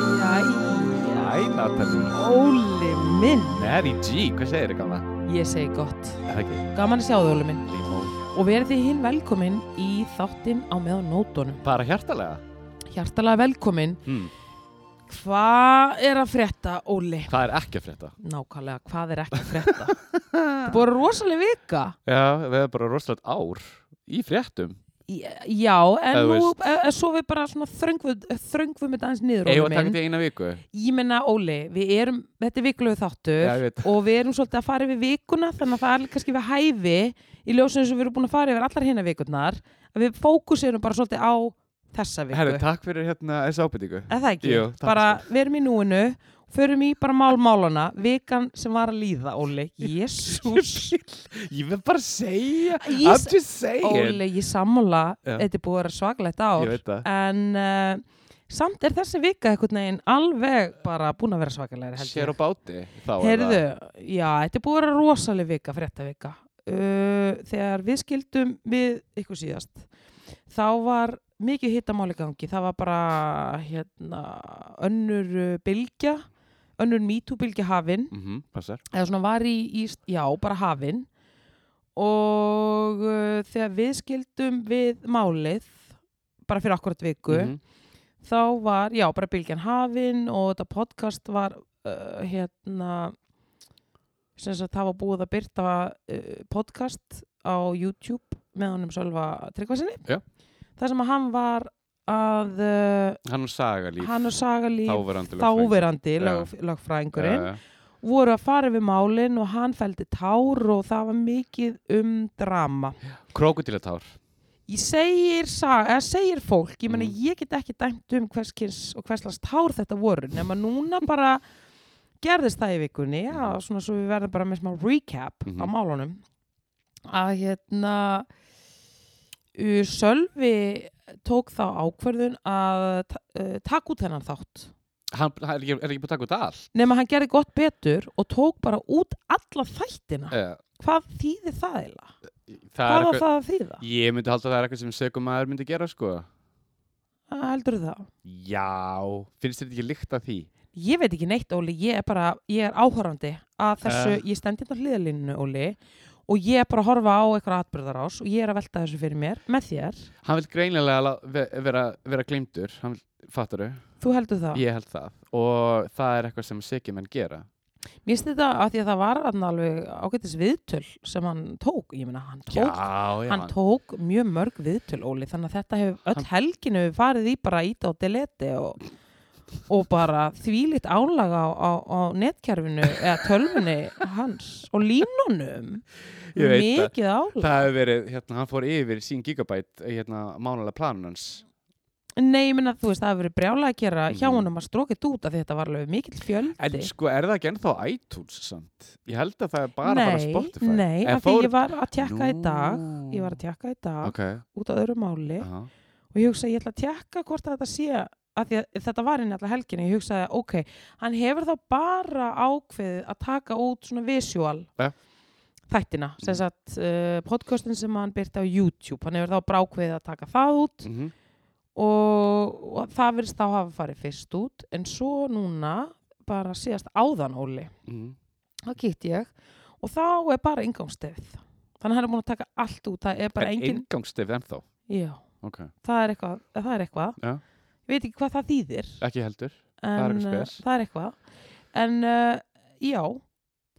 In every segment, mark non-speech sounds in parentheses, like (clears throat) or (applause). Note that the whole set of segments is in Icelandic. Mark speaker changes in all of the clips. Speaker 1: Jæja,
Speaker 2: Æ, Natalie
Speaker 1: Óli minn
Speaker 2: Natty G, hvað segir þér gamla?
Speaker 1: Ég segi gott,
Speaker 2: Er það ekki?
Speaker 1: gaman að sjá þig Óli minn
Speaker 2: Limó
Speaker 1: Og verið þið hinn velkomin í þáttinn á meðan nótunum
Speaker 2: Bara hjartalega
Speaker 1: Hjartalega velkomin,
Speaker 2: hmm.
Speaker 1: hvað er að frétta Óli?
Speaker 2: Hvað er ekki að frétta?
Speaker 1: Nákvæmlega, hvað er ekki að
Speaker 2: (laughs)
Speaker 1: frétta? Það búið rosalega vika
Speaker 2: Já, við erum bara rosalegt ár í fréttum
Speaker 1: Já, en
Speaker 2: Eða þú
Speaker 1: nú e, e, svo við bara svona þröngvum þröngvum þetta aðeins niður
Speaker 2: Eða
Speaker 1: Óli
Speaker 2: takk
Speaker 1: minn
Speaker 2: til eina viku
Speaker 1: Ég menna Óli, við erum, þetta er vikulegu þáttur
Speaker 2: Já, ég veit.
Speaker 1: og við erum svolítið að fara yfir vikuna þannig að það er kannski við hæfi í ljósinu sem við erum búin að fara yfir allar hinna vikurnar að við fókusirum bara svolítið á þessa viku.
Speaker 2: Herri, takk fyrir hérna þessu ábyrtingu
Speaker 1: Er það ekki?
Speaker 2: Jú, takk sko.
Speaker 1: bara við erum í núinu, förum í bara málmálana, vikan sem var að líða Óli. Jésús.
Speaker 2: (laughs) Ég vil bara segja
Speaker 1: Ég
Speaker 2: I'm
Speaker 1: s-
Speaker 2: just saying
Speaker 1: Óli, ég sammála,
Speaker 2: Já.
Speaker 1: þetta er búið að vera svaglegt ár.
Speaker 2: Ég veit það
Speaker 1: En uh, samt er þessi vika einhvern veginn alveg bara búin að vera svagalegri held ég.
Speaker 2: Sér á báti þá er
Speaker 1: Heyrðu,
Speaker 2: það.
Speaker 1: já, þetta er búið að vera rosaleg vika, frétta vika. Uh, þegar við skildum við ykkur síðast, þá var mikið hittamáli gangi. Það var bara hérna, önnur uh, bylgja, önnur mítúbylgja hafin,
Speaker 2: Mhm, Passar
Speaker 1: eða svona var í, í já, bara hafin. Og uh, þegar við skildum við málið, bara fyrir akkurat viku,
Speaker 2: Mhm.
Speaker 1: þá var, já, bara Bylgjan Hafin og þetta podcast var uh, hérna sem sagt það var búið að byrta uh, podcast á YouTube með honum Sölva Tryggvarsinni
Speaker 2: Já.
Speaker 1: þar sem að hann var að uh,
Speaker 2: Hann og Saga líf
Speaker 1: hann og Sagalíf
Speaker 2: Þáverandi
Speaker 1: þáverandi
Speaker 2: Já.
Speaker 1: lög, lögfræðingurinn voru að fara við málin og hann fældi tár og það var mikið um drama
Speaker 2: Krokodílatár
Speaker 1: Ég segir, sag, eða segir fólk, ég meina
Speaker 2: Mm.
Speaker 1: ég get ekki dæmt um hvers kyns og hverslas tár þetta voru, nema núna
Speaker 2: (laughs)
Speaker 1: bara gerðist það í vikunni, já, svona svo við verðum bara með smá recap
Speaker 2: Mm. Mhm.
Speaker 1: á málunum, að hérna uh, Sölvi tók þá ákverðun að ta- uh, taka út þennan þátt,
Speaker 2: Hann hann er ekki, er ekki búið að taka út allt
Speaker 1: nema hann gerði gott betur og tók bara út alla þættina.
Speaker 2: Eh,
Speaker 1: Hvað þýðir það eiginlega?
Speaker 2: Það er
Speaker 1: Hvað var
Speaker 2: eitthvað-
Speaker 1: það að þýða?
Speaker 2: Ég myndi halda að það er eitthvað sem sögum maður myndi gera sko
Speaker 1: Heldur það?
Speaker 2: Já, finnst þér þetta ekki líkt að því?
Speaker 1: Ég veit ekki neitt, Óli, ég er bara, ég er áhorfandi að þessu,
Speaker 2: Eh.
Speaker 1: ég stend hérna á hliðalínu, Óli, og ég er bara að horfa á eitthvað atbyrðarás og ég er að velta þessu fyrir mér, með þér,
Speaker 2: Hann vil greinilega lá- ve- vera, vera glimtur, hann vil, fattaru,
Speaker 1: þú heldur það.
Speaker 2: ég held það. Og það er eitthvað sem sikið menn gera.
Speaker 1: Mér finnst þetta að því að það var þarna alveg ágættis viðtöl sem hann tók, ég meina, hann tók,
Speaker 2: já,
Speaker 1: hann tók mjög mörg viðtöl, Óli, þannig að þetta hefur öll helginu farið í bara ít á deleti og, og bara þvílitt álaga á, á, á netkerfinu eða tölvunni hans og línunum,
Speaker 2: Ég veit það.
Speaker 1: mikið álag.
Speaker 2: Það hefur verið, hérna, hann fór yfir sín gigabæt, hérna, mánulega planun hans.
Speaker 1: Nei, ég minna, þú veist, það hefur verið brjála að gera hjá
Speaker 2: Mhm.
Speaker 1: honum að stróka þetta út af því þetta var alveg mikill
Speaker 2: En
Speaker 1: fjöldi.
Speaker 2: sko, er það ekki ennþá iTunes samt? Ég held að það er bara bara
Speaker 1: nei,
Speaker 2: Spotify.
Speaker 1: Nei,
Speaker 2: En
Speaker 1: af því
Speaker 2: fór-
Speaker 1: ég var að tjekka í dag,
Speaker 2: Nú.
Speaker 1: ég var að tjekka í dag
Speaker 2: Ok, Ah.
Speaker 1: út á öðru máli
Speaker 2: aha.
Speaker 1: og ég hugsaði, ég ætla að tjekka hvort að þetta sé, af því að þetta var inn alltaf helginni, ég hugsaði, ok, hann hefur þá bara ákveðið að taka út svona visual
Speaker 2: Ja.
Speaker 1: þættina, sem sagt uh, podcastin sem hann byrti á YouTube, hann hefur þá bara ákveðið að taka það út
Speaker 2: Mm -hmm.
Speaker 1: og, og það verðist þá hafa farið fyrst út en svo núna bara síðast áðan Óli
Speaker 2: mhm.
Speaker 1: það kýtt ég og þá er bara ingangstöð þannig að hann er búin að taka allt út það er bara
Speaker 2: en
Speaker 1: engin
Speaker 2: engangstef ennþá.
Speaker 1: já,
Speaker 2: Ok,
Speaker 1: það er eitthvað, það er eitthvað.
Speaker 2: Já.
Speaker 1: ég veit ekki hvað það þýðir
Speaker 2: ekki heldur. er
Speaker 1: en
Speaker 2: eitthvað
Speaker 1: uh,
Speaker 2: spes.
Speaker 1: það er eitthvað en uh, já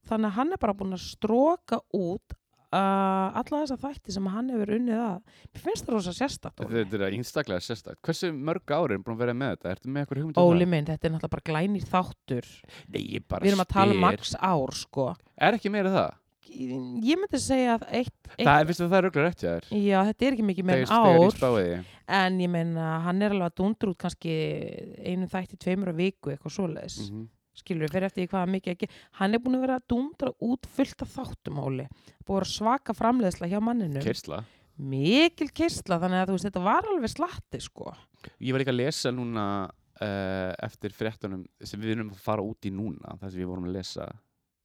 Speaker 1: þannig að hann er bara búin að stróka út uh, alla þessa þætti sem hann hefur unnið að mér finnst það rosa sérstakt Óli.
Speaker 2: Þetta er einstaklega sérstakt. Hversu mörg ári er búin að vera með þetta? Ertu með eitthvað hugmynd um
Speaker 1: Óli minn, þetta er náttúrulega bara glænir þáttur
Speaker 2: það? Nei, ég bara
Speaker 1: Við erum að tala
Speaker 2: spyr.
Speaker 1: um max ár, sko.
Speaker 2: Er ekki meira það?
Speaker 1: Ég myndi segja að eitt, eitt
Speaker 2: Það er, veistu, það er auðvitað rétt hjá þér.
Speaker 1: já, þetta er ekki mikið meira en
Speaker 2: Þegar ég
Speaker 1: ár,
Speaker 2: spáði því.
Speaker 1: en ég meina, hann er alveg að dundur út kannski einu þætti tveimur á viku, eitthvað svoleiðis. Mm.
Speaker 2: Mhm.
Speaker 1: Skilur við fyrir eftir því hvað hann mikið ekki. Hann er búin að vera að dundra út fullt af þáttum, Óli. Búin að vera svaka framleiðsla hjá manninu.
Speaker 2: Keirsla.
Speaker 1: Mikil keisla, þannig að þú veist, þetta var alveg slatti, sko.
Speaker 2: Ég var líka að lesa núna eh, uh, eftir fréttunum sem við erum að fara út í núna, það sem við vorum að lesa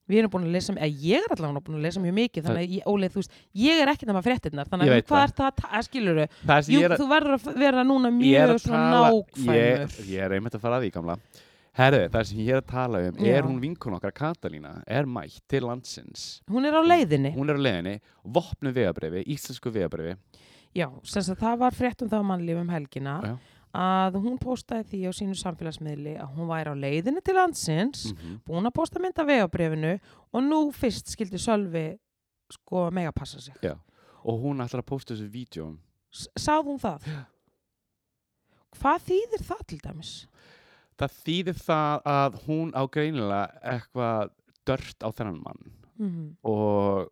Speaker 1: Við erum búin að lesa, um- eða ég er allavega búin að lesa mjög mikið, þannig að, ég, Óli, þú veist, ég er ekki nema fréttinnar, þannig að
Speaker 2: Ég
Speaker 1: um
Speaker 2: veit
Speaker 1: hvað
Speaker 2: það.
Speaker 1: er það að, ta- að skilur þau?
Speaker 2: Það sem
Speaker 1: Jú,
Speaker 2: ég er að-
Speaker 1: þú verður að vera núna
Speaker 2: ég er
Speaker 1: mjög
Speaker 2: að
Speaker 1: svona
Speaker 2: tala-
Speaker 1: nákvæmur.
Speaker 2: ég, ég er einmitt að fara að því gamla Herðu, það sem ég er að tala um
Speaker 1: Já.
Speaker 2: er hún vinkun okkar Katalína er mætt til landsins
Speaker 1: Hún er á leiðinni.
Speaker 2: hún er á leiðinni, vopnu vegabrifi íslensku vegabrifi
Speaker 1: Já, sem sagt það var frétt um það á mannlíf um helgina
Speaker 2: Já.
Speaker 1: að hún postaði því á sínu samfélagsmiðli að hún væri á leiðinni til landsins,
Speaker 2: mm
Speaker 1: búin að posta mynda vegabrefinu og nú fyrst skildi Sölvi sko mega passa sig.
Speaker 2: Já. og hún ætlar að posta þessu vídjum
Speaker 1: S- Sáð hún það? Hvað þýðir það til dæmis?
Speaker 2: það þýðir það að hún á greinilega eitthvað dört á þennan mann
Speaker 1: Mm.
Speaker 2: og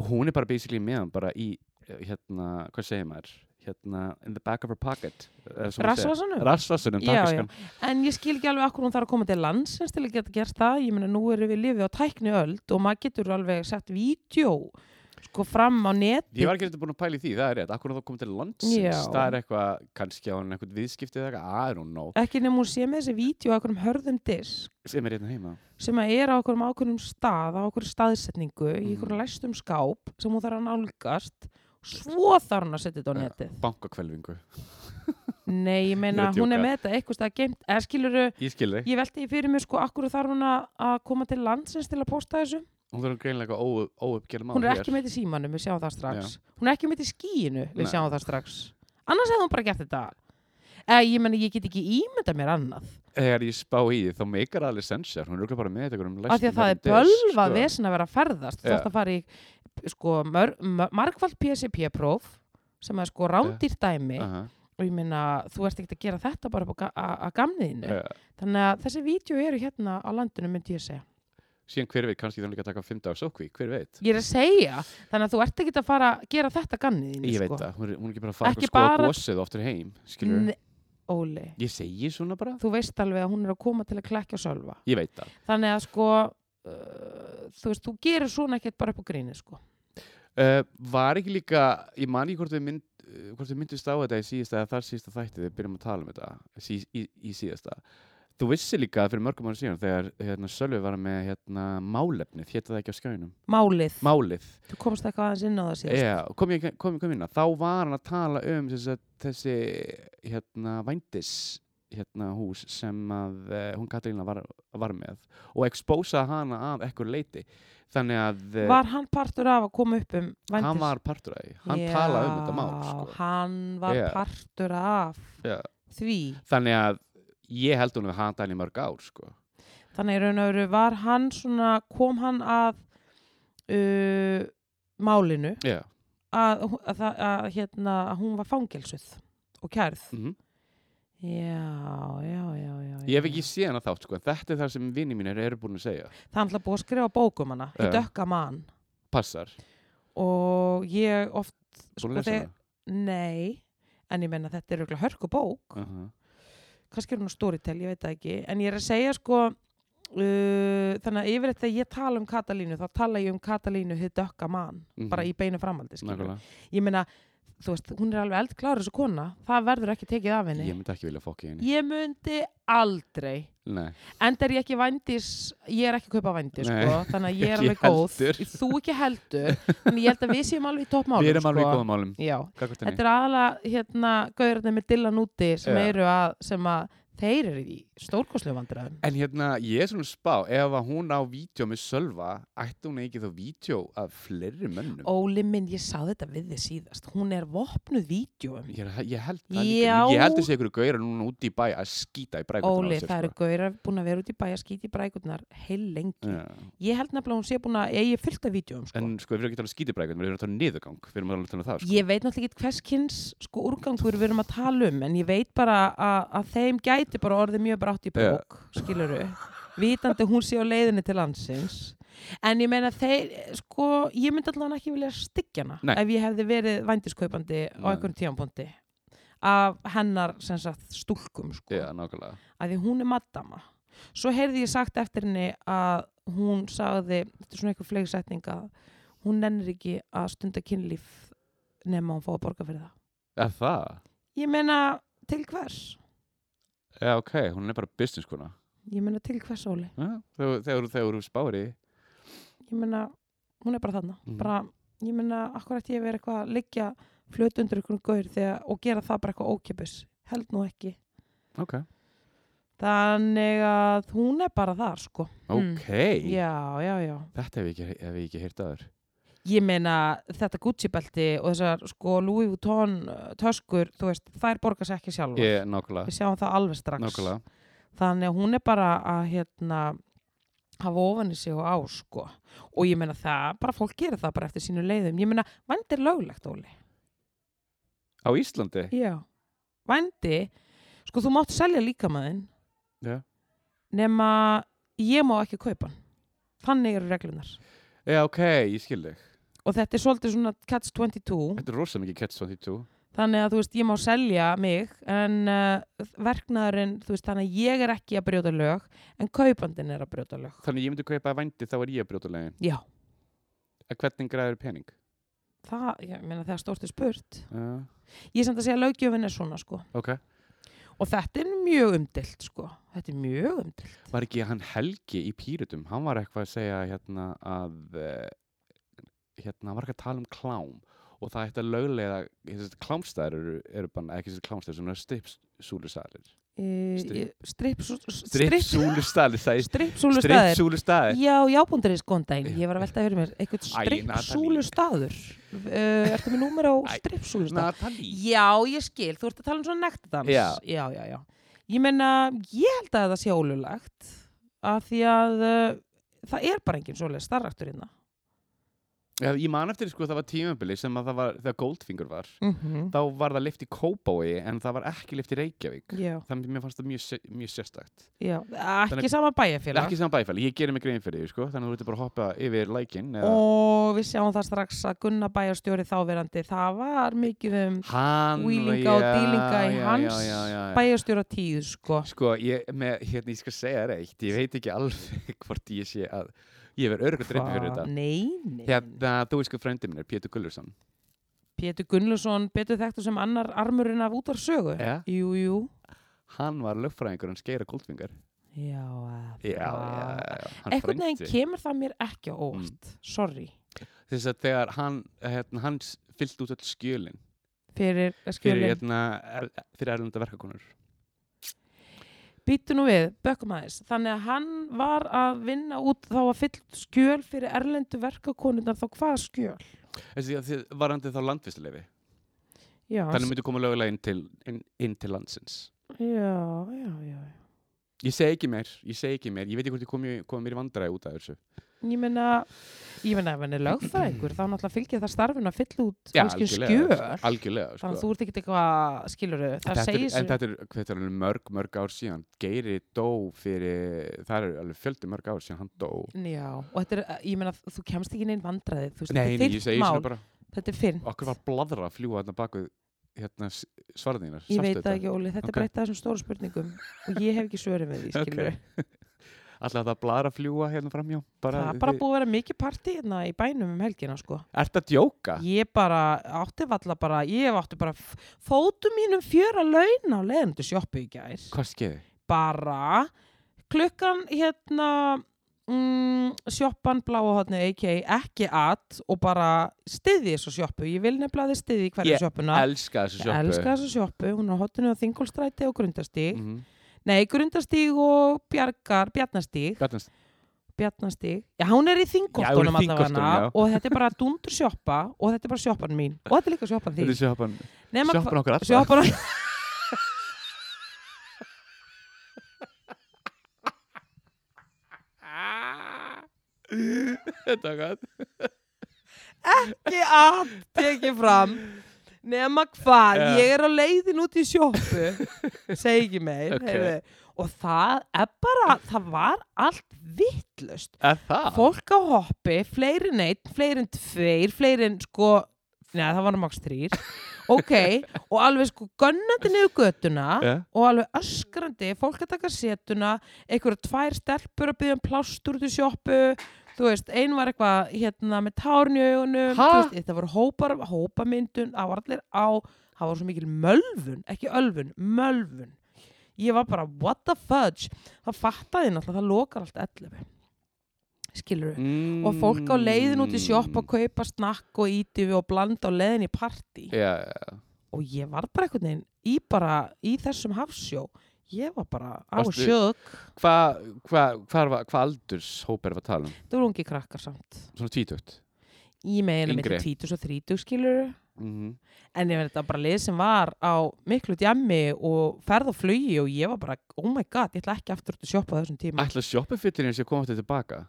Speaker 2: hún er bara basically með hann bara í, eh, hérna, hvað segir maður hérna, in the back of her pocket eða sem maður segir.
Speaker 1: Rassvasanum?
Speaker 2: rassvasunum,
Speaker 1: Já,
Speaker 2: takk skan
Speaker 1: En ég skil ekki alveg akkur hún þarf að koma til landsins til að geta gert það. Ég meina, nú erum við lifið á tækni öld og maður getur alveg sett vídeo sko fram á neti.
Speaker 2: Ég var ekki reynda búin að pæla í því, það er rétt. Akkur þá komið til landsins,
Speaker 1: Já.
Speaker 2: það er eitthvað, kannski á hann eitthvað viðskiptið eða eitthvað, I don't know,
Speaker 1: Ekki nefnum hún sé með þessi vídeo á einhverjum hörðum disk
Speaker 2: sem er hérna heima.
Speaker 1: sem að er á einhverjum ákveðnum stað, á einhverjum staðsetningu, í
Speaker 2: Mhm.
Speaker 1: einhverjum læstum skáp sem hún þarf að nálgast svo þarf hún að setja þetta á
Speaker 2: Já.
Speaker 1: netið.
Speaker 2: Bankakvelvingu.
Speaker 1: Nei, ég meina,
Speaker 2: Ég er að
Speaker 1: hún er
Speaker 2: djóka.
Speaker 1: með þetta eitthvað stað geimt, eða skiluru,
Speaker 2: Ég skil þig.
Speaker 1: ég velti því fyrir mér sko, akkur þarf hún að að koma til landsins til að posta þessu?
Speaker 2: Hún þarf greinlega eitthvað óuppgerð mál
Speaker 1: hún er ekki með í símanum, við sjáum það strax hún er ekki með í skíinu, við
Speaker 2: Nei.
Speaker 1: sjáum það strax annars hefði hún bara gert þetta eða ég meni, ég get ekki ímynda mér annað
Speaker 2: Þegar ég spá í því, þá meikar alveg sensor. Hún er örugglega bara með þetta einhverjum læstum.
Speaker 1: af því að það er bölvað vesen að vera að ferðast þú
Speaker 2: sko. Já.
Speaker 1: þarfst að fara í sko, mör, mör, margvald PSP-próf sem er sko rándýrt dæmi og ég meina, þú ert ekkert að gera þetta bara upp á ga- að að gamniðinu
Speaker 2: Eh,
Speaker 1: þannig að þessi vídeo eru hérna á landinu myndi ég að segja
Speaker 2: Síðan hver veit, kannski þannig að taka 5 dagar sókví, hver veit?
Speaker 1: ég er að segja, þannig að þú ert ekkert að fara að gera þetta að gamniðinu
Speaker 2: Ég veit
Speaker 1: sko.
Speaker 2: það, hún er, hún er ekki bara að fara
Speaker 1: Ekki
Speaker 2: og skoða
Speaker 1: bara-
Speaker 2: gósið og aftur heim, skilur
Speaker 1: Nei, Óli,
Speaker 2: Ég segi svona bara,
Speaker 1: þú veist alveg að hún er að koma til að klekja sölva.
Speaker 2: ég veit það.
Speaker 1: Þannig að sko, uh, þú veist, þú gerir svona ekkert bara upp á gríni, sko.
Speaker 2: Uh, var ekki líka, ég man ekki hvort við, mynd, uh, hvort við myndist á þetta í síðasta eða þar síðasta þætti við byrjum að tala um þetta sí, í, í síðasta þú vissi líka fyrir mörgum ára síðan þegar hérna, Sölvi var með hérna, málefnið, hétta það ekki á skjánum
Speaker 1: Málið,
Speaker 2: málið,
Speaker 1: þú komst eitthvað aðeins inn á það síðast.
Speaker 2: yeah, kom, ég, kom, kom inn á þá var hann að tala um þessi, þessi hérna, vændis hérna, hús sem að uh, hún Katalína var, var með og expósa hana af ekkur leiti þannig að eh,
Speaker 1: Var hann partur af að koma upp um vendis?
Speaker 2: hann var partur af því, hann talaði um þetta mál sko.
Speaker 1: hann var
Speaker 2: Já.
Speaker 1: partur af
Speaker 2: Já.
Speaker 1: því.
Speaker 2: þannig að ég held hún við hata hann í mörg ár sko.
Speaker 1: Þannig í raun og veru var hann svona, kom hann að uh, málinu
Speaker 2: yeah.
Speaker 1: að, að, að, að, hérna, að hún var fangelsuð og kærð. Já, já, já, já.
Speaker 2: Mm. Mhm. ég hef
Speaker 1: já.
Speaker 2: ekki séð hana þátt sko. en þetta er það sem vini mínir eru búin að segja
Speaker 1: Það er alltaf búið að skrifa bókum hana í
Speaker 2: Já.
Speaker 1: dökka mann
Speaker 2: passar,
Speaker 1: Sko, og ég oft,
Speaker 2: búin
Speaker 1: Sko,
Speaker 2: að lesa
Speaker 1: þegar- nei, en ég menna þetta er auðvitað hörku bók,
Speaker 2: hana uh -huh.
Speaker 1: kannski er hún á storytel, ég veit það ekki, en ég er að segja sko, uh, þannig að yfirleitt þegar ég tala um Katalínu, þá tala ég um Katalínu hið dökka mann,
Speaker 2: Mhm.
Speaker 1: bara í beinu framaldi, skilur.
Speaker 2: nákvæmlega,
Speaker 1: Ég menna, þú veist, hún er alveg eldklára þessu kona, það verður ekki tekið af henni.
Speaker 2: ég myndi ekki vilja fokki henni
Speaker 1: Ég myndi aldrei
Speaker 2: Nei.
Speaker 1: Enda er ég ekki vændis, ég er ekki að kaupa vændis,
Speaker 2: Nei,
Speaker 1: sko, þannig að ég
Speaker 2: (laughs)
Speaker 1: er alveg
Speaker 2: ekki
Speaker 1: góð.
Speaker 2: heldur.
Speaker 1: Þú ekki heldur, en ég held að við séum alveg í toppmálum,
Speaker 2: við erum alveg í
Speaker 1: sko.
Speaker 2: góða málum
Speaker 1: Já,
Speaker 2: Gagnvart henni.
Speaker 1: þetta er aðalega, hérna, gaurarnir með dillan úti sem
Speaker 2: Já.
Speaker 1: eru að, sem að þeir eru í stórkoslu vandræðum.
Speaker 2: en hérna, ég er svona að spá ef að hún á vídeo með Sölva ætti hún ekki þá vídeo af fleiri mönnum
Speaker 1: Óli minn, ég sá þetta við þið síðast, hún er vopnuð vídjóum.
Speaker 2: ég, er- ég held það
Speaker 1: Já.
Speaker 2: líka ég held þessi ykkur gauðir núna úti í bæ að skýta í brækvöldin
Speaker 1: Óli, það eru
Speaker 2: sko.
Speaker 1: gaurar búin að vera út í bæja skýti í brækurnar heil lengi. Ég held nefnilega að hún sé búin að, ég er fullt af vídjóum, sko.
Speaker 2: en sko, við erum ekki að tala um skýta í brækvöldin við erum að tala um niðurgang við erum að tala um það sko.
Speaker 1: Ég veit náttúrulega ekki hvers kynns sko úrgangur við erum að tala um en ég veit bara að, að þeim gæti bara orðið mjög brátt í
Speaker 2: Já.
Speaker 1: bók yeah. skiluru, vitandi hún sé á leiðinni til landsins en ég meina þeir, sko, ég myndi allan ekki vilja styggja hana
Speaker 2: Nei.
Speaker 1: ef ég hefði verið vændiskaupandi á
Speaker 2: Nei.
Speaker 1: einhverjum tíampunkti af hennar sem sagt stúlkum sko,
Speaker 2: Já, nákvæmlega.
Speaker 1: að því hún er maddama svo heyrði ég sagt eftir henni að hún sagði, þetta er svona eitthvað fleiksetninga hún nennir ekki að stunda kynlíf nema hún fá að borga fyrir það
Speaker 2: Er það?
Speaker 1: ég meina til hvers
Speaker 2: Já, ok, hún er bara business kona.
Speaker 1: ég meina til hvers Óli
Speaker 2: Þegar, þegar, þegar þú spáir í því.
Speaker 1: ég meina, hún er bara þarna
Speaker 2: Mhm.
Speaker 1: bara, ég meina, akkur ætti ég að vera eitthvað að liggja flöt undir ykkur gaur þegar, og gera það bara eitthvað ókipis held nú ekki
Speaker 2: ok,
Speaker 1: þannig að hún er bara þar sko
Speaker 3: Mm.
Speaker 2: ok
Speaker 1: Hmm. já, já, já
Speaker 2: þetta hef ég ekki, hef ég ekki heyrt aður
Speaker 1: ég meina þetta Gucci-belti og þessar sko Louis Vuitton uh, töskur, þú veist, þær borgar sér ekki sjálfar
Speaker 2: ég, nákvæmlega,
Speaker 1: við sjáum það alveg strax
Speaker 2: nákvæmlega
Speaker 1: þannig að hún er bara að hérna hafa ofan í sig og á sko og ég meina það, bara fólk gerir það bara eftir sínu leiðum, ég meina vændi er löglegt Óli,
Speaker 2: á Íslandi,
Speaker 1: já vændi, sko þú mátt selja líkamaðinn
Speaker 2: Já.
Speaker 1: nema ég má ekki kaupa hann þannig eru reglunar
Speaker 2: já ok, ég skil þig
Speaker 1: og þetta er svolítið svona catch 22
Speaker 2: þetta er rosa mikið catch 22
Speaker 1: þannig að þú veist, ég má selja mig en uh, verknaðurinn þú veist, þannig að ég er ekki að brjóta lög en kaupandinn er að brjóta lög
Speaker 2: þannig að ég myndi kaupa vændi þá er ég að brjóta legin
Speaker 1: já,
Speaker 2: að hvernig græður pening
Speaker 1: það, ég meina það er stórtið spurt
Speaker 2: uh,
Speaker 1: ég er samt að segja að löggjöfin er svona sko
Speaker 2: ok,
Speaker 1: og þetta er mjög umdilt sko þetta er mjög umdilt
Speaker 2: var ekki hann Helgi í Pírutum hann var eitthvað að segja hérna að eh, hérna hann var ekki að tala um klám og það ætti að löglega þessi klámstæður eru, eru bara ekki þessi klámstæður sem eru strippsúlustæðir
Speaker 1: E, stripsúlu
Speaker 2: strippsúlustæðir það er
Speaker 1: staðir
Speaker 2: strippsúlustæðir
Speaker 1: já, jábúndur er skoðan daginn, ég var að velta fyrir mér eitthvað
Speaker 2: Æ, Natalie.
Speaker 1: stripsúlu staður ertu með númer á
Speaker 2: Æ,
Speaker 1: stripsúlu stað
Speaker 2: Natalie
Speaker 1: já, ég skil, þú ert að tala um svona nektadans
Speaker 2: Já.
Speaker 1: já, já, já ég meina, ég held að það sé ólulegt af því að uh, það er bara enginn hérna. svoleið starraktur innan
Speaker 2: Já, ég man eftir sko það var tímabili sem að það var þegar Goldfinger var
Speaker 1: mm -hmm.
Speaker 2: þá var það lift í Kóbói en það var ekki lift í Reykjavík
Speaker 1: já,
Speaker 2: þannig að mér fannst það mjög, sé- mjög sérstakt
Speaker 1: já,
Speaker 2: Þannig-
Speaker 1: ekki sama bæjarfélag
Speaker 2: ekki saman bæfæli, ég gerir mig grein fyrir því sko þannig að þú ert bara að hoppa yfir lækin eða...
Speaker 1: og við sjáum það strax að Gunna bæjarstjóri þáverandi, það var mikið um
Speaker 2: hann,
Speaker 1: Wheelinga og dealinga í hans bæjarstjóra tíð sko.
Speaker 2: sko, ég, með, hérna, ég skal segja þér eitt ég veit ekki alveg (laughs) hvort ég sé að ég verð örgulega dreipið fyrir þetta
Speaker 1: Nei, nei
Speaker 2: hérna, þú veist hvað frændi minn er, Pétur Gullursson
Speaker 1: Pétur Gunnlusson, betur þekktu sem annar armurinn af útarsögu
Speaker 2: Ja.
Speaker 1: Jú, jú
Speaker 2: hann var lögfræðingur, hann skeira Goldfingar
Speaker 1: Já, að
Speaker 2: já, já,
Speaker 1: það.
Speaker 2: já, hann
Speaker 1: Einhvern veginn
Speaker 2: frændi. Mm.
Speaker 1: kemur það mér ekki á óvart Sorry
Speaker 2: þess að þegar hann, hérna, hann fyllt út öll skjölin
Speaker 1: fyrir eh,
Speaker 2: fyrir,
Speaker 1: skjölinn
Speaker 2: hérna, er, fyrir erlenda verkakonur
Speaker 1: Býttu nú við, bökum aðeins. Þannig að hann var að vinna út þá að fyll skjöl fyrir erlendu verkakonundar þá hvað skjöl?
Speaker 2: þess að þið varandi þá landvisleifi
Speaker 1: Já,
Speaker 2: þannig myndi koma lögulega inn til, inn, inn til landsins
Speaker 1: já, já, já.
Speaker 2: Ég segi ekki mér, ég segi ekki mér, ég veit ekki hvort ég komi, komi mér í vandræði út af þessu.
Speaker 1: Ég meina, ég meina ef hann er lögfræðingur þá náttúrulega fylgir það starfinu að fylla út
Speaker 2: Já,
Speaker 1: alls kyns um skjöl.
Speaker 2: algjörlega, Algjörlega,
Speaker 1: Þannig að
Speaker 2: sko.
Speaker 1: þú ert ekkert eitthvað, skilur þau,
Speaker 2: En
Speaker 1: það
Speaker 2: þetta er-
Speaker 1: segir
Speaker 2: En
Speaker 1: sér.
Speaker 2: þetta er, þetta er alveg mörg, mörg ár síðan. Geiri dó fyrir, það er alveg fjöldi mörg ár síðan hann dó.
Speaker 1: Já, og þetta er, ég meina, þú kemst ekki neinn vandræðið, þú veist,
Speaker 2: Nei,
Speaker 1: þetta er
Speaker 2: nei, ég
Speaker 1: þitt
Speaker 2: segi svona
Speaker 1: mál,
Speaker 2: bara,
Speaker 1: þetta er fyrnt.
Speaker 2: okkur var bladra að fljúa þarna baku hérna svarðinar.
Speaker 1: Ég veit það ekki, Óli, þetta
Speaker 2: Ok.
Speaker 1: okay. breytta þessum stóru um spurningum og ég hef ekki svörum við því,
Speaker 2: (laughs) Ok.
Speaker 1: skilur
Speaker 2: Alltaf það bladra að fljúa hérna framjá. Bara,
Speaker 1: Það er bara búið að vera mikið partí hérna í bænum um helgina, sko.
Speaker 2: Ert að djóka?
Speaker 1: Ég bara átti valla bara, ég átti bara f- fótum mínum fjöra laun á leðendu sjoppu í gær.
Speaker 2: Hvað skeiði?
Speaker 1: bara klukkan hérna mm, sjoppan bláa hotni a.k.a. ekki at og bara styði þessu sjoppu ég vil nefnilega að þið styði hverju
Speaker 2: Ég
Speaker 1: sjoppuna
Speaker 2: Elska þessu
Speaker 1: ég
Speaker 2: sjoppu.
Speaker 1: elska þessu sjoppu, hún er á hotinu á Þingolstræti og Grundastíg,
Speaker 2: Mhm.
Speaker 1: nei Grundastíg og Bjargar, Bjarnastíg
Speaker 2: Gatnast-
Speaker 1: Bjarnastíg, já hún er í Þingolstunum
Speaker 2: Já, hún er í
Speaker 1: allavega
Speaker 2: Þingholtunum, já.
Speaker 1: og þetta er bara dundur sjoppa og þetta er bara sjoppan mín og þetta er líka sjoppan
Speaker 2: Þetta
Speaker 1: þín
Speaker 2: er sjoppan,
Speaker 1: Nema hva-
Speaker 2: sjoppan okkar alltaf.
Speaker 1: sjoppan
Speaker 2: (laughs) Þetta var gott.
Speaker 1: ekki að tekið fram nema hvað,
Speaker 2: Já.
Speaker 1: ég er á leiðin út í
Speaker 2: (laughs)
Speaker 1: sjoppu segi ekki meir
Speaker 2: Ok.
Speaker 1: heyrðu. og það er bara það var allt vittlust
Speaker 2: Er það?
Speaker 1: fólk á hoppi, fleiri neitt fleiri en tveir, fleiri en sko neða það var maks
Speaker 2: (laughs)
Speaker 1: þrýr ok, og alveg sko gönnandi niður götuna
Speaker 2: Já.
Speaker 1: og alveg öskrandi, fólk að taka setuna einhverja tvær stelpur að byggja um plástur út í sjoppu þú veist, ein var eitthvað hérna með tárn í augunum
Speaker 2: Ha?
Speaker 1: þú veist, þetta voru hópar, hópamyndun það var allir á, það var svo mikil mölvun ekki ölvun, mölvun ég var bara, what the fudge það fattaði náttúrulega, það lokar allt 11 skilur
Speaker 2: mm.
Speaker 1: og fólk á leiðin út í sjopp að kaupa snakk og ítifu og blanda á leiðin í partí
Speaker 2: Já, já, já.
Speaker 1: og ég var bara einhvern veginn í bara í þessum hafsjó ég var bara á
Speaker 2: Varstu-
Speaker 1: sjög
Speaker 2: Hvað hva, hva, hva, hva aldurshópa er að tala um?
Speaker 1: það voru ungi krakkar samt
Speaker 2: Svona tvítugt
Speaker 1: ég meina
Speaker 2: Yngri.
Speaker 1: með 20 og 30 skilur
Speaker 2: mm
Speaker 1: en ég verði þetta bara lið sem var á miklu djammi og ferð og flugi og ég var bara oh my god, ég ætla ekki aftur út að sjoppa á þessum tíma
Speaker 2: Ætla sjoppafittinir sem kom aftur tilbaka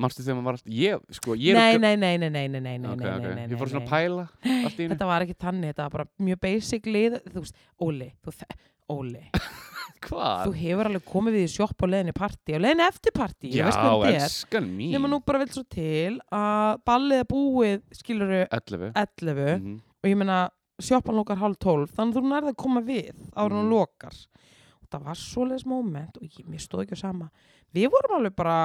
Speaker 2: Manstu þegar maður var alltaf Ég, sko, ég
Speaker 1: nei,
Speaker 2: er
Speaker 1: nei, nei, nei, nei, nei, nei, nei,
Speaker 2: Ok,
Speaker 1: nei,
Speaker 2: ok.
Speaker 1: nei, nei,
Speaker 2: Ég fór svona
Speaker 1: nei.
Speaker 2: að pæla allt í einu
Speaker 1: þetta var ekki tannig, þetta var bara mjög basic lið þú veist, Óli, þú þe- Óli þú
Speaker 2: Hvað?
Speaker 1: hefur alveg komið við í sjopp á leiðinni partí og leiðinni eftir partí, ég
Speaker 2: Já,
Speaker 1: veist hvað þetta er
Speaker 2: elskan mín
Speaker 1: nema nú bara vel svo til að ballið er búið, skiluru
Speaker 2: 11
Speaker 1: 11
Speaker 2: Mhm.
Speaker 1: og ég meina sjoppan lókar hálf 12 þannig að þú nærði að koma við ára hún
Speaker 2: Mhm.
Speaker 1: lokar og það var svoleiðis moment og ég, mér stóð ekki á sama við vorum alveg bara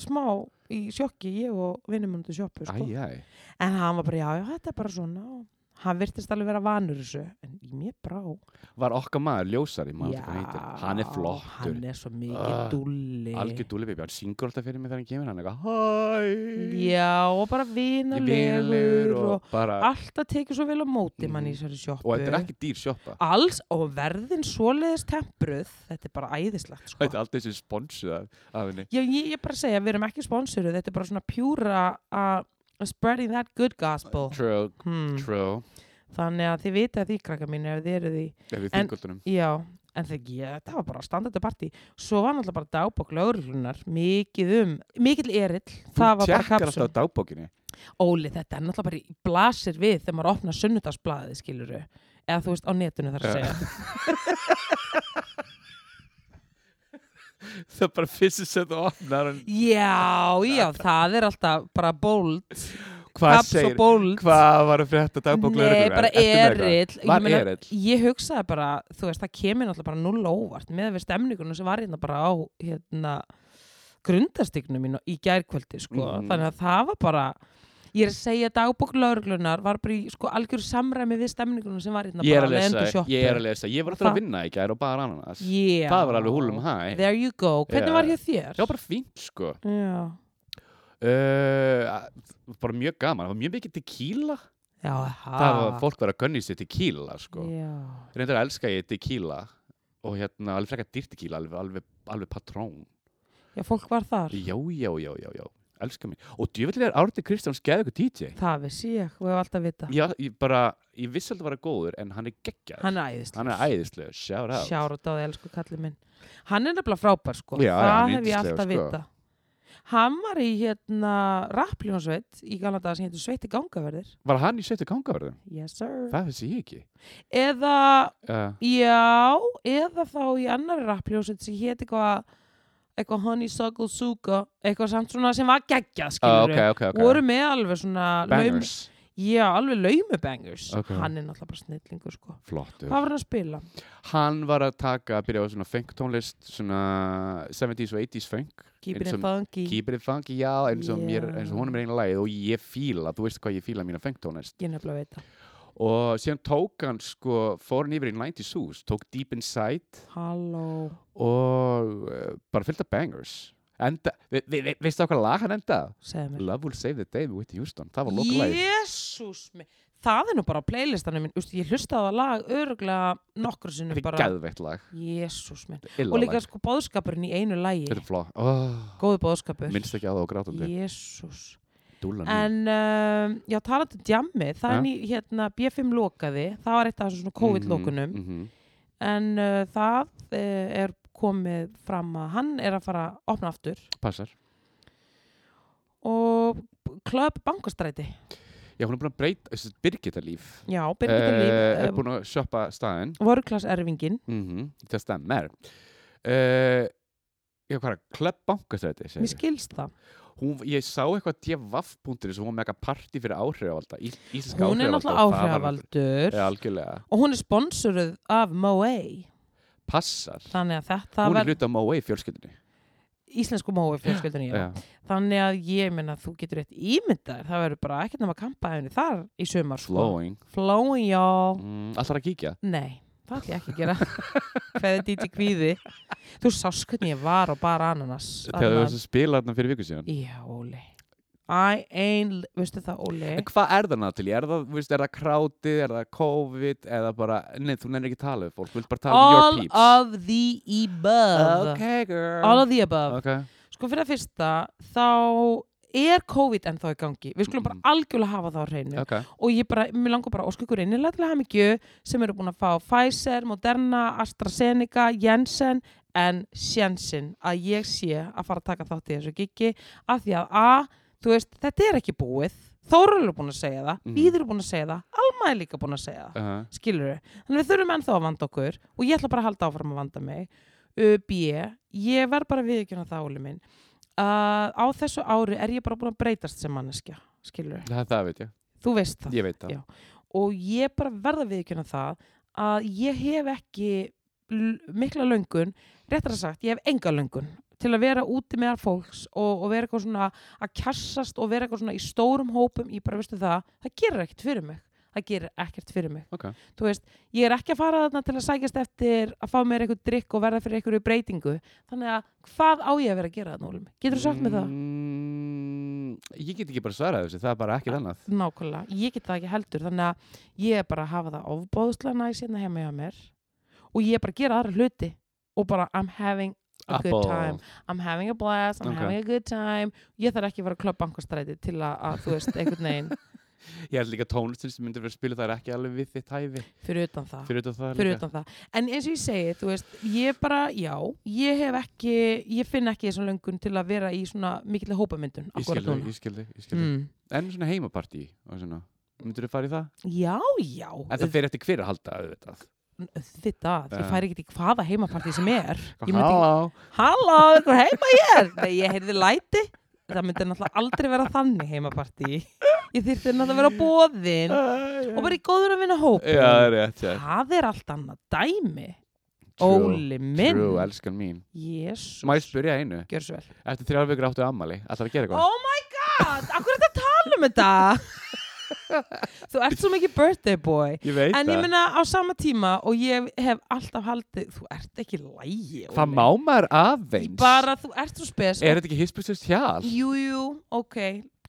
Speaker 1: smá í sjokki, ég og vinnumundu sjoppu sko.
Speaker 2: Æ, æ
Speaker 1: en hann var bara, já, já, þetta er bara svona og hann virtist alveg vera vanur þessu en í mér brá
Speaker 2: Var okkar maður ljósari maður
Speaker 1: Já,
Speaker 2: hvað hann heitir. Hann er flottur
Speaker 1: hann er svo mikið
Speaker 2: Ah,
Speaker 1: dulli
Speaker 2: Algjör dúlibibi, hann syngur alltaf fyrir mig þegar hann kemur hann er eitthvað, hæ
Speaker 1: já, og bara
Speaker 2: Ég er
Speaker 1: vinalegur og,
Speaker 2: bara
Speaker 1: alltaf tekið svo vel á móti mann í
Speaker 2: Mhm.
Speaker 1: þessari sjoppu
Speaker 2: og þetta er ekki dýr sjoppa
Speaker 1: alls og verðin svoleiðis tempruð þetta er bara æðislegt sko.
Speaker 2: Þetta er alltaf þessi sponsu af, af henni
Speaker 1: Já, ég, ég bara segja, við erum ekki sponsoruð þetta er bara svona pjúra að að spreading that good gospel
Speaker 2: True,
Speaker 1: hmm.
Speaker 2: true
Speaker 1: þannig að þið vitið að því krakka mín ef þið eru því,
Speaker 2: Ef við
Speaker 1: En-
Speaker 2: þingoldunum
Speaker 1: já en þegar ég, þetta var bara standardu partí svo var náttúrulega bara dagbók lögurlunar mikið um, mikill erill það var bara
Speaker 2: Tjekkar
Speaker 1: kapsum,
Speaker 2: alltaf á dagbókinni
Speaker 1: Óli þetta er náttúrulega bara í- blasir við þegar maður opnar sunnudagsblaðið skiluru eða þú veist á netinu þar að
Speaker 2: Já.
Speaker 1: segja
Speaker 2: Það er bara fyrst sem þú opnar hann
Speaker 1: Já, já, það er alltaf bara bold,
Speaker 2: Hvað
Speaker 1: kaps og
Speaker 2: segir,
Speaker 1: bold
Speaker 2: hvað var að frétta dagbók
Speaker 1: Nei,
Speaker 2: lögreglunnar?
Speaker 1: bara
Speaker 2: Ertu með eitthvað?
Speaker 1: erill Ég
Speaker 2: Var
Speaker 1: meina,
Speaker 2: erill?
Speaker 1: Ég hugsaði bara, þú veist, það kemur náttúrulega bara null á óvart með við stemningunum sem var hérna bara á hérna, grundastignum mínu í gærkvöldi, sko
Speaker 2: Mhm.
Speaker 1: þannig að það var bara ég er að segja að dagbók lauruglunar var bara í sko, algjör samræmi við stemningunum sem var hérna
Speaker 2: Ég er
Speaker 1: bara
Speaker 2: að
Speaker 1: á Lendo
Speaker 2: lesa,
Speaker 1: Shoppu.
Speaker 2: ég er að lesa Ég var alltaf
Speaker 1: Það-
Speaker 2: að vinna í gær og bara ananas
Speaker 1: yeah.
Speaker 2: Það var alveg húlum hæ
Speaker 1: There you go, hvernig
Speaker 2: Já.
Speaker 1: var hjá þér?
Speaker 2: Það var bara fínt sko
Speaker 1: Já.
Speaker 2: uh, Bara mjög gaman, það var mjög mikið tequila
Speaker 1: Já,
Speaker 2: Það
Speaker 1: Ah.
Speaker 2: var fólk verið að gönni sér tequila sko
Speaker 1: Já
Speaker 2: Reyndar að elska ég tequila og hérna alveg frekar dýrt tequila, alveg, alveg, alveg patrón
Speaker 1: Já, fólk var þar.
Speaker 2: Já, já, já, já, já, elska mig Og djöfellir er Árni Kristjáns geðveikur DJ
Speaker 1: Það vissi ég og hef alltaf vita.
Speaker 2: Já, ég bara, ég vissi alltaf að vera góður en hann er geggjað
Speaker 1: Hann er æðislega.
Speaker 2: Hann er æðislegur, shout out
Speaker 1: Sjárat á það, elsku kallið minn. Hann er nefnilega frábær, sko.
Speaker 2: Já, já,
Speaker 1: það
Speaker 2: hann
Speaker 1: hef
Speaker 2: er
Speaker 1: ég
Speaker 2: yndislegur,
Speaker 1: alltaf
Speaker 2: sko.
Speaker 1: vita. Hann var í hérna rappljónsveit í Galanda sem heitir Sveitti Gangaverðir.
Speaker 2: Var hann í setu gangaverðum?
Speaker 1: Yes, sir.
Speaker 2: Það vissi ég ekki
Speaker 1: Eða,
Speaker 2: uh,
Speaker 1: já, eða þá í annari rappljónsveit sem hétt eitthvað eitthvað honeysuckle suka, eitthvað samt svona sem var geggjað,
Speaker 2: uh,
Speaker 1: skilur
Speaker 2: Ok, ok, ok
Speaker 1: Voru með alveg svona... laum-
Speaker 2: Bangers,
Speaker 1: Já, alveg laumubangers.
Speaker 2: Ok.
Speaker 1: Hann er náttúrulega bara snillingur, sko.
Speaker 2: flottur
Speaker 1: Hvað var hann að spila?
Speaker 2: Hann var að taka, að byrja á svona funk tónlist, svona 70s og 80s funk,
Speaker 1: Keeping
Speaker 2: Eins
Speaker 1: it
Speaker 2: og-
Speaker 1: funky.
Speaker 2: Keep it funky, já, eins og, mér,
Speaker 1: Já.
Speaker 2: eins og honum er eiginlega lagið og ég fíla, þú veist hvað ég fíla mína funk tónlist.
Speaker 1: Ég nefnilega veit það.
Speaker 2: Og síðan tók hann, sko, fór hann yfir í 90s hús, tók Deep Inside
Speaker 1: Halló.
Speaker 2: og uh, bara fyllt af bangers. Enda, vi, vi, vi, veistu á hvað lag hann endaði?
Speaker 1: Segðu mér.
Speaker 2: Love Will Save the Day with Whitney Houston, það var loka lagið.
Speaker 1: Jésús mig. Það er nú bara á playlistanum minn. Úst, ég hlustaði á það lag öruglega nokkru sinni
Speaker 2: Þetta er
Speaker 1: bara.
Speaker 2: geðveitt lag,
Speaker 1: Jésús minn.
Speaker 2: illa
Speaker 1: Og líka
Speaker 2: lag.
Speaker 1: sko bóðskapurinn í einu lagi.
Speaker 2: Þetta er flott, oh,
Speaker 1: Góðu bóðskapur.
Speaker 2: minnst ekki á það og grátandi.
Speaker 1: Jésús.
Speaker 2: Dúlan mín.
Speaker 1: En um, já, talandi um djammi, það
Speaker 2: Ja.
Speaker 1: er ný, hérna, B5 lokaði, það var eitt af þessum svona COVID-lókunum,
Speaker 2: Mhm, mhm.
Speaker 1: en uh, það uh, er komið fram að hann er að fara að opna aftur
Speaker 2: Passar.
Speaker 1: og klöp bankastræti,
Speaker 2: Já, hún er búin að breyta, þessi Birgitta líf
Speaker 1: já, Birgitta Líf,
Speaker 2: Eh,
Speaker 1: eh,
Speaker 2: er búin að sjoppa staðinn
Speaker 1: vöruklasserfingin
Speaker 2: mm -hmm. það stemmer uh, já, hvað er að klepp bankastræti segir
Speaker 1: mér
Speaker 2: við.
Speaker 1: skilst það
Speaker 2: hún, ég sá eitthvað djavaff.is og hún var með eitthvað party fyrir áhrifavald íslenska
Speaker 1: hún er
Speaker 2: áhrifavalda
Speaker 1: náttúrulega
Speaker 2: og það var alveg-
Speaker 1: áhrifavaldur
Speaker 2: Já, algjörlega,
Speaker 1: og hún er sponsoruð af Moe
Speaker 2: passar
Speaker 1: þannig að þetta
Speaker 2: hún er
Speaker 1: verð
Speaker 2: hluti á Móei fjölskyldinni
Speaker 1: íslensku Moe fjölskyldunni já.
Speaker 2: Já.
Speaker 1: þannig að ég menna þú getur rétt ímyndar það verður bara ekkert nema kampaðinu þar í sumar sko.
Speaker 2: flowing
Speaker 1: flowing y'all
Speaker 2: mm, alltaf að kíkja
Speaker 1: nei, það ætlum ég ekki
Speaker 2: (laughs)
Speaker 1: að gera Kveði DJ Kvíði Þú sást hvernig ég var og bara ananas
Speaker 2: þegar þú varst að spila þarna fyrir viku síðan
Speaker 1: Já, Óli I ain't, veistu það, Óli
Speaker 2: en hvað er það Natalie? Er það, veist, er það krátið, er það COVID eða bara, nei þú nennir ekki að tala við fólk þú vilt bara tala um your
Speaker 1: All
Speaker 2: peeps
Speaker 1: of the above
Speaker 2: okay girl
Speaker 1: All of the above
Speaker 2: okay.
Speaker 1: Sko fyrir að fyrsta, þá er COVID ennþá í gangi Við skulum
Speaker 2: Mm.
Speaker 1: bara algjörlega hafa það á hreinu
Speaker 2: Okay.
Speaker 1: og ég bara, mér langar bara að óska ykkur innilega til hamingju sem eru búin að fá Pfizer, Moderna, AstraZeneca, Jensen en Jensen að ég sé að fara að taka þátt í þessu giggi af því að A, þú veist, þetta er ekki búið Þórul er búin að segja það,
Speaker 2: Mhm.
Speaker 1: mm. Víður er búin að segja það Alma er líka búin að segja það
Speaker 2: Uh
Speaker 1: skilur þau, þannig við þurfum ennþá að vanda okkur og ég ætla bara að halda áfram að vanda mig Ö, B, ég verð bara viðkjörna það áli minn að á þessu ári er ég bara búin að breytast sem manneskja, skilur
Speaker 2: það, það veit ég,
Speaker 1: þú veist það
Speaker 2: ég veit það
Speaker 1: Já. og ég bara verða viðkjörna það að ég hef ekki l- mikla löngun, réttar að sagt ég hef enga löngun til að vera úti meðar fólks og, og vera eitthvað svona að kjassast og vera eitthvað svona í stórum hópum ég bara veistu það, það gerir ekkert fyrir mig það gerir ekkert fyrir mig
Speaker 2: Ok.
Speaker 1: þú veist, ég er ekki að fara þarna til að sækjast eftir að fá mér eitthvað drikk og verða fyrir eitthvað breytingu, þannig að hvað á ég að vera að gera þarna, Úlum? Getur þú sagt mér það?
Speaker 2: Mm, ég get ekki bara svarað þessu, það er bara
Speaker 1: Ah.
Speaker 2: ekkert annað
Speaker 1: Nákvæmlega, ég get það ekki heldur þannig að ég er bara að hafa það ofbóðslega næs hérna heima hjá mér og ég er bara að gera aðra hluti og bara I'm having a good time I'm having a blast, I'm
Speaker 2: Ok.
Speaker 1: having a good time ég þarf ekki að vera klubbankastræti til að, að þú veist, einhvern veginn
Speaker 2: Ég held líka tónlistin sem myndir verið að spila það er ekki alveg við þitt hæfi
Speaker 1: fyrir utan það
Speaker 2: Fyrir utan það
Speaker 1: fyrir
Speaker 2: líka.
Speaker 1: utan það. En eins og ég segi, þú veist, ég bara, já, ég hef ekki, ég finn ekki þessum löngun til að vera í svona mikill hópamyndun.
Speaker 2: Ég skil þig, ég skil þig, ég skil þig
Speaker 1: Mm.
Speaker 2: En svona heimapartí og svona Myndir þú fara í það?
Speaker 1: Já, já,
Speaker 2: En það fyrir eftir hver að halda auðvitað
Speaker 1: þetta,
Speaker 2: Já.
Speaker 1: ég fær ekki til hvaða heimapartí sem er. Ég myndi ekki,
Speaker 2: Halló
Speaker 1: halló, ykkur heima hér, þegar ég heyrði læti. Það myndi náttúrulega aldrei vera þannig heimapartí. Ég þyrfti náttúrulega að vera bóðin og bara í góður að vinna hópa.
Speaker 2: Já, það er rétt, já
Speaker 1: Það er allt annað dæmi.
Speaker 2: True,
Speaker 1: Óli minn.
Speaker 2: Trú, elskan mín
Speaker 1: Jésús.
Speaker 2: Má ég spyrja einu?
Speaker 1: Gjör svo vel.
Speaker 2: Eftir þrjár vikur áttu ammali Ætlar að gera eitthvað?
Speaker 1: Oh my god, akkur er þetta að tala um þetta?
Speaker 2: (laughs)
Speaker 1: þú ert svo mikið birthday boy
Speaker 2: Ég veit
Speaker 1: En ég
Speaker 2: það
Speaker 1: meina á sama tíma og ég hef alltaf haldið Þú ert ekki lægi
Speaker 2: Það má maður aðeins
Speaker 1: Bara þú ert svo spes
Speaker 2: Er þetta ekki hispustust hjal?
Speaker 1: Jú, jú, ok,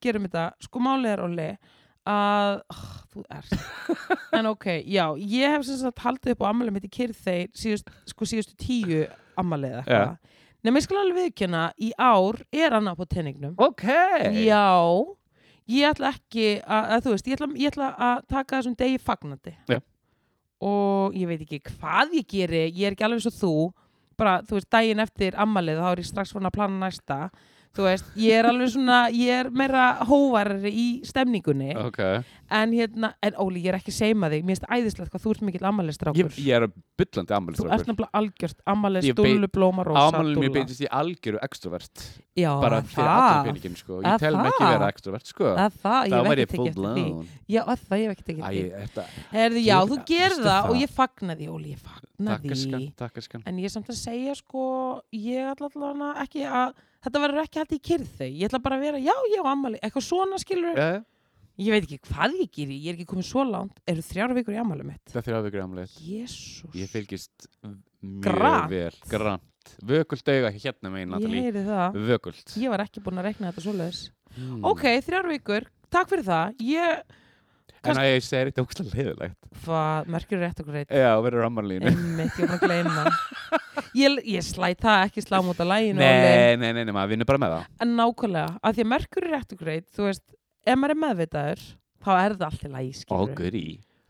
Speaker 1: gerum þetta Sko málið er Óli að oh, þú ert
Speaker 2: (laughs)
Speaker 1: en ok, já, ég hef sem sagt haldið upp á ammalið mitt í kyrþeir síðust, sko síðustu tíu ammalið eða
Speaker 2: Já.
Speaker 1: eitthvað nema ég skal alveg viðkjöna í ár er annað på tenningnum
Speaker 2: Ok
Speaker 1: Já, ég ætla ekki að, að þú veist, ég ætla, ég ætla að taka þessum degi fagnandi
Speaker 2: Já.
Speaker 1: og ég veit ekki hvað ég geri ég er ekki alveg eins og þú bara, þú veist, daginn eftir ammalið þá er ég strax svona að plana næsta þú veist, ég er alveg svona, ég er meira hóvarari í stemningunni
Speaker 2: Ok
Speaker 1: en hérna, en Óli, ég er ekki að seima þig mér finnst æðislegt hvað þú ert mikill
Speaker 2: Ég,
Speaker 1: ammaliðstrákur
Speaker 2: ég er bullandi ammali
Speaker 1: þú ert nefnilega algjört ammalið,
Speaker 2: Ég
Speaker 1: stúlu, blóma, rosa,
Speaker 2: Ámælinn mér
Speaker 1: dúlla
Speaker 2: beintist í algjöru extrovert
Speaker 1: Já,
Speaker 2: bara fyrir allan peningin sko
Speaker 1: Það
Speaker 2: ég tel mig ekki
Speaker 1: það.
Speaker 2: vera extrovert sko
Speaker 1: Það, það,
Speaker 2: þá
Speaker 1: ég hef
Speaker 2: væri
Speaker 1: ekki
Speaker 2: ég full
Speaker 1: tekið eftir því
Speaker 2: blown
Speaker 1: Já, að það, ég hef ekki tekið
Speaker 2: Æ,
Speaker 1: eftir því
Speaker 2: þetta
Speaker 1: Herði, já,
Speaker 2: Þú-
Speaker 1: þú gerir
Speaker 2: veistu
Speaker 1: það
Speaker 2: það?
Speaker 1: og ég fagna því, Óli, ég fagna
Speaker 2: takkaskan,
Speaker 1: því.
Speaker 2: takkaskan
Speaker 1: En ég er samt að segja, sko, ég ætla allavega ekki að, þetta verður ekki hægt í kyrð þau. Ég ætla bara að vera, já, já, ammali, eitthvað svona skilur.
Speaker 2: Eh,
Speaker 1: Ég veit ekki hvað ég gerir, ég er ekki komin svo langt, eru þrjára vikur í ammali mitt.
Speaker 2: það er þrjá vikur amlið
Speaker 1: Jésús,
Speaker 2: ég fylgist mjög
Speaker 1: Grant.
Speaker 2: vel grant vökult auga hérna megin
Speaker 1: ég
Speaker 2: Natalie
Speaker 1: heyri það.
Speaker 2: vökult
Speaker 1: Ég var ekki búin að rekna þetta svoleiðis.
Speaker 2: mm.
Speaker 1: Ok, þrjára vikur, takk fyrir það. Ég,
Speaker 2: en að ég segir þetta ógstlega leiðilegt
Speaker 1: hvað, merkjur rétt og greitt.
Speaker 2: já, verður ammælinu
Speaker 1: Einmitt, ég er búin að gleyma. Ég, ég slæt það ekki slám út af læginu. Óli.
Speaker 2: nei, nei, nei, nei, maður vinnur bara með það
Speaker 1: En nákvæmlega, af því að merkur er rétt og greit, þú veist, ef maður er meðvitaður, þá er það allt í lagi,
Speaker 2: og
Speaker 1: skilur.
Speaker 2: guri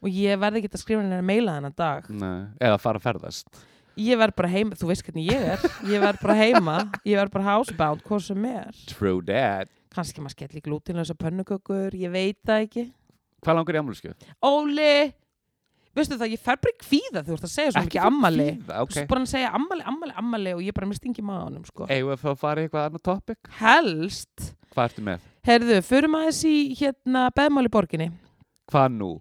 Speaker 1: Og ég verði ekki að skrifa henni meila þennan dag.
Speaker 2: Mm. eða fara að ferðast
Speaker 1: Ég verð bara heima, þú veist hvernig ég er, ég verð bara heima, ég verð bara housebound, hvað sem er.
Speaker 2: true that
Speaker 1: Kanski maður skellir glútinlösa pönnukökur, ég veit það ekki.
Speaker 2: hvað langar í ammælisku?
Speaker 1: Óli, veistu það, ég fer bara í kvíða, þú ert að segja svo mikið ammali. Þú
Speaker 2: ok
Speaker 1: ert bara að segja ammali, ammali, ammali og ég bara mist yngi maðanum, sko.
Speaker 2: eigum við að fá að fara í eitthvað annað topic
Speaker 1: Helst,
Speaker 2: hvað ertu með?
Speaker 1: herðu, förum aðeins í hérna beðmál í borginni.
Speaker 2: hvað nú?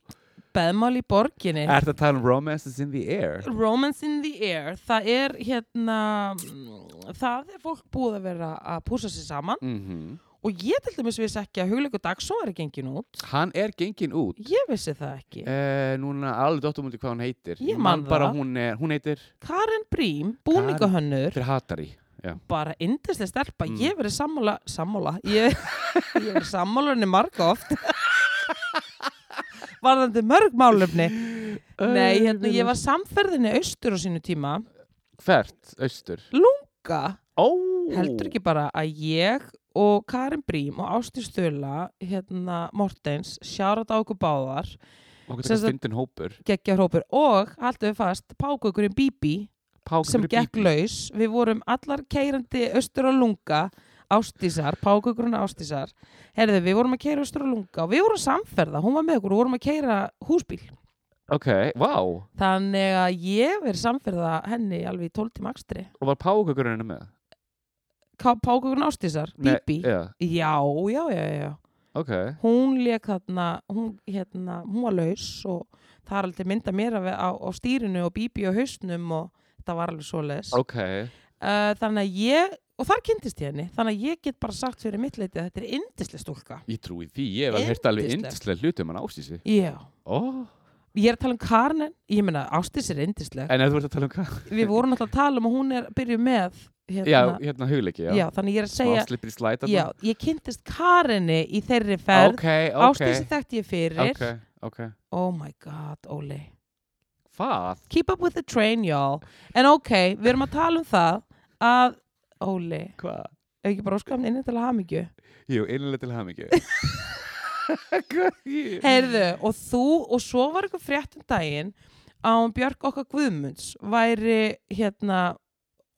Speaker 1: Beðmál í borginni.
Speaker 2: Er þetta að tala um romance is in the air?
Speaker 1: Romance in the air, það er hérna, mm, það er fólk búið að vera að púsa sér saman
Speaker 2: Mm -hmm.
Speaker 1: og ég til dæmis vissi ekki að hugleiku dagsson var gengin út
Speaker 2: Hann er gengin út
Speaker 1: ég vissi það ekki
Speaker 2: Eh, núna alveg dottum út í hvað hún heitir
Speaker 1: Ég man
Speaker 2: bara
Speaker 1: það.
Speaker 2: hún, er, hún heitir
Speaker 1: Karen Brím, búningahönnur
Speaker 2: fyrir hatari
Speaker 1: bara yndislega stelpa,
Speaker 2: Mm.
Speaker 1: ég verið sammála sammála, ég, ég verið sammála henni marga
Speaker 2: (laughs)
Speaker 1: oft varðandi mörg málefni Eh. nei, hérna, ég var samferðinni austur á sínu tíma
Speaker 2: hvert, austur
Speaker 1: Ga-
Speaker 2: Ó,
Speaker 1: heldur ekki bara að ég og Karin Brím og Ástíð Stöla hérna Mortens, sjárat á okkur báðar
Speaker 2: okkur
Speaker 1: sem
Speaker 2: þetta
Speaker 1: sagt-
Speaker 2: fyndin hópur
Speaker 1: geggjar hópur og haldum við fast pákukurinn Bíbí
Speaker 2: Pákur
Speaker 1: sem gekk laus, við vorum allar keirandi austur á lunga ástísar, pákukurinn ástísar herðu, við vorum að keira austur á lunga og við vorum samferða, hún var með okkur og vorum að keira húsbíl,
Speaker 2: ok, vá, og
Speaker 1: þannig að ég verið samferða henni alveg í 12 tíma akstri
Speaker 2: var pákur henni með
Speaker 1: pákukurinn ástísar,
Speaker 2: Nei, eh,
Speaker 1: Bíbí
Speaker 2: já,
Speaker 1: já, já, já, já, já
Speaker 2: ok,
Speaker 1: hún leik þarna hún, hérna, hún var laus og það er alveg mynda mér af, á, á stýrinu og bíbi og hausnum og það var alveg svoleiðis
Speaker 2: ok
Speaker 1: uh, þannig að ég, og þar kynntist ég henni þannig að ég get bara sagt fyrir mitt leiti að þetta er yndislega stúlka
Speaker 2: ég trúi því, ég hef alveg heyrt alveg
Speaker 1: Yndislegt.
Speaker 2: yndislega hluti um hann ástísi
Speaker 1: Já,
Speaker 2: oh.
Speaker 1: ég er að tala um Karen ég meina, Ástis er yndisleg
Speaker 2: en ef þú ert að tala um hvað
Speaker 1: við vorum alltaf að tala um að hún er byrjuð með hérna,
Speaker 2: já, hérna hugleiki, já,
Speaker 1: já, þannig ég er að segja
Speaker 2: áslipir í slæta
Speaker 1: já, ég kynntist Karinni í þeirri ferð
Speaker 2: ok, ok
Speaker 1: Ástísi þekkti ég fyrir
Speaker 2: ok, ok,
Speaker 1: oh my god, Óli
Speaker 2: hvað
Speaker 1: keep up with the train y'all en ok, við erum að tala um það að, Óli,
Speaker 2: hvað
Speaker 1: ef ekki bara óskam inn til að hamingju,
Speaker 2: Jú, innlega til hamingju
Speaker 1: (laughs) heyrðu og þú, og svo var eitthvað frétt um daginn að hún Björk okkar Guðmunds væri hérna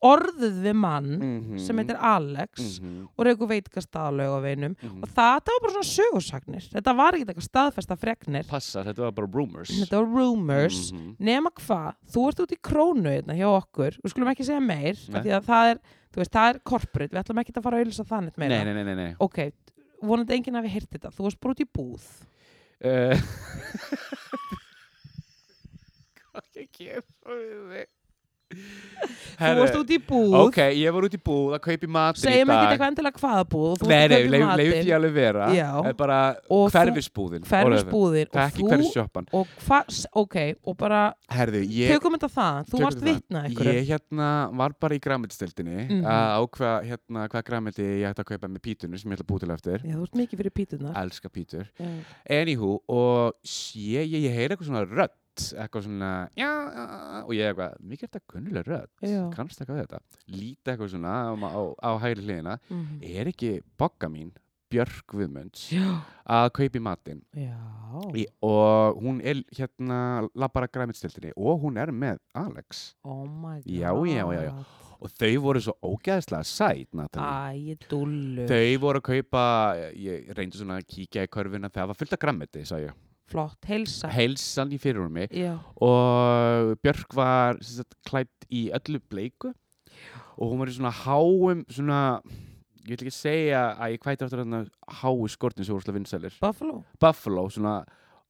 Speaker 1: orðuð við mann
Speaker 2: Mhm.
Speaker 1: sem heitir Alex
Speaker 2: Mm.
Speaker 1: og reyku veitingastaðalög á veinum
Speaker 2: Mhm.
Speaker 1: og það, það var bara svona sögursagnir þetta var ekki eitthvað staðfesta freknir
Speaker 2: Passa, þetta var bara rumors Mhm.
Speaker 1: þetta var rumors nema hvað, þú ert út í krónu hérna hjá okkur, við skulum ekki segja meir
Speaker 2: Nei.
Speaker 1: af því að það er, þú veist, það er corporate við ætlum ekki að fara að auðvitað þannig meira
Speaker 2: Nei, nei, nei, nei, nei.
Speaker 1: ok, vonandi enginn hafi heyrt þetta þú varst bara út í búð
Speaker 2: Uh, (laughs) Hvað ég gera við þig?
Speaker 1: þú varst
Speaker 2: Herru,
Speaker 1: út í búð,
Speaker 2: ok, ég var út í búð að kaupi matur í
Speaker 1: segjum ekki
Speaker 2: dag
Speaker 1: eitthvað endilega hvaða búð þú
Speaker 2: Nei,
Speaker 1: varst að
Speaker 2: nei, leif,
Speaker 1: kaupa
Speaker 2: leif því
Speaker 1: matinn,
Speaker 2: alveg vera
Speaker 1: Já.
Speaker 2: Eh, bara
Speaker 1: Og þú-
Speaker 2: hverfisbúðin
Speaker 1: hverfisbúðin og
Speaker 2: Ekki
Speaker 1: þú,
Speaker 2: hverfisjoppan
Speaker 1: og hvað ok, og bara,
Speaker 2: Herðu, ég
Speaker 1: tökum þetta það þú
Speaker 2: Tökum
Speaker 1: varst
Speaker 2: þetta það.
Speaker 1: vitna einhverju
Speaker 2: Ég hérna var bara í græmitstildinni
Speaker 1: Mhm.
Speaker 2: að ákveða hérna hvað græmiti ég ætti að kaupa með pítunni sem ég ætla að búi til eftir.
Speaker 1: já, þú ert mikið fyrir pítunar
Speaker 2: Elska pítur.
Speaker 1: mm.
Speaker 2: Anywho, og sé ég, ég heyri eitthvað svona rödd, eitthvað svona, já, já, já, og ég eitthvað, mikið er þetta kunnulega
Speaker 1: Já.
Speaker 2: rödd, kannst eitthvað þetta. Líti eitthvað svona á, á, á hægri hliðina.
Speaker 1: mm.
Speaker 2: Er ekki bogga mín, Björk Viðmunds,
Speaker 1: já,
Speaker 2: að kaupi matinn?
Speaker 1: já
Speaker 2: Í, og hún er hérna labbar að græmitstildinni og hún er með Alex.
Speaker 1: oh my god
Speaker 2: Já, já, já, já. Og þau voru svo ógeðslega sæt, Natalie.
Speaker 1: æ, dullu
Speaker 2: Þau voru að kaupa, ég reyndi svona að kíkja í körfuna, það var fullt af grammeti, sagði ég.
Speaker 1: flott, heilsa
Speaker 2: Heilsan í fyrirrumi
Speaker 1: já,
Speaker 2: og Björk var sem sagt, klætt í öllu bleiku og hún var í svona háum, svona, ég vil ekki segja að ég kvæti aftur þarna háu skortin sem voru svona vinsælir.
Speaker 1: Buffalo
Speaker 2: Buffalo, svona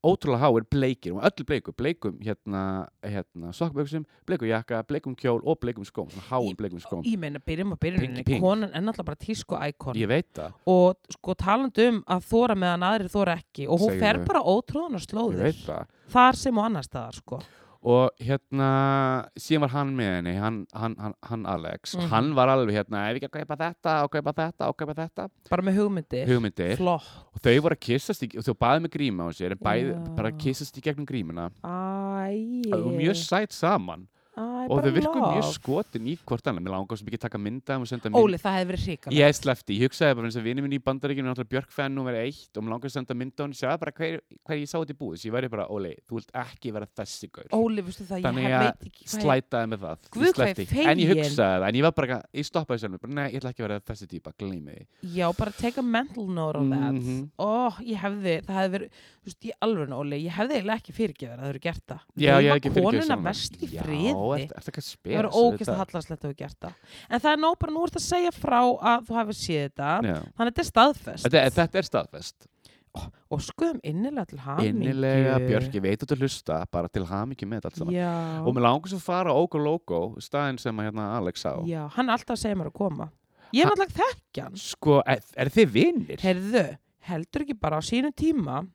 Speaker 2: ótrúlega háir bleikir, og öllu bleiku, bleikum hérna, hérna, sokkaböksum, bleikum jakka, bleikum kjól og bleikum skóm, svona háum
Speaker 1: Í-
Speaker 2: bleikum skóm.
Speaker 1: Ég meina, byrjum að
Speaker 2: Pinky
Speaker 1: byrjunni
Speaker 2: Pink.
Speaker 1: Konan er náttúrulega bara tísku íkon
Speaker 2: Ég veit það.
Speaker 1: Og sko talandi um að þóra meðan aðrir þóra ekki Og hún
Speaker 2: Segðu
Speaker 1: fer
Speaker 2: þau.
Speaker 1: bara ótróðan að
Speaker 2: Ég veit
Speaker 1: slóðir
Speaker 2: það.
Speaker 1: Þar sem og annars staðar sko
Speaker 2: Og hérna, síðan var hann með henni, hann, hann, hann, hann Alex,
Speaker 1: Mhm.
Speaker 2: hann var alveg hérna, ef ekki að kaupa þetta og kaupa þetta og kaupa þetta,
Speaker 1: Bara með hugmyndir
Speaker 2: hugmyndir.
Speaker 1: Flott
Speaker 2: Og þau voru að kissast í, og þau baði með gríma á sér, en bæði,
Speaker 1: Já.
Speaker 2: bara kissast í gegnum grímuna.
Speaker 1: Æ
Speaker 2: Yeah. Og mjög sætt saman.
Speaker 1: Æ,
Speaker 2: og
Speaker 1: bara
Speaker 2: þau virkuðu mjög
Speaker 1: love.
Speaker 2: skotin í hvort annað. Mér langar sem ekki að taka mynda um og senda mynd.
Speaker 1: Óli, það hefði verið hrikar
Speaker 2: Ég sleppti, ég hugsaði bara eins og vinið minn í bandaríkjum er náttúrulega Björkfenn og verið eitt og mér langar að senda mynda á hann, sjáðu bara hver, hver ég sá þetta í búið, svo ég væri bara, Óli, þú vilt ekki vera þessi gaur.
Speaker 1: Óli, veistu það,
Speaker 2: Þannig
Speaker 1: ég
Speaker 2: að
Speaker 1: hef- veit ekki hvað ég-
Speaker 2: slætaði með það
Speaker 1: Guð, hvað ég
Speaker 2: Ég sleppti. en ég
Speaker 1: fegin.
Speaker 2: hugsaði það, en ég var bara eitthvað- ég stoppaði sjálf mér, bara nei, ég ætla ekki að vera þessi típa gleymi því,
Speaker 1: Já, bara take a mental note on that
Speaker 2: Mhm.
Speaker 1: Ó, ég hefði, það hefði verið Þú veist, ég alveg, Óli, ég hefði eiginlega ekki fyrirgefið að það hefur gert það
Speaker 2: já, ég
Speaker 1: Nema
Speaker 2: hef ekki fyrirgefið
Speaker 1: konuna
Speaker 2: sjálfum mér.
Speaker 1: mest í friði
Speaker 2: já, er, er það ekki að spes
Speaker 1: Það verður ógeðslega hallarslegt að þú gert það. En það er nóg bara, nú ert að segja frá að þú hefur séð þetta.
Speaker 2: þetta,
Speaker 1: Þannig að þetta er staðfest.
Speaker 2: er- þetta er staðfest
Speaker 1: Og skoðum innilega til hamingju.
Speaker 2: innilega Björk, ég veit að þú hlusta bara til hamingju með þetta allt saman
Speaker 1: Já.
Speaker 2: og mér langar svo að fara á Ogo Logo staðin sem að hérna Alex sá
Speaker 1: Já, hann er alltaf að segja mér að koma. Ég er
Speaker 2: Ha-
Speaker 1: náttúrulega þekkja hann.
Speaker 2: Sko, er, er þið vinnir?
Speaker 1: Herðu, heldur ekki bara á sínum tíma.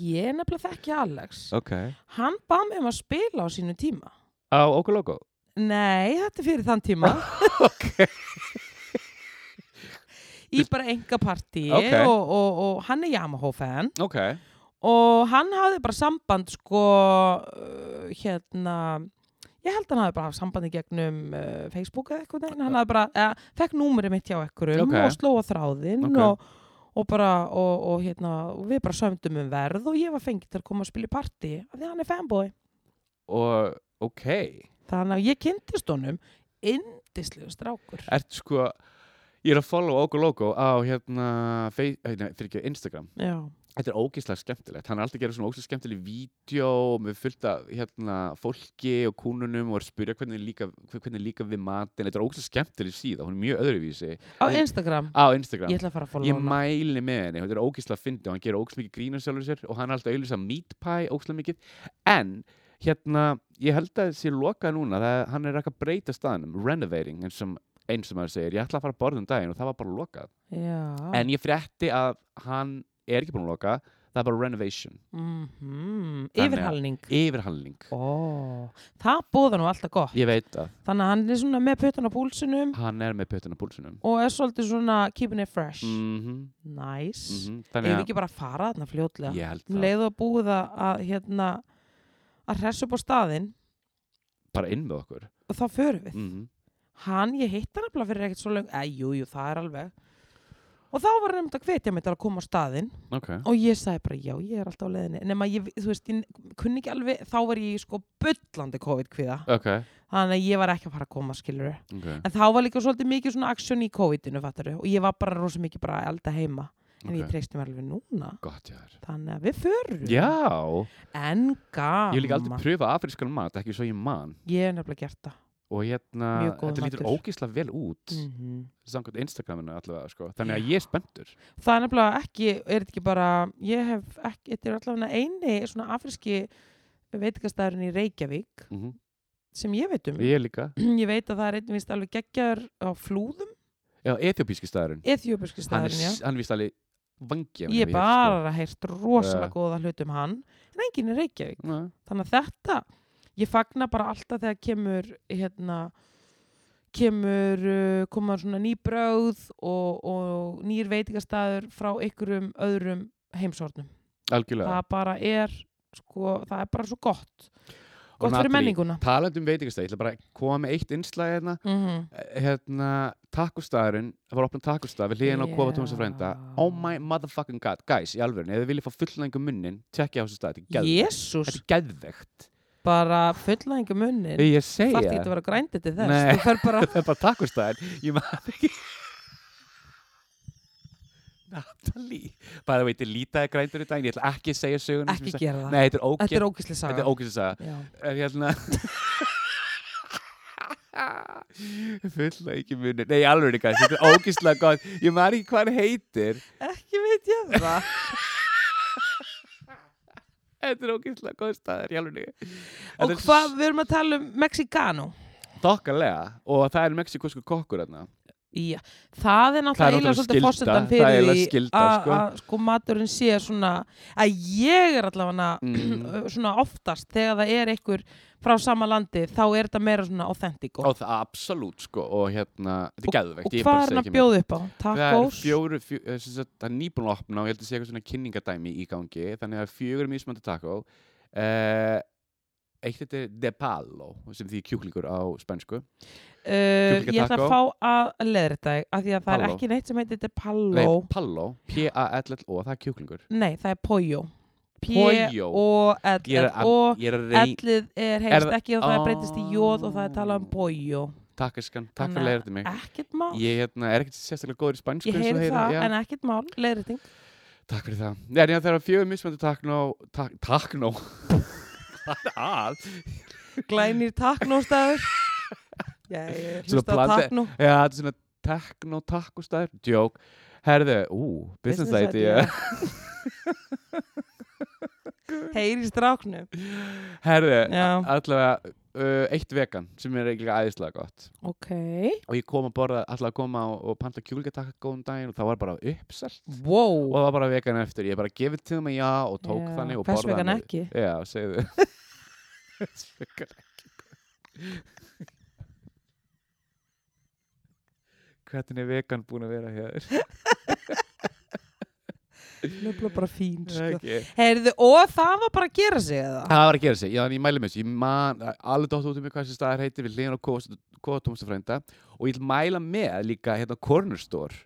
Speaker 1: Ég er nefnilega þekkja Alex.
Speaker 2: Ok.
Speaker 1: Hann bað mig um að spila á sínum tíma.
Speaker 2: Á Okoloko?
Speaker 1: Nei, þetta er fyrir þann (laughs) tíma.
Speaker 2: Ok.
Speaker 1: Í bara enga partí
Speaker 2: Ok.
Speaker 1: og, og, og hann er Yamaha-fan.
Speaker 2: Ok.
Speaker 1: og hann hafði bara samband sko uh, hérna ég held hann hafði bara haft sambandi gegnum uh, Facebook eða eitthvað neginn, hann hafði bara eða, fekk númerið mitt hjá ekkurum
Speaker 2: Ok.
Speaker 1: og slóa þráðinn
Speaker 2: Ok.
Speaker 1: og, og bara og, og hérna, og við bara sömdum um verð og ég var fengið til að koma að spila í partí af því að hann er fanboy,
Speaker 2: Og, ok.
Speaker 1: þannig að ég kynntist honum indislegu strákur
Speaker 2: Ert sko, ég er að follow Okoloko á hérna, fei- eh, nei, fyrir ekki, Instagram.
Speaker 1: já,
Speaker 2: Þetta er ógeðslega skemmtilegt. Hann er alltaf að gera svona ógeðslega skemmtileg vídeo með fullt af hérna, fólki og kúnunum og er að spyrja hvernig líka, hvernig líka við matin. Þetta er ógeðslega skemmtileg síða. Hún er mjög öðruvísi
Speaker 1: á
Speaker 2: Ég-
Speaker 1: Instagram
Speaker 2: á Instagram.
Speaker 1: ég ætla að fara að fóla
Speaker 2: Ég
Speaker 1: hana
Speaker 2: mæli með henni, þetta er ógislega fyndi og hann gerir ógislega mikið grín á sjálfur sér og hann er alltaf auðvitað meat pie ógislega mikið en hérna, ég held að sé lokað núna, það, hann er eitthvað að breyta staðanum, renovating eins og eins og maður segir, ég ætla að fara að borða um daginn og það var bara lokað,
Speaker 1: já,
Speaker 2: en ég frétti að hann er ekki búin að loka það er bara renovation,
Speaker 1: mm -hmm.
Speaker 2: Þannig að-
Speaker 1: yfirhalning
Speaker 2: yfirhalning
Speaker 1: Ó, það bóða nú alltaf gott
Speaker 2: ég veit að
Speaker 1: Þannig að hann er svona með puttan á púlsinum
Speaker 2: hann er með pötun á púlsunum
Speaker 1: og er svolítið svona keeping it fresh.
Speaker 2: mm -hmm,
Speaker 1: Nice. Mm
Speaker 2: mhm, þannig
Speaker 1: Ef
Speaker 2: að
Speaker 1: ekki bara að fara þarna fljótlega.
Speaker 2: ég held
Speaker 1: Um
Speaker 2: það,
Speaker 1: leið og búið að, að hérna að hressa upp á staðinn
Speaker 2: bara inn með okkur
Speaker 1: og þá förum við.
Speaker 2: mm -hmm.
Speaker 1: Hann, ég hitt hann nefnilega fyrir ekkert svo löng, eða jú, jú, það er alveg. Og þá var hann um að hvetja mig til að koma á staðinn
Speaker 2: ok,
Speaker 1: og ég sagði bara, já, ég er alltaf á leiðinni. Nefna, ég, þú veist, ég kunni ekki alveg, þá var ég í sko bullandi COVID-kviða.
Speaker 2: ok,
Speaker 1: Þannig að ég var ekki að fara að koma, skilur
Speaker 2: okay.
Speaker 1: En þá var líka svolítið mikið svona aksjón í COVID-inu, fattaru, og ég var bara rosa mikið bara að elda heima. En ég
Speaker 2: okay.
Speaker 1: treysti mér alveg núna,
Speaker 2: gott hjá þér
Speaker 1: þannig að við förum.
Speaker 2: já
Speaker 1: En gaman.
Speaker 2: Ég hef líka aldrei pröfa afrískan mat, ekki svo ég man
Speaker 1: Ég hef nefnilega gert það.
Speaker 2: og hérna,
Speaker 1: Mjög góður
Speaker 2: þetta lítur
Speaker 1: matur.
Speaker 2: ógislega vel út mm. samkvæmt Instagraminu allavega, sko þannig að
Speaker 1: Já.
Speaker 2: ég er spenntur
Speaker 1: Það er nefnilega ekki, er þetta ekki bara, ég hef ekki, þetta er allavega eini svona afriski veitingastæðurinn í Reykjavík
Speaker 2: mm
Speaker 1: sem ég veit um.
Speaker 2: Ég líka,
Speaker 1: Ég veit að það er einn vist alveg geggjar á flúðum,
Speaker 2: já, ethiopíski staðurinn
Speaker 1: ethiopíski
Speaker 2: hann er,
Speaker 1: stæðurinn, já.
Speaker 2: s- hann er vist alveg vangi
Speaker 1: Ég
Speaker 2: sko.
Speaker 1: bara heirt rosalega góða hlut um hann, en enginn í Reykjavík.
Speaker 2: sko.
Speaker 1: þannig að þetta ég fagna bara alltaf þegar kemur hérna kemur, uh, koma svona ný bröð og, og nýr veitingastæður frá ykkurum öðrum heimsornum.
Speaker 2: Algjörlega
Speaker 1: Það bara er sko, það er bara svo gott
Speaker 2: Og
Speaker 1: gott fyrir
Speaker 2: Natalie,
Speaker 1: menninguna
Speaker 2: Talandi um veitingastæð, ég ætla bara að koma með eitt innslag hérna
Speaker 1: mm
Speaker 2: Eh, hérna, takkustæðurinn það var opnum takkustæð við hliðin á
Speaker 1: Já.
Speaker 2: kofa Tómasa frænda oh my motherfucking god, guys, í alvörinni ef þið viljið fá fullnæðingu munnin, tjekkja á þessu stað þetta er geðveikt.
Speaker 1: Jésús,
Speaker 2: Þetta er geðvegt
Speaker 1: bara fullæðingu munnin
Speaker 2: Ég segja
Speaker 1: þarf þetta að vera grændið til þess
Speaker 2: Nei.
Speaker 1: þú fer bara,
Speaker 2: það er bara takkustæðin ég maður ekki Natalie bara veit, ég lítaði grændur í dag ég ætla ekki að segja söguna
Speaker 1: ekki gera það
Speaker 2: nei, (laughs) þetta er ógeð
Speaker 1: þetta er ógæslega saga
Speaker 2: þetta er ógeð að segja
Speaker 1: Já.
Speaker 2: er hérna (laughs) fulla ekki munir nei, alveg ekki, þetta er ógeðslega gott ég maður ekki hvað hann heitir
Speaker 1: ekki veit ég
Speaker 2: (laughs)
Speaker 1: það
Speaker 2: þetta er ógeðslega góð staðar, ég alveg ekki
Speaker 1: og hvað, við erum að tala um Mexicano
Speaker 2: þokkalega, og það er mexikosku kokkur þarna
Speaker 1: Já, það er
Speaker 2: Það er
Speaker 1: náttúrulega
Speaker 2: náttúrulega
Speaker 1: eiginlega svolítið
Speaker 2: skylda,
Speaker 1: fórsetan
Speaker 2: það er
Speaker 1: fyrir
Speaker 2: eiginlega
Speaker 1: því
Speaker 2: skylda,
Speaker 1: að-
Speaker 2: sko.
Speaker 1: að sko maturinn sé svona að ég er allavega
Speaker 2: Mm.
Speaker 1: (clears throat) svona oftast þegar það er einhver frá sama landi þá er þetta meira svona authentic
Speaker 2: og það er absolutt, sko, og hérna þetta er
Speaker 1: og
Speaker 2: geðvegt, ég
Speaker 1: hvað
Speaker 2: bara
Speaker 1: er
Speaker 2: segi
Speaker 1: hann að
Speaker 2: ekki meira.
Speaker 1: bjóða upp á?
Speaker 2: Það er
Speaker 1: Tacos?
Speaker 2: fjóru, fjó, eh, sem sagt, það er nýbúin að opna og ég held að sé eitthvað svona kynningadæmi í gangi þannig að það er fjögur mismandi taco uh, eitt þetta er de palo sem því kjúklingur á spænsku
Speaker 1: Uh, ég ætla
Speaker 2: kjúklingataco.
Speaker 1: að fá að leðra þetta af því að það er
Speaker 2: Palló.
Speaker 1: ekki neitt sem heitir þetta
Speaker 2: Nei,
Speaker 1: pallo
Speaker 2: palo, P-A-L-L-O, það er kjúklingur
Speaker 1: Nei, það er pollo
Speaker 2: Pollo. Ég er að,
Speaker 1: P-O-L-L-O
Speaker 2: ég er að reyna
Speaker 1: Ellið er
Speaker 2: Er
Speaker 1: heimst
Speaker 2: það-
Speaker 1: ekki og það breytist í jóð og það er talað um
Speaker 2: Ó.
Speaker 1: pollo
Speaker 2: Takk, Eskan, takk
Speaker 1: Þannig
Speaker 2: fyrir
Speaker 1: að
Speaker 2: leiðið mig
Speaker 1: Ekkert mál
Speaker 2: Ég hérna, er ekkert sérstaklega góður í spænsku
Speaker 1: Ég
Speaker 2: eins og
Speaker 1: heyri
Speaker 2: heyri,
Speaker 1: það,
Speaker 2: já.
Speaker 1: en ekkert mál, leiðræting.
Speaker 2: Takk fyrir það. Nei, en já, það eru fjögur mismandi taknó tak, (laughs) Taknó Hvað er að?
Speaker 1: Glænir
Speaker 2: (laughs)
Speaker 1: taknóstaður. Já, ég
Speaker 2: Svona
Speaker 1: hlusta á
Speaker 2: blanda-
Speaker 1: taknó.
Speaker 2: Já, þetta er svona tekno takkustæður, djók Herðu, ú, business
Speaker 1: Business
Speaker 2: idea (laughs)
Speaker 1: Heyri stráknum.
Speaker 2: (laughs) Herðu,
Speaker 1: Já.
Speaker 2: allavega uh, eitt vegan sem er eiginlega æðislega gott
Speaker 1: ok
Speaker 2: og ég kom að borða, alltaf að koma og, og panta kjúlgatakka um daginn og það var bara uppselt og
Speaker 1: wow
Speaker 2: það var bara vegan eftir, ég bara gefið til mig já og tók
Speaker 1: Já,
Speaker 2: þannig og
Speaker 1: hvers
Speaker 2: borðaði
Speaker 1: vegan
Speaker 2: mig.
Speaker 1: ekki?
Speaker 2: já, segðu
Speaker 1: (laughs)
Speaker 2: Hvers vegan ekki hvernig er vegan búin að vera hér
Speaker 1: nefnilega bara fín sko.
Speaker 2: okay.
Speaker 1: Heyrðu, og það var bara að gera sig eða
Speaker 2: það var að gera sig, já, en ég mæli með þessu ég man, alveg dótt út um mig hvað þessi staðar heitir við liðan á Kóa Tómstafrænda og ég vil mæla með líka hérna Corner Store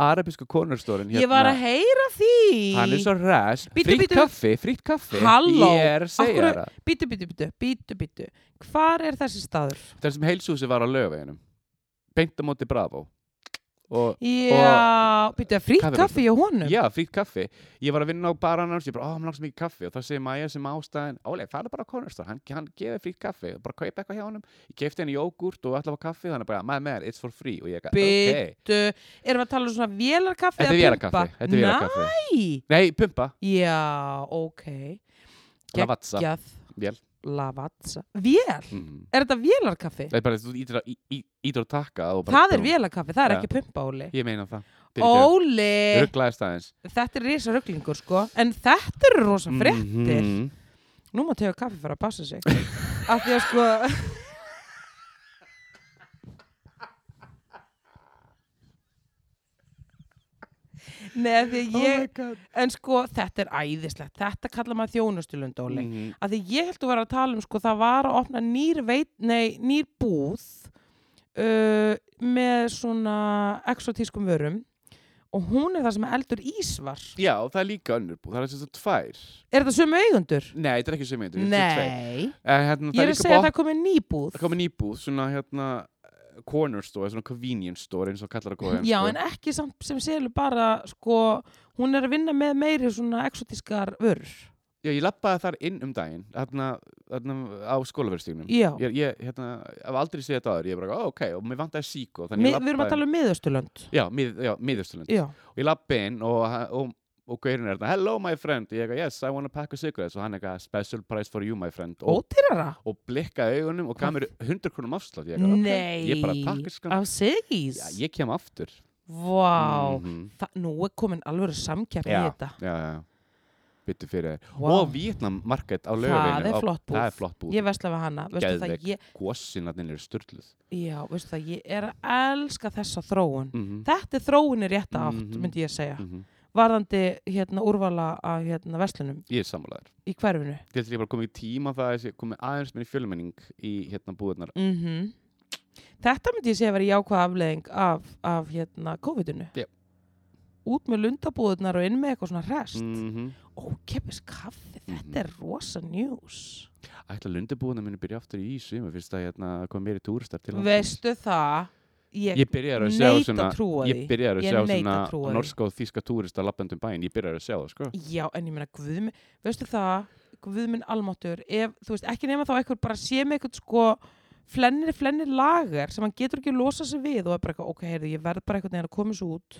Speaker 2: arabísku Corner Store
Speaker 1: ég var að heyra því
Speaker 2: Hérna. Hann er svo ræs,
Speaker 1: Bíddu,
Speaker 2: frýtt
Speaker 1: bíddu.
Speaker 2: kaffi, frýtt kaffi
Speaker 1: Halló,
Speaker 2: Ég er að segja
Speaker 1: af
Speaker 2: þér það
Speaker 1: bítu, bítu, bítu, bítu, bítu hvar er þessi staður?
Speaker 2: Það sem heilsúsi var á lögveginum Beint á móti Bravo Og
Speaker 1: já, bítu, frýtt
Speaker 2: Kaffiverslan.
Speaker 1: kaffi hjá honum
Speaker 2: já, frýtt kaffi Ég var að vinna á baran hans, ég bara, ó, hann langs mikið kaffi Og þá segir Maja sem ástæðin, ólega, farðu bara á Cornerstar Hann, hann gefið frýtt kaffi, bara kaupa eitthvað hjá honum Ég kefti henni jógurt og allavega kaffi Þannig bara, my man, it's for free Og ég ekki, ok
Speaker 1: Bítu, erum við að tala um svona vélarkaffi
Speaker 2: Þetta er
Speaker 1: eða
Speaker 2: vera kaffi,
Speaker 1: pumpa?
Speaker 2: þetta er vera kaffi
Speaker 1: Nei,
Speaker 2: Nei, pumpa,
Speaker 1: já, ok Geggjað.
Speaker 2: lavatsa
Speaker 1: Gjað,
Speaker 2: Vél.
Speaker 1: Lavatsa Vél,
Speaker 2: Mhm.
Speaker 1: er þetta vélarkaffi?
Speaker 2: Það er bara, þú ítir á- í- í- ítir á takka og bara-
Speaker 1: Það er vélarkaffi, það er
Speaker 2: Já.
Speaker 1: ekki pumpa Óli
Speaker 2: Ég meina það Fyrirgefðu.
Speaker 1: Óli,
Speaker 2: rugglaðist aðeins
Speaker 1: þetta er risa rugglingur sko En þetta eru rosa fréttir
Speaker 2: Mhm.
Speaker 1: Nú má tega kaffi fara að passa sig Af því að sko Nei, af því að ég En sko, þetta er æðislegt Þetta kallar maður þjónustulund, Óli
Speaker 2: Mhm.
Speaker 1: að því ég held að vera að tala um sko, það var að opna nýr, veit, nei, nýr búð uh, með svona exotískum vörum og hún er það sem eldur ísvar
Speaker 2: Já, það er líka önnur búð, það er sem sagt tvær
Speaker 1: er þetta sömu eigundur?
Speaker 2: Nei, þetta er ekki sem eindur
Speaker 1: Nei,
Speaker 2: hérna,
Speaker 1: ég
Speaker 2: Það
Speaker 1: er
Speaker 2: er
Speaker 1: að
Speaker 2: líka
Speaker 1: segja að
Speaker 2: bótt,
Speaker 1: það komið ný búð
Speaker 2: það komið nýbúð svona hérna corner store, svona convenience store eins og kallar sko. að góða
Speaker 1: já en ekki samt sem selur bara sko, hún er að vinna með meiri svona exotískar vörur
Speaker 2: Já, ég lappaði þar inn um daginn hérna, hérna á skólaverðstígnum
Speaker 1: já,
Speaker 2: Ég, ég hérna, hef aldrei séð þetta aður, ég er bara, ó, ok, og mér vantaði síkó
Speaker 1: Mi- við erum að tala um miðaustulönd
Speaker 2: Já, mið, já miðurstulund
Speaker 1: já,
Speaker 2: og ég lappi inn og, og, og gaurin er þetta, hello my friend, ég eitthvað, yes, I want a pack of cigarettes og hann eitthvað, special price for you my friend og
Speaker 1: ótyrara
Speaker 2: og blikkaði augunum og gaf mér 100 krónum afslátt ég, bara, ok,
Speaker 1: nei,
Speaker 2: ég bara takk skan
Speaker 1: af sigis
Speaker 2: já, ég kem aftur
Speaker 1: vá,
Speaker 2: Mhm.
Speaker 1: Þa, nú er komin alveg samkeppni í
Speaker 2: Já.
Speaker 1: þetta
Speaker 2: já, já, já. byttu fyrir þér
Speaker 1: Vá.
Speaker 2: og Vietnam market á
Speaker 1: það
Speaker 2: lögavinu
Speaker 1: er flott búð,
Speaker 2: það er flott búð
Speaker 1: ég vesla við hana veistu það,
Speaker 2: Geðveik.
Speaker 1: ég,
Speaker 2: gósinnarnir eru styrluð
Speaker 1: já, veistu það, ég er að elska þessa þróun
Speaker 2: mm -hmm.
Speaker 1: þetta er þróun í rétta átt,
Speaker 2: Mhm.
Speaker 1: myndi ég segja varðandi hérna úrvala af hérna veslunum
Speaker 2: ég er sammálaður
Speaker 1: í hverfinu
Speaker 2: ég held að ég bara komið í tíma það að ég komið aðeins minni fjölmenning í hérna búðunar
Speaker 1: mm þetta myndi ég segja að vera jákvæð afleðing af, af hérna COVID-unu
Speaker 2: Já.
Speaker 1: út með lundabúðunar og inn með eitthvað svona rest mm.
Speaker 2: mm -hmm.
Speaker 1: ókeppis kaffi,
Speaker 2: Mhm.
Speaker 1: þetta er rosa news
Speaker 2: ætla lundabúðunar minni byrja aftur í sumar fyrst að hérna, komið meiri túristar til landsins.
Speaker 1: veistu það ég,
Speaker 2: ég byrjar að sjá
Speaker 1: neita
Speaker 2: svona
Speaker 1: að trúa því
Speaker 2: ég byrjar að
Speaker 1: Ég
Speaker 2: sjá
Speaker 1: neita að trúa
Speaker 2: svona
Speaker 1: því.
Speaker 2: norska og þíska túrista lappandum bæinn, ég byrjar að sjá það sko
Speaker 1: Já, en ég meina, guðminn, veistu það, guðminn almáttur, ef, þú veist, ekki nema þá eitthvað bara sé með eitthvað sko flennir, flennir lagar sem hann getur ekki losa sig við og er bara eitthvað, ok, heyrðu, ég verð bara eitthvað neginn að koma svo út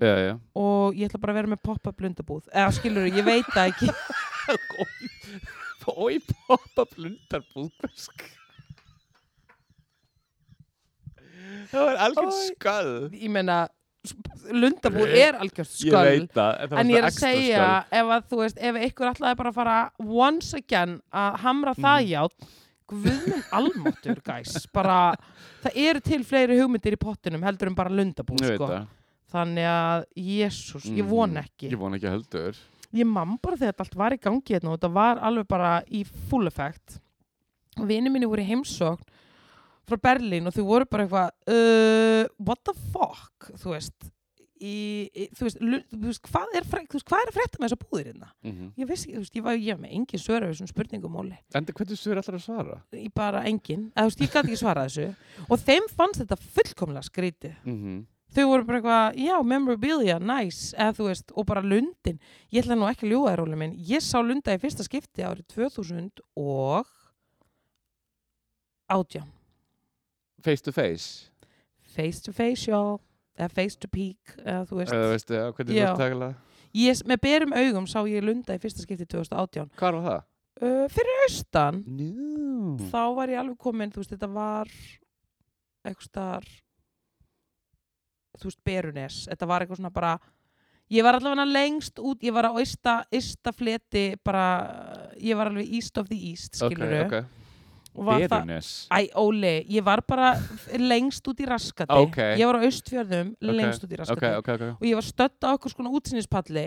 Speaker 2: já, já.
Speaker 1: og ég ætla bara að vera með pop-up lundabúð, eða skilur, ég veit það ekki,
Speaker 2: Ói poppa blundarbúð Það var algjörn
Speaker 1: Oj.
Speaker 2: skall
Speaker 1: (laughs) ég meina, s- lundabúð er algjörst
Speaker 2: Ég
Speaker 1: sköll.
Speaker 2: veit það en það var
Speaker 1: En ég er að
Speaker 2: svona extra
Speaker 1: segja, ef að þú veist, ef einhver ætlaði bara að fara once again að hamra
Speaker 2: Mm.
Speaker 1: það játt, guðminn almáttur, gæs, bara, það eru til fleiri hugmyndir í pottinum heldur en bara lundabúð,
Speaker 2: skall. Ég veit
Speaker 1: sko.
Speaker 2: það
Speaker 1: Þannig að, jésús, ég
Speaker 2: Mhm.
Speaker 1: von ekki.
Speaker 2: Ég vona ekki heldur
Speaker 1: Ég man bara þegar þetta allt var í gangi hérna og þetta var alveg bara í full effect. Og vinið minni voru í heimsókn frá Berlín og þau voru bara eitthvað, uh, what the fuck, þú veist. Í, í, þú, veist, lu, þú, veist, hvað er, fre- þú veist, hvað er að frétta með þessa búðir hérna?
Speaker 2: mm -hmm.
Speaker 1: Ég veist ekki, þú veist, ég var, ég var með engin svöra við svona spurningumóli,
Speaker 2: Enda hvernig svo er allar að svara?
Speaker 1: ég bara engin, eða þú veist, ég gæti ekki svarað þessu og þeim fannst þetta fullkomlega skrítið
Speaker 2: Mm -hmm.
Speaker 1: þau voru bara eitthvað, já, memorabilia, nice eða þú veist, og bara lundin ég ætla nú ekki að ljúga þér, Óli minn ég sá lunda í fyrsta skipti árið 2000 og átján,
Speaker 2: Face to face
Speaker 1: face to face, já eða face to peak, eða þú veist
Speaker 2: Eða veistu, já, hvernig þú
Speaker 1: Já.
Speaker 2: ert að tala
Speaker 1: ég, með berum augum sá ég lunda í fyrsta skipti 2018
Speaker 2: Hvar var það?
Speaker 1: uh, fyrir austan
Speaker 2: Nú.
Speaker 1: þá var ég alveg komin, þú veist, þetta var eitthvað staðar þú veist, Berunes þetta var eitthvað svona bara ég var allavega lengst út, ég var á ysta, ysta fleti, bara ég var alveg east of the east, skilurðu
Speaker 2: Ok,
Speaker 1: og
Speaker 2: ok.
Speaker 1: var það,
Speaker 2: Berunes.
Speaker 1: æ, Óli, ég var bara lengst út í raskati
Speaker 2: Ok.
Speaker 1: ég var á austfjörðum,
Speaker 2: Ok,
Speaker 1: lengst út í raskati
Speaker 2: Ok, ok, ok.
Speaker 1: og ég var stödd á eitthvað svona útsinnispalli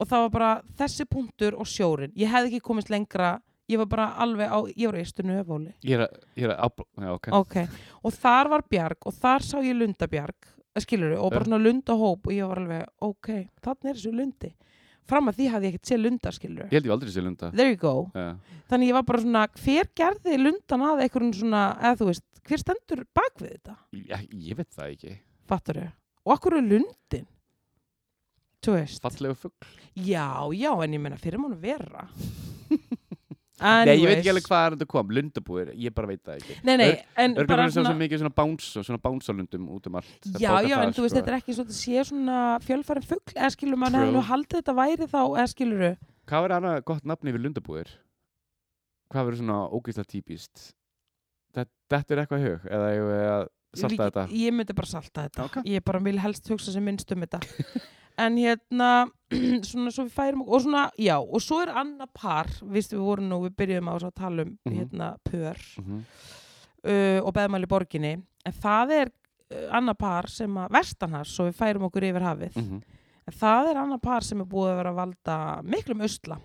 Speaker 1: og það var bara þessi punktur og sjórin ég hefði ekki komist lengra ég var bara alveg á, ég var eistur nöfóli
Speaker 2: Ég er að, ég er að, afl- já, ok.
Speaker 1: ok, og þar var bjarg og þar sá ég lundabjarg skilur og bara
Speaker 2: Já.
Speaker 1: svona lundahóp og ég var alveg, ok, þannig er þessu lundi fram að því hafði ég ekkert séð lunda skilur
Speaker 2: Ég held ég aldrei sé lunda.
Speaker 1: there you go,
Speaker 2: Já.
Speaker 1: þannig ég var bara svona hver gerði lundan að einhverjum svona eða þú veist, hver stendur bak við þetta
Speaker 2: Ég, ég veit það ekki.
Speaker 1: fattur og akkur er lundin þú veist
Speaker 2: Fallegu fugg.
Speaker 1: Já, já, en ég meina fyrir mánu vera
Speaker 2: (laughs) Nei, ég veit ekki alveg hvað er þetta kom. Lundabúir, ég bara veit það ekki.
Speaker 1: Nei, nei, en
Speaker 2: Það er
Speaker 1: bara
Speaker 2: kannski svona... svo mikið svona báns og svona bánsalundum út um allt. Það
Speaker 1: Já, já,
Speaker 2: bókar það, sko.
Speaker 1: en þú veist, þetta er ekki svo að sé svona fjölfærin fugl, eða skilur mann hefði
Speaker 2: True.
Speaker 1: nú haldið þetta væri þá, eða skilur
Speaker 2: Hvað verður annað gott nafni yfir lundabúir? Hvað verður svona ógeðslega típist? Þetta, þetta er eitthvað í hug eða ég veið að salta þetta
Speaker 1: ég, ég myndi bara salta þetta
Speaker 2: Ok.
Speaker 1: Ég bara vil helst hugsa sem minnst um
Speaker 2: (laughs)
Speaker 1: þetta En hérna, (clears throat) svona svo við færum og svona, já, og svo er annað par, víst við vorum nú, við byrjuðum á þess að tala um
Speaker 2: Mhm.
Speaker 1: hérna pör
Speaker 2: Mhm.
Speaker 1: uh, og beðmæli í borginni en það er uh, annað par sem að vestanhars, svo við færum okkur yfir hafið
Speaker 2: Mhm.
Speaker 1: En það er annað par sem er búið að vera að valda miklum usla.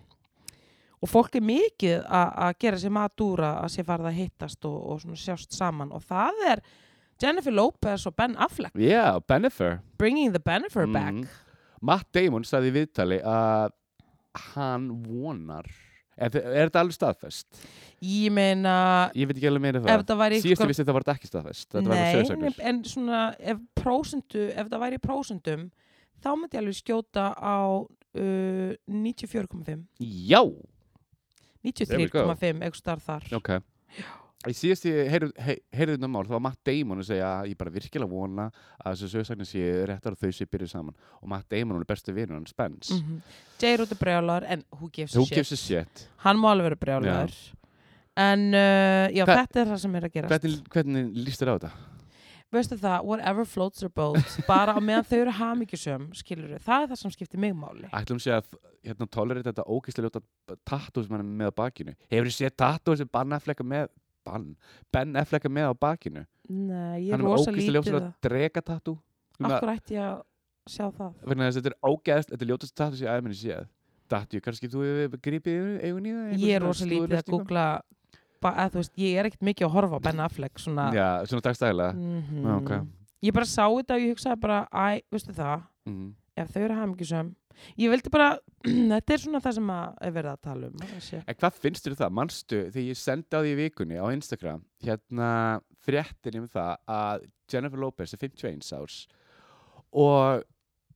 Speaker 1: Og fólk er mikið a- að gera sér matúra að sér farið að hittast og, og svona sjást saman. Og það er Jennifer Lopez og Ben Affleck,
Speaker 2: Já, Benefer
Speaker 1: Bringing the Bennifer Back.
Speaker 2: Mhm. Matt Damon sagði í viðtali að hann vonar Er, þe- er þetta alveg staðfest?
Speaker 1: Ég meina,
Speaker 2: Ég veit ekki alveg meira um
Speaker 1: ef
Speaker 2: það
Speaker 1: það væri...
Speaker 2: Síðustu vissi þetta var þetta ekki staðfest Þetta var bara
Speaker 1: Nei,
Speaker 2: sögursagnir
Speaker 1: en- en svona, ef, prósentu, ef það væri í prósentum, þá myndi ég alveg skjóta á uh, 94,5.
Speaker 2: Já,
Speaker 1: 93,5, eitthvað starf þar.
Speaker 2: ok Í síðustu, heyrðu heyrðu þetta mál, þá var Matt Damon að segja að ég bara virkilega vona að þessu sögursagnir séu réttar og þau séu byrjuð saman og Matt Damon hún er bestu vinur hann, Spence
Speaker 1: Mm -hmm. J. Rúti Brjálar, en who gives a
Speaker 2: Who
Speaker 1: shit?
Speaker 2: gives a shit?
Speaker 1: hann má alveg vera brjálæður en uh, já,
Speaker 2: Hva-
Speaker 1: þetta er það sem er að gerast
Speaker 2: Hvernig, hvernig líst þér á þetta?
Speaker 1: veistu það, whatever floats your boat bara á meðan þau eru hamingjusum skilur það er það sem skiptir mig máli
Speaker 2: Ætlum sé að hérna, tolerið þetta ógeðslega ljóta tattoo sem hann er með á bakinu. Hefur þið séð tattoo sem Ben Affleck er með, ban, ben Affleck er með á bakinu?
Speaker 1: nei, ég
Speaker 2: Hann
Speaker 1: er
Speaker 2: er með
Speaker 1: rosa
Speaker 2: ógeðslega
Speaker 1: lítið
Speaker 2: ljóta
Speaker 1: það
Speaker 2: drega tattoo.
Speaker 1: af hverju ætti ég að sjá það
Speaker 2: Vegna þess að þetta er ógeðslega, þetta er ljótast tattoo sem ég aðeins minni séð. Dattu, kannski þú hefur gripið yfir eigun í það? einhver
Speaker 1: ég er
Speaker 2: svona
Speaker 1: rosa lítið að
Speaker 2: slúðurlestingu?
Speaker 1: googla ba- eða, þú veist, ég er ekkert mikið að horfa á Ben Affleck svona
Speaker 2: Já, svona dagstæðilega.
Speaker 1: Mhm.
Speaker 2: Já, ok.
Speaker 1: ég bara sá þetta og ég hugsaði bara æ, veistu það,
Speaker 2: Mm.
Speaker 1: ef þau eru hamingjusum ég vildi bara, (clears throat) þetta er svona það sem að er verið að tala um að sé.
Speaker 2: En hvað finnst þér um það? Manstu, þegar ég sendi á því í vikunni á Instagram, hérna fréttin um það að Jennifer Lopez er 51 árs og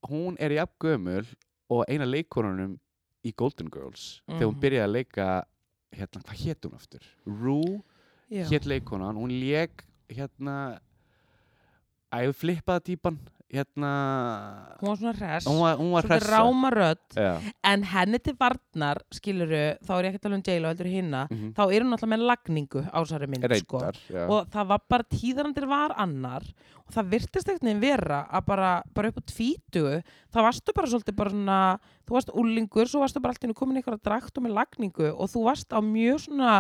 Speaker 2: hún er jafn gömul og eina leikonunum í Golden Girls þegar hún
Speaker 1: Mhm.
Speaker 2: byrjaði að leika hérna, hvað hétt hún aftur? Rue
Speaker 1: Já.
Speaker 2: hétt leikonan, hún leik hérna æðu flippaða típan hérna
Speaker 1: hún var svona hress
Speaker 2: hún var, hún var
Speaker 1: svolítið
Speaker 2: hressa
Speaker 1: ráma rödd
Speaker 2: Já,
Speaker 1: en henni til varnar, skiluru þá er ég ekki að tala um J-Lo heldur hinna
Speaker 2: mhm.
Speaker 1: þá er hún alltaf með lagningu á þessari mynd sko.
Speaker 2: reyndar já.
Speaker 1: og það var bara tíðarandir var annar og það virtist ekkert neginn vera að bara, bara upp á tvítugu þá varstu bara svolítið bara svona þú varst úlingur, svo varstu bara allt í henni komin eitthvað drakt og með lagningu og þú varst á mjög svona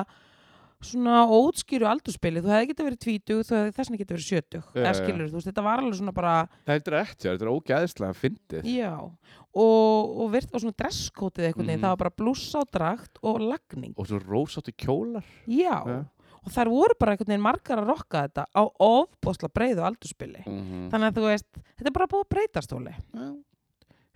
Speaker 1: svona ótskýru aldurspili, þú hefði getið verið tvítug þú hefði þessin getið verið sjötug
Speaker 2: Já,
Speaker 1: eða
Speaker 2: já.
Speaker 1: skilur, þú veist, þetta var alveg svona bara
Speaker 2: Það er rétt, já, þetta er ógæðislega fyndið.
Speaker 1: Já, og, og, virt, og svona dresskótið eitthvað mm
Speaker 2: Mhm.
Speaker 1: það var bara blússa og drakt og lagning
Speaker 2: Og svo rósáttu kjólar.
Speaker 1: Já,
Speaker 2: Ja.
Speaker 1: og þær voru bara einhvern veginn margar að rokka þetta á ofbosla breiðu aldurspili
Speaker 2: Mm
Speaker 1: Þannig að þú veist, þetta er bara búið að breyta stóli
Speaker 2: -hmm.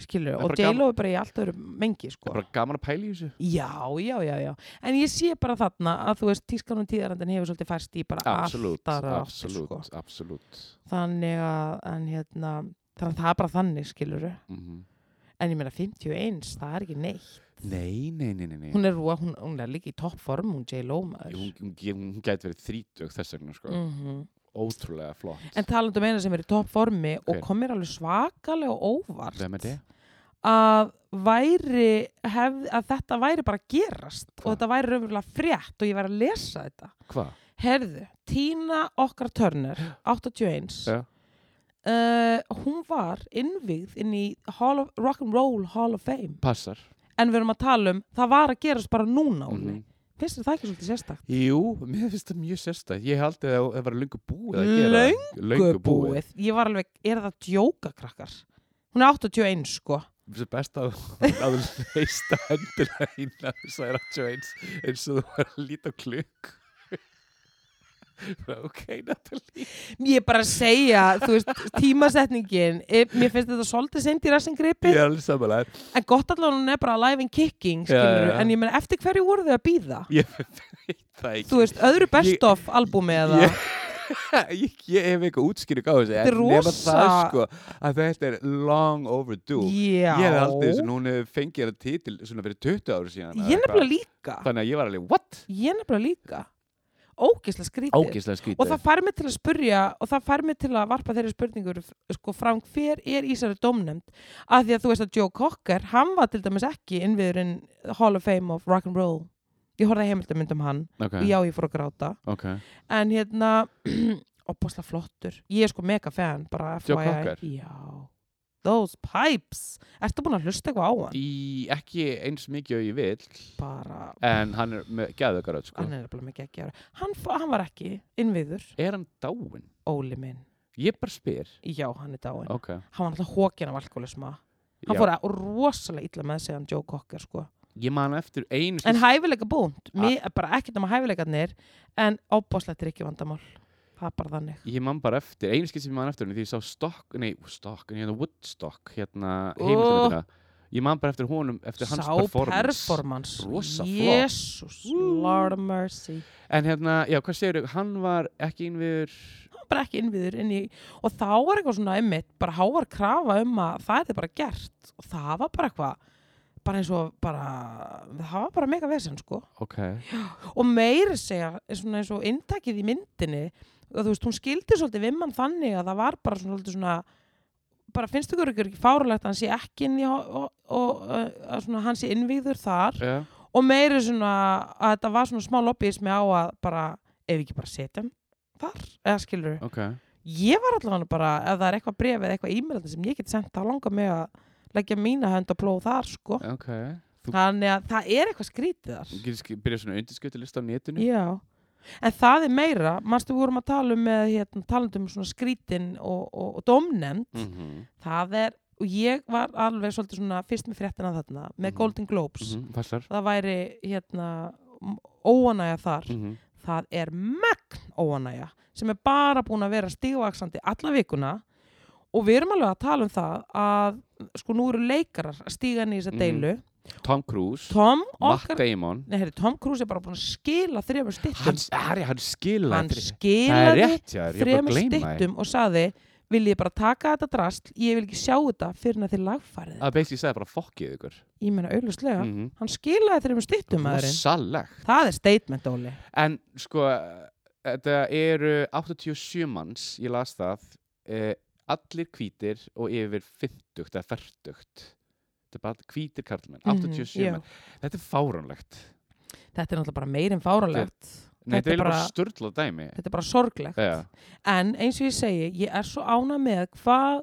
Speaker 1: skilur,
Speaker 2: er
Speaker 1: og
Speaker 2: bara
Speaker 1: J-Lo er bara í allt öðru mengi
Speaker 2: Það
Speaker 1: sko.
Speaker 2: er bara gaman að pæla í þessu.
Speaker 1: Já, já, já, já En ég sé bara þarna að þú veist, tískanum tíðarandin hefur svolítið færst í bara
Speaker 2: Absolutt,
Speaker 1: allt aðra áttir,
Speaker 2: absolutt,
Speaker 1: sko.
Speaker 2: absolutt.
Speaker 1: Þannig að, en hérna Þannig að það er bara þannig, skilur
Speaker 2: Mm
Speaker 1: En ég meina 51, það er ekki neitt
Speaker 2: Nei, nei, nei, nei, nei.
Speaker 1: hún er, rúa, hún, hún er líka í toppform, hún J-Lo maður
Speaker 2: Hún, hún, hún gæti verið þrítug þess vegna, sko.
Speaker 1: Mhm.
Speaker 2: Ótrúlega flott.
Speaker 1: en talandi um eina sem er í toppformi og
Speaker 2: Hver?
Speaker 1: kom mér alveg svakalega á óvart
Speaker 2: Hvem er það?
Speaker 1: að væri hef, að þetta væri bara að gerast og
Speaker 2: Hvað?
Speaker 1: þetta væri raunverulega frétt og ég væri að lesa þetta
Speaker 2: Hvað?
Speaker 1: Herðu, Tina okkar Turner,
Speaker 2: (gasps)
Speaker 1: 81,
Speaker 2: Já.
Speaker 1: uh, hún var innvigð inn í Hall of, Rock and Roll Hall of Fame.
Speaker 2: Passar.
Speaker 1: En við erum að tala um, það var að gerast bara núna,
Speaker 2: Mm
Speaker 1: Óli. Finnst þér það ekki svolítið sérstakt?
Speaker 2: Jú, mér finnst það mjög sérstætt. Ég haldi að það var löngu búið að gera. það.
Speaker 1: Búið. Ég var alveg, er það djóka, krakkar? Hún er 81, sko.
Speaker 2: Það er best að að þú leist að hendina þín að þú sagði 81 eins og þú var að líta á klukk. (laughs) Bara, ok, Natalie.
Speaker 1: Ég er bara að segja, þú veist, tímasetningin, eh, mér finnst þetta svolítið seint í
Speaker 2: Ég
Speaker 1: rassingripi,
Speaker 2: er alveg samanlega.
Speaker 1: en gott allan hún er bara alive and kicking,
Speaker 2: Já,
Speaker 1: skilur,
Speaker 2: já, já.
Speaker 1: en ég menn, eftir hverju voru þau að býða?
Speaker 2: Ég veit það ekki.
Speaker 1: Þú veist, öðru best
Speaker 2: Ég-
Speaker 1: of albumi eða?
Speaker 2: Ég- (laughs) ég, ég hef eitthvað útskýring á þessu
Speaker 1: Þetta er
Speaker 2: en nema
Speaker 1: rosa-
Speaker 2: það sko að þetta er long overdue
Speaker 1: Já.
Speaker 2: ég hef aldrei þessu, hún hefur fengið þetta titil svona fyrir 20 ári síðan eða
Speaker 1: Ég er nefnilega
Speaker 2: eitthvað.
Speaker 1: líka.
Speaker 2: þannig að ég var alveg, what?
Speaker 1: Ég er nefnilega líka. Ógislega skrítið.
Speaker 2: ágislega
Speaker 1: Og
Speaker 2: skrítið
Speaker 1: það fær mig til að spurja og það fær mig til að varpa þeirri spurningur sko fram hver er Ísari dómnefnd að því að þú veist að Joe Cocker hann var til dæmis ekki innviðurinn Hall of Fame of Rock and Roll ég horfði heimildamund um hann
Speaker 2: ok,
Speaker 1: já ég fór að gráta
Speaker 2: ok,
Speaker 1: en hérna (clears throat) opasla flottur ég er sko mega fan bara
Speaker 2: Joe
Speaker 1: FYI.
Speaker 2: Cocker?
Speaker 1: Já Those pipes Ertu búin að hlusta eitthvað á hann?
Speaker 2: í, ekki eins mikið og ég vil
Speaker 1: Bara
Speaker 2: en hann er með gæðugaröð sko.
Speaker 1: hann er nefnilega mikið ekki ára hann, fó- hann var ekki innviður
Speaker 2: er hann dáin?
Speaker 1: Óli minn,
Speaker 2: ég bara spyr
Speaker 1: já hann er dáin
Speaker 2: ok,
Speaker 1: hann var alltaf hókin af alkoholisma hann
Speaker 2: Já.
Speaker 1: fór að rosalega illa með sig hann Joe Cocker sko
Speaker 2: ég man eftir einu
Speaker 1: en hæfileika búnt, Mér, bara ekkert um að hæfileikarnir en ábáslegt er ekki vandamál það er bara þannig
Speaker 2: Ég man bara eftir, einu skipt sem ég man eftir henni því ég sá Stock, nei, Stock, en hérna Woodstock, hérna
Speaker 1: Ó.
Speaker 2: heimildamindina. Ég man bara eftir honum, eftir hans
Speaker 1: sá
Speaker 2: performance.
Speaker 1: performance
Speaker 2: Rosa flott.
Speaker 1: Jesus,
Speaker 2: Woo.
Speaker 1: Lord of mercy
Speaker 2: En hérna, já, hvað segir þau, hann var ekki innviður,
Speaker 1: hann var bara ekki innviður inn í og þá var eitthvað svona einmitt bara hávar krafa um að það er þið bara gert og það var bara eitthvað bara eins og bara, það var bara mega vesend sko
Speaker 2: ok,
Speaker 1: og meira að segja er svona eins og inntakið í myndinni og þú veist, hún skildi svolítið við mann þannig að það var bara svona, svolítið svona bara finnst ykkur ykkur ekki fárulegt að hann sé ekki inn í og, og, og uh, að svona, hann sé innvíður þar
Speaker 2: já,
Speaker 1: og meira svona að þetta var svona smá lobbyismi á að bara, ef við ekki bara setja hann þar, eða skilur
Speaker 2: ok.
Speaker 1: ég var allavega bara, ef það er eitthvað bref eða eitthvað e-mailandi sem ég get sendt, þá langar mig að leggja mína hönd á plóð þar sko
Speaker 2: Ok, þú
Speaker 1: þannig að það er eitthvað skrítið þar
Speaker 2: getur sk- byrjað svona undirskutilista á netinu.
Speaker 1: Já, en það er meira mannstu við vorum að tala um með hérna, talandum um svona skrítin og, og, og domnend
Speaker 2: Mhm,
Speaker 1: það er, og ég var alveg svolítið svona fyrst með fréttina þarna með
Speaker 2: Mhm.
Speaker 1: Golden Globes,
Speaker 2: mhm, Passar.
Speaker 1: það væri hérna m- óanæja þar
Speaker 2: Mhm,
Speaker 1: það er megn óanæja sem er bara búin að vera stígvaksandi alla vikuna og við erum alveg að tala um það að sko nú eru leikarar að stíga inn í þessa
Speaker 2: Mhm.
Speaker 1: deilu
Speaker 2: Tom Cruise,
Speaker 1: Tom
Speaker 2: Matt
Speaker 1: okkar
Speaker 2: Damon,
Speaker 1: Nei, heyri, Tom Cruise er bara búin að skila þrefur stittum
Speaker 2: hann, Harry, hann skilaði.
Speaker 1: hann
Speaker 2: þri- Það er
Speaker 1: skilaði
Speaker 2: rétt, já, ég er bara að
Speaker 1: þremur
Speaker 2: gleyma því.
Speaker 1: stittum og saði vil ég bara taka þetta drast, ég vil ekki sjá þetta fyrir en að þið lagfarið þetta."
Speaker 2: Það basically sagði bara fokkið ykkur.
Speaker 1: ég menna auðvitað,
Speaker 2: Mhm.
Speaker 1: hann skilaði þremur stittum maðurinn,
Speaker 2: Rosalegt.
Speaker 1: það er statement Óli
Speaker 2: En sko, þetta eru 87 manns, ég las það, eh, allir hvítir og yfir 50 eða 40. Þetta er bara hvítir karlmenn, 87
Speaker 1: Mhm, Mm, já.
Speaker 2: menn. Þetta er fáránlegt.
Speaker 1: þetta er náttúrulega bara meirinn fáralegt Þetta er
Speaker 2: Nei, þetta er eiginlega bara
Speaker 1: bara-
Speaker 2: störtlað dæmi.
Speaker 1: þetta er bara sorglegt
Speaker 2: Já,
Speaker 1: en eins og ég segi, ég er svo ána með hvað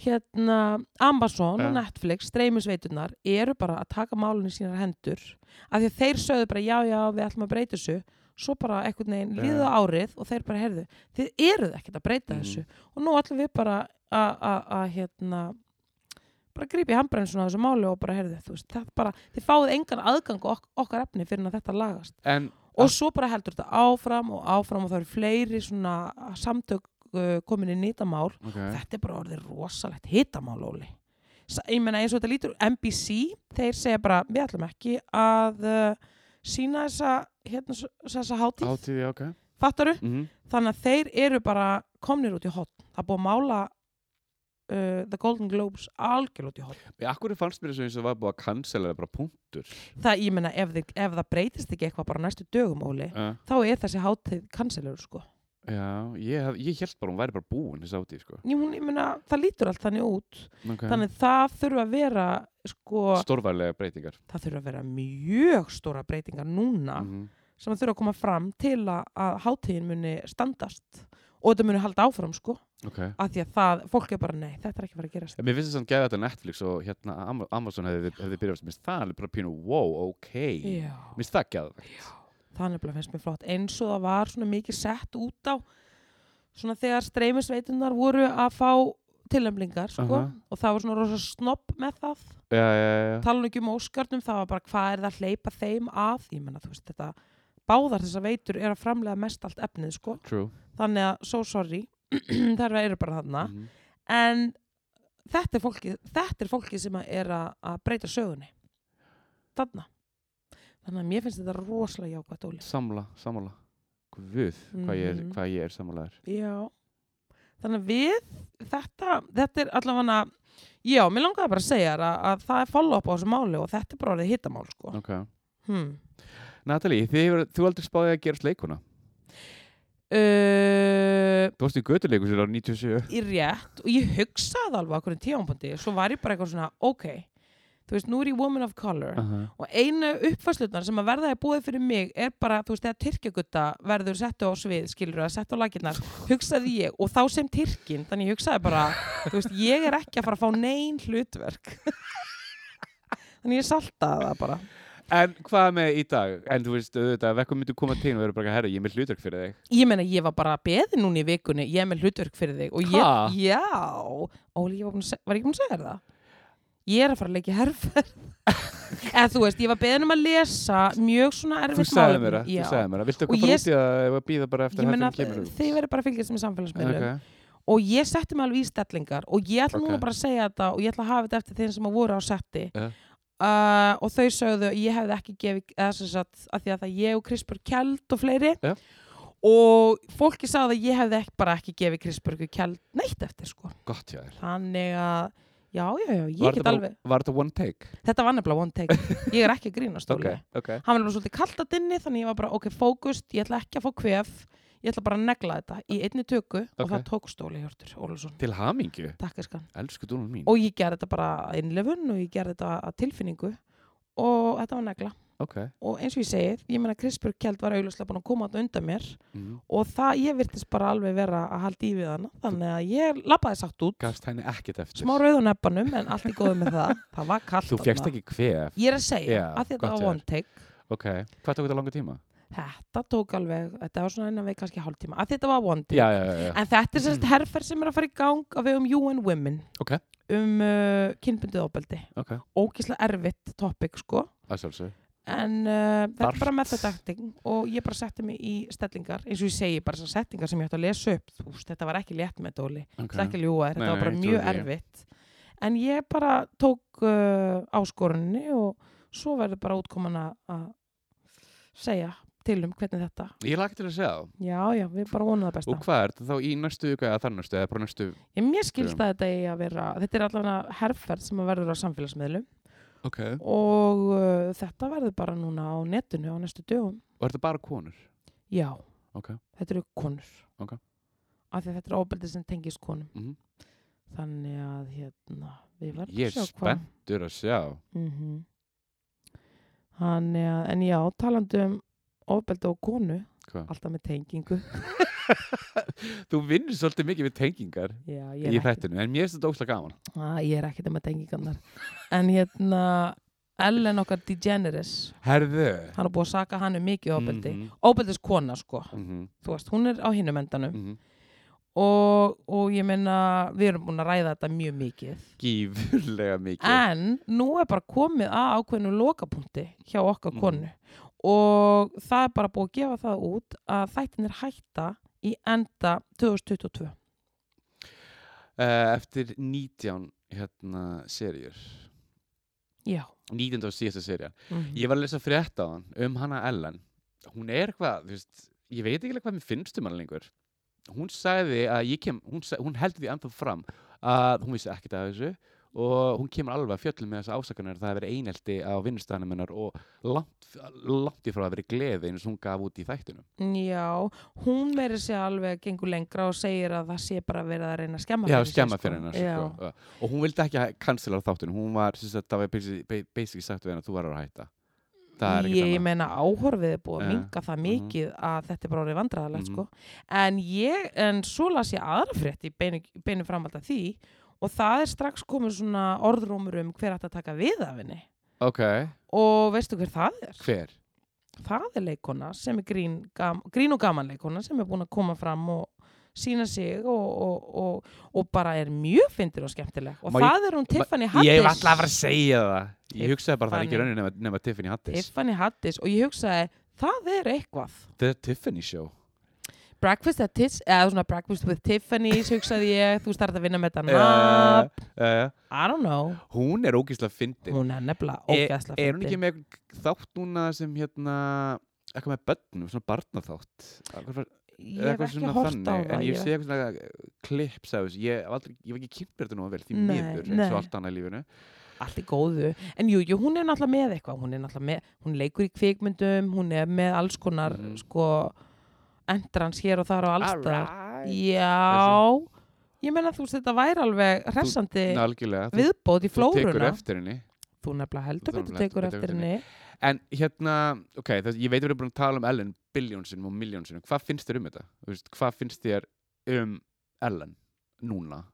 Speaker 1: hérna Amazon
Speaker 2: Já.
Speaker 1: og Netflix, streymisveitunar eru bara að taka málunni sínar hendur af því að þeir sögðu bara já, já, við ætlum að breyta þessu svo bara einhvern veginn
Speaker 2: Já.
Speaker 1: líða árið og þeir bara heyrðu, þið eruð ekkert að breyta
Speaker 2: Mhm.
Speaker 1: þessu og nú ætlum við bara að- að að, hérna bara grípa í handbrennsun á þessu máli og bara heyrðu, þú veist, það bara, þið fáið engan aðgang á ok okkar efni fyrir en að þetta lagast
Speaker 2: en
Speaker 1: og svo bara heldur þetta áfram og áfram og það eru fleiri svona samtök uh, komin í nýtamál
Speaker 2: okay.
Speaker 1: þetta er bara orðið rosalegt hitamál Óli S ég meina eins og þetta lítur NBC, þeir segja bara við ætlum ekki að uh, sína þessa, hérna, s- þessa hátíð
Speaker 2: átíði, ok.
Speaker 1: fattaru,
Speaker 2: Mm
Speaker 1: þannig að þeir eru bara komnir út í hotn, það er búið að mála uh, The Golden Globes algjör út í hotn,
Speaker 2: Akkur fannst mér þessu eins og var búið að cancela það bara punktur.
Speaker 1: það ég meina ef, þið, ef það breytist ekki eitthvað bara næstu dögum Óli
Speaker 2: Uh,
Speaker 1: þá er þessi hátíð kanselur sko
Speaker 2: já, ég, hef- ég held bara hún væri bara búin þessu átíði, sko.
Speaker 1: Jú, hún, ég meina, það lítur allt þannig út
Speaker 2: Okay.
Speaker 1: þannig það þurfa að vera sko,
Speaker 2: Stórvarlega breytingar
Speaker 1: það þurfa að vera Mm. mjög stóra breytingar núna
Speaker 2: Mhm.
Speaker 1: sem að þurfa að koma fram til að, að hátíðin muni standast og þetta muni halda áfram sko
Speaker 2: Ok
Speaker 1: af því að það, fólk er bara nei, þetta er ekki að fara að gerast
Speaker 2: En Mér finnst þess að geða þetta Netflix og hérna Am- Amazon hefði, hefði byrjað Mér finnst það alveg bara pínu, wow, ok Mér
Speaker 1: Já,
Speaker 2: finnst það geða
Speaker 1: það nefnilega finnst mér flott eins og það var svona mikið sett út á svona þegar streymisveitunar voru að fá tilnefningar sko
Speaker 2: Aha.
Speaker 1: og það var svona rosa snopp með það
Speaker 2: Uh-huh. Já, já, já, já
Speaker 1: tala nú ekki um óskarnum, það var bara hvað er það að hleypa þeim að, ég menna þú veist þetta báðar þessar veitur er að framlega mest allt efnið sko
Speaker 2: True
Speaker 1: þannig að so sorry (clears throat) þær eru bara þarna
Speaker 2: Mhm.
Speaker 1: en þetta er fólki, þetta er fólki sem að er að, að breyta sögunni þarna þannig að mér finnst þetta rosalega jákvæmt óli
Speaker 2: Samla, samla Guð, hvað ég er,
Speaker 1: Mhm.
Speaker 2: hvað ég er samlaðar
Speaker 1: já þannig að við þetta þetta er allavega já, mér langaði bara að segja þér að, að það er follow-up á þessu máli og þetta er bara orðið hittamál sko
Speaker 2: Ok
Speaker 1: hmm.
Speaker 2: Natalie, þið hefur, þú aldrei spáðið að gerast leikuna
Speaker 1: uh,
Speaker 2: Þú varst í götuleikur sér á 97
Speaker 1: í rétt og ég hugsaði alveg á hvernig tíðanbundi svo var ég bara eitthvað svona, ok þú veist, nú er ég woman of color
Speaker 2: -huh.
Speaker 1: og einu uppfærslunar sem að verða í búið fyrir mig er bara, þú veist, þegar tyrkjagutta verður settu á svið, skilur að settu á laginnar hugsaði ég, og þá sem tyrkin þannig ég hugsaði bara, þú veist, ég er ekki að fara að fá nein hlutverk (laughs) þannig ég saltaði það bara
Speaker 2: En hvað með í dag? En þú veist, auðvitað, vekkum myndu koma til og verður bara herra, ég er með hlutverk fyrir þig
Speaker 1: ég meina, ég var bara að beði núna í vikunni ég er með hlutverk fyrir þig og
Speaker 2: Ha?
Speaker 1: ég, já, Óli, ég var, búin að, se- var ekki búin að segja þér það ég er að fara að leggja
Speaker 2: (laughs)
Speaker 1: herferð eða þú veist, ég var beðin um að lesa mjög svona erfitt
Speaker 2: Þú sagði mér
Speaker 1: málefni.
Speaker 2: það,
Speaker 1: Já.
Speaker 2: þú sagði mér það Viltu
Speaker 1: Og ég-
Speaker 2: eitthvað bara út í það eða býða bara eftir
Speaker 1: ég meina,
Speaker 2: að hefðin
Speaker 1: þið verður bara að fylgjast með
Speaker 2: kemur
Speaker 1: samfélagsmiðlum
Speaker 2: okay.
Speaker 1: og ég setti mig alveg í stellingar og ég ætla núna
Speaker 2: Ok.
Speaker 1: bara að segja þetta og ég ætla að hafa þetta eftir þeim sem að voru á setti
Speaker 2: Ja.
Speaker 1: uh, og þau sögðu að ég hefði ekki gefið eða sem sagt, að því að það ég og Krispur Kjeld og fleiri
Speaker 2: Ja.
Speaker 1: og fólki sagði að ég hefði ekki, bara ekki gefið Krispur Kjeld neitt eftir sko
Speaker 2: Gott hjá þér
Speaker 1: þannig að já, já, já, ég
Speaker 2: Var
Speaker 1: get
Speaker 2: þetta bara-
Speaker 1: alveg
Speaker 2: Var þetta one take?
Speaker 1: þetta var nefnilega one take, ég er ekki að grínast
Speaker 2: Ok,
Speaker 1: okay.
Speaker 2: ok
Speaker 1: hann var bara svolítið kalt að dinni þannig ég var bara, ok, fókust, ég ætla ekki að fá kvef ég ætla bara að negla þetta í einni tökku og
Speaker 2: Ok.
Speaker 1: það tókst Óli Hjörtur Ólusson,
Speaker 2: Til hamingju,
Speaker 1: takk eskan
Speaker 2: elsku dúnan mín
Speaker 1: og ég gerði þetta bara að innlefun og ég gerði þetta að tilfinningu og þetta var negla
Speaker 2: Ok
Speaker 1: og eins og ég segi, ég meina Krispur Kjeld var auðvitað búin að koma þetta undan mér
Speaker 2: mm.
Speaker 1: og það, ég virtist bara alveg vera að halda í við hana þannig að ég labbaði sátt út
Speaker 2: Gafst henni ekkert eftir
Speaker 1: smá rauðun ebbanum en allt í góðu með það það var kallt
Speaker 2: Þú fegst
Speaker 1: þarna.
Speaker 2: ekki kvef
Speaker 1: ég er að segja,
Speaker 2: Já,
Speaker 1: að þetta
Speaker 2: gott
Speaker 1: var
Speaker 2: hjá
Speaker 1: one take
Speaker 2: Ok, hvað tók þetta langa tíma?
Speaker 1: þetta tók alveg, þetta var svona innan við kannski hálftíma, að þetta var one take
Speaker 2: Já, já, já, já.
Speaker 1: en þetta er sérst herferð sem er að fara í gang að við um UN Women
Speaker 2: Ok.
Speaker 1: um uh, kynbundið ofbeldi
Speaker 2: ok
Speaker 1: ógislega erfitt topic sko
Speaker 2: Að sjálfsög
Speaker 1: en uh, þetta
Speaker 2: Þarft.
Speaker 1: er bara methodacting og ég bara setti mig í stellingar eins og ég segi bara þessar settingar sem ég ætti að lesa upp Úst, þetta var ekki létt með dóli okay. þetta er ekki ljúa,
Speaker 2: Nei,
Speaker 1: þetta var
Speaker 2: nei,
Speaker 1: bara
Speaker 2: ég
Speaker 1: mjög
Speaker 2: trúi því.
Speaker 1: erfitt en ég bara tók uh, áskorunni og svo verður bara útkoman að segja til um hvernig þetta
Speaker 2: Ég lagt til að segja það
Speaker 1: já, já, við bara vonum það besta
Speaker 2: Og hvað er þetta þá í næstu ykkur eða þar næstu eða bara næstu
Speaker 1: ég, mér skilst að þetta eigi að vera þetta er allavega herferð sem að verður á samfélagsmiðlum
Speaker 2: Ok Og
Speaker 1: og uh, þetta verður bara núna á netinu á næstu dögum
Speaker 2: er þetta bara konur?
Speaker 1: já,
Speaker 2: Ok
Speaker 1: þetta eru konur
Speaker 2: Ok.
Speaker 1: af því að þetta er ofbeldi sem tengist konum
Speaker 2: Mhm.
Speaker 1: þannig að hérna við verðum
Speaker 2: Ég er
Speaker 1: að sjá hvað
Speaker 2: spennt. Þú er að sjá
Speaker 1: mm þannig að en já, talandi um ofbeldi og konu
Speaker 2: Hvað?
Speaker 1: alltaf með tengingu
Speaker 2: Þú vinnur svolítið mikið við tengingar
Speaker 1: já, ég,
Speaker 2: í
Speaker 1: er ekki,
Speaker 2: þættinu En mér finnst þetta óslega gaman
Speaker 1: að, ég er ekki það með tengingarnar en hérna Ellen okkar DeGeneres
Speaker 2: Herðu
Speaker 1: hann er búið að saka hann um mikið ofbeldi mm
Speaker 2: Mhm,
Speaker 1: ofbeldiskona sko,
Speaker 2: mhm,
Speaker 1: þú veist, hún er á hinum endanum
Speaker 2: mhm.
Speaker 1: og, og ég meina við erum búin að ræða þetta mjög mikið
Speaker 2: Gífurlega mikið
Speaker 1: en nú er bara komið að ákveðinu lokapunkti hjá okkar
Speaker 2: Mhm.
Speaker 1: konu og það er bara búið að gefa það út að þættin er hætta í enda 2022
Speaker 2: uh, eftir 19 hérna serjur
Speaker 1: já
Speaker 2: 19 og síðasta serja
Speaker 1: mm.
Speaker 2: ég var að lesa frétt á hann um hana Ellen hún er eitthvað, þú veist ég veit ekki alveg hvað mér finnst um hana lengur hún sagði að ég kem hún, sa- hún heldur því ennþá fram að hún vissi ekkert af þessu og hún kemur alveg að fjöllum með þessa ásakanir að það hefur verið einelti á vinnustæðanum hennar og langt, langt í frá að hafi verið gleði eins og hún gaf út í þættinum
Speaker 1: Já, hún meiri sér alveg gengur lengra og segir að það sé bara verið að reyna að skemma
Speaker 2: Já,
Speaker 1: sér,
Speaker 2: skemma
Speaker 1: sko.
Speaker 2: fyrir hennar
Speaker 1: Já.
Speaker 2: sko. Já. og hún vildi ekki kansla á þáttinu hún var, sem sagt, það var basically- ba- basically sagt við hennar þú verður að hætta Það er ekki
Speaker 1: Ég meina áhorfið er búið að
Speaker 2: Já.
Speaker 1: minga það mikið að þetta er bara orðið vandræðalegt
Speaker 2: Mhm.
Speaker 1: sko en ég, en svo las ég aðra frétt í beinu, beinu framhald af því og það er strax komið svona orðrómur um hver ætti að taka við af henni
Speaker 2: Ok,
Speaker 1: og veistu hver það er?
Speaker 2: hver?
Speaker 1: Það er leikona sem er grín, gam, grín og gaman leikona sem er búin að koma fram og sína sig og, og, og, og bara er mjög fyndir og skemmtileg og
Speaker 2: Má ég-
Speaker 1: það er hún Tiffany
Speaker 2: Ég var
Speaker 1: Haddish
Speaker 2: alltaf að fara að segja það Ég
Speaker 1: Tiff-
Speaker 2: hugsaði bara það er ekki
Speaker 1: Fanny.
Speaker 2: raunin nema, nema Tiffany Hattis
Speaker 1: Tiffany Haddish og ég hugsaði það er eitthvað
Speaker 2: The Tiffany Show
Speaker 1: Breakfast at Tiffany's, eða svona Breakfast with Tiffany's, hugsaði ég, þú starti að vinna með þetta
Speaker 2: Eh,
Speaker 1: nafn,
Speaker 2: eh,
Speaker 1: I don't know,
Speaker 2: Hún er ógislega fyndin
Speaker 1: hún er nefnilega
Speaker 2: Er-
Speaker 1: ógæðslega
Speaker 2: Eh, Er hún ekki með einhvern þátt núna sem hérna eitthvað með börnum, svona barnaþátt Eitthvað-
Speaker 1: ég hef
Speaker 2: eitthvað
Speaker 1: ekki hort á það,
Speaker 2: en ég
Speaker 1: ég-
Speaker 2: sé eitthvað svona klips af þessu, ég hef aldrei, ég hef ekki kynnt mér þetta nú vel, því
Speaker 1: Nei,
Speaker 2: miður eins og
Speaker 1: nei.
Speaker 2: allt annað í lífinu
Speaker 1: allt í góðu, en jú, jú, hún er náttúrulega með eitthvað, hún er náttúrulega með, hún leikur í kvikmyndum, hún er með alls konar,
Speaker 2: Mhm.
Speaker 1: sko, endrans hér og þar og alls þar,
Speaker 2: Alright.
Speaker 1: já, ég menna þú veist, þetta væri alveg hressandi
Speaker 2: Ná, algjörlega, þú,
Speaker 1: viðbót í
Speaker 2: þú tekur
Speaker 1: flóruna,
Speaker 2: eftir henni
Speaker 1: þú nefnilega heldur
Speaker 2: Þú
Speaker 1: betur
Speaker 2: nefnilega
Speaker 1: tekur
Speaker 2: heldur betur
Speaker 1: eftir
Speaker 2: eftir
Speaker 1: henni,
Speaker 2: En hérna, ok, þess, ég veit að við erum búin að tala um Ellen biljónsinnum og miljónsinnum, hvað finnst þér um þetta? Þú Veist, hvað finnst þér um Ellen núna?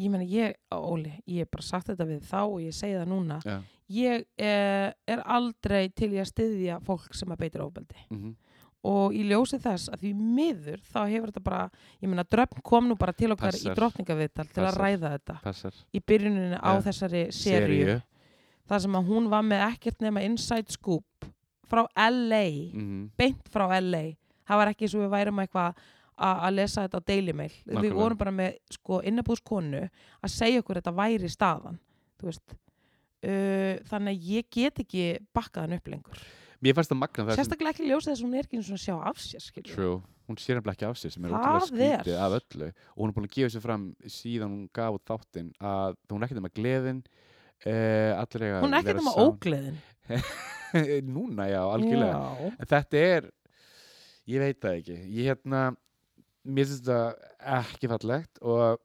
Speaker 1: ég meina ég, Óli, ég hef bara sagt þetta við þá og ég segi það núna
Speaker 2: Já.
Speaker 1: ég eh, er aldrei til í að styðja fólk sem að beitir ofbeldi
Speaker 2: Mm
Speaker 1: og í ljósi þess að því miður þá hefur þetta bara, ég meina dröfn kom nú bara til okkar
Speaker 2: Passar.
Speaker 1: í drottningaviðtal til að
Speaker 2: Passar.
Speaker 1: ræða þetta
Speaker 2: Passar
Speaker 1: í byrjuninu á
Speaker 2: Já.
Speaker 1: þessari seríu þar sem að hún var með ekkert nema inside scoop frá LA
Speaker 2: mm
Speaker 1: beint frá LA það var ekki eins og við værum eitthvað a- að lesa þetta á Daily Mail við
Speaker 2: Nákvæmlega.
Speaker 1: vorum bara með sko, innabúðskonu að segja okkur að þetta væri staðan þú veist Uh, þannig að ég get ekki bakkað hann upp lengur
Speaker 2: Mér fannst það magna það sem,
Speaker 1: sérstaklega ekki ljósið þess að hún er ekki einu sinni að sjá af sér skilur.
Speaker 2: true, hún sér nefnilega ekki af sér sem er
Speaker 1: Það
Speaker 2: ótrúlega
Speaker 1: er-
Speaker 2: skrítið af öllu og hún er búin að gefa sér fram síðan hún gaf út þáttinn að hún er ekkert um að gleðin uh, allir eiga að
Speaker 1: hún er ekki
Speaker 2: vera
Speaker 1: nema
Speaker 2: saman.
Speaker 1: ógleðin
Speaker 2: (laughs) Núna já, algjörlega
Speaker 1: Já.
Speaker 2: En þetta er, ég veit það ekki, ég hérna, mér finnst þetta ekki fallegt og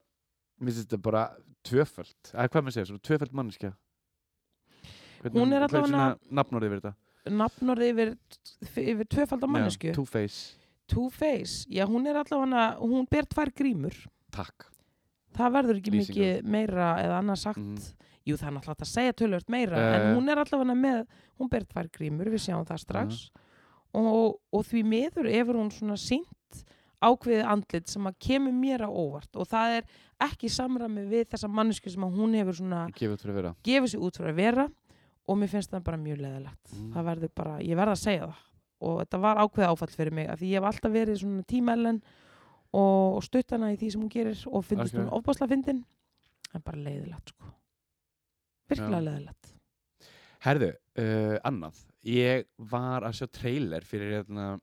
Speaker 2: mér finnst þetta bara tvöföld, eða hvað maður segja, svona tvöföld manneskja.
Speaker 1: Hún er allavega
Speaker 2: Nafnórið yfir þetta.
Speaker 1: nafnorði yfir, yfir tvöfaldar mannesku
Speaker 2: Two-face.
Speaker 1: Two-Face, já hún er allavega hún ber tvær grímur
Speaker 2: Takk.
Speaker 1: það verður ekki
Speaker 2: Lýsingar.
Speaker 1: mikið meira eða annað sagt
Speaker 2: Mhm.
Speaker 1: jú það er náttúrulega hægt að segja tölvört meira
Speaker 2: Eh.
Speaker 1: en hún er allavega með, hún ber tvær grímur við sjáum það strax og, og því miður hefur hún svona sínt ákveðið andlit sem að kemur mér á óvart og það er ekki í samræmi við þessa mannesku sem að hún hefur svona
Speaker 2: Ég gefið fyrir að vera.
Speaker 1: gefið sér út fyrir að vera og mér finnst það bara mjög leðilegt
Speaker 2: Mm.
Speaker 1: það verður bara, ég verð að segja það og þetta var ákveð áfall fyrir mig af því ég hef alltaf verið svona tímælen og stutt hana í því sem hún gerir og finnst
Speaker 2: Algjörlega.
Speaker 1: hún ofbásla fyndin en bara leiðilegt sko virkilega
Speaker 2: Já.
Speaker 1: leiðilegt
Speaker 2: Herðu, uh, annað, ég var að sjá trailer fyrir hérna,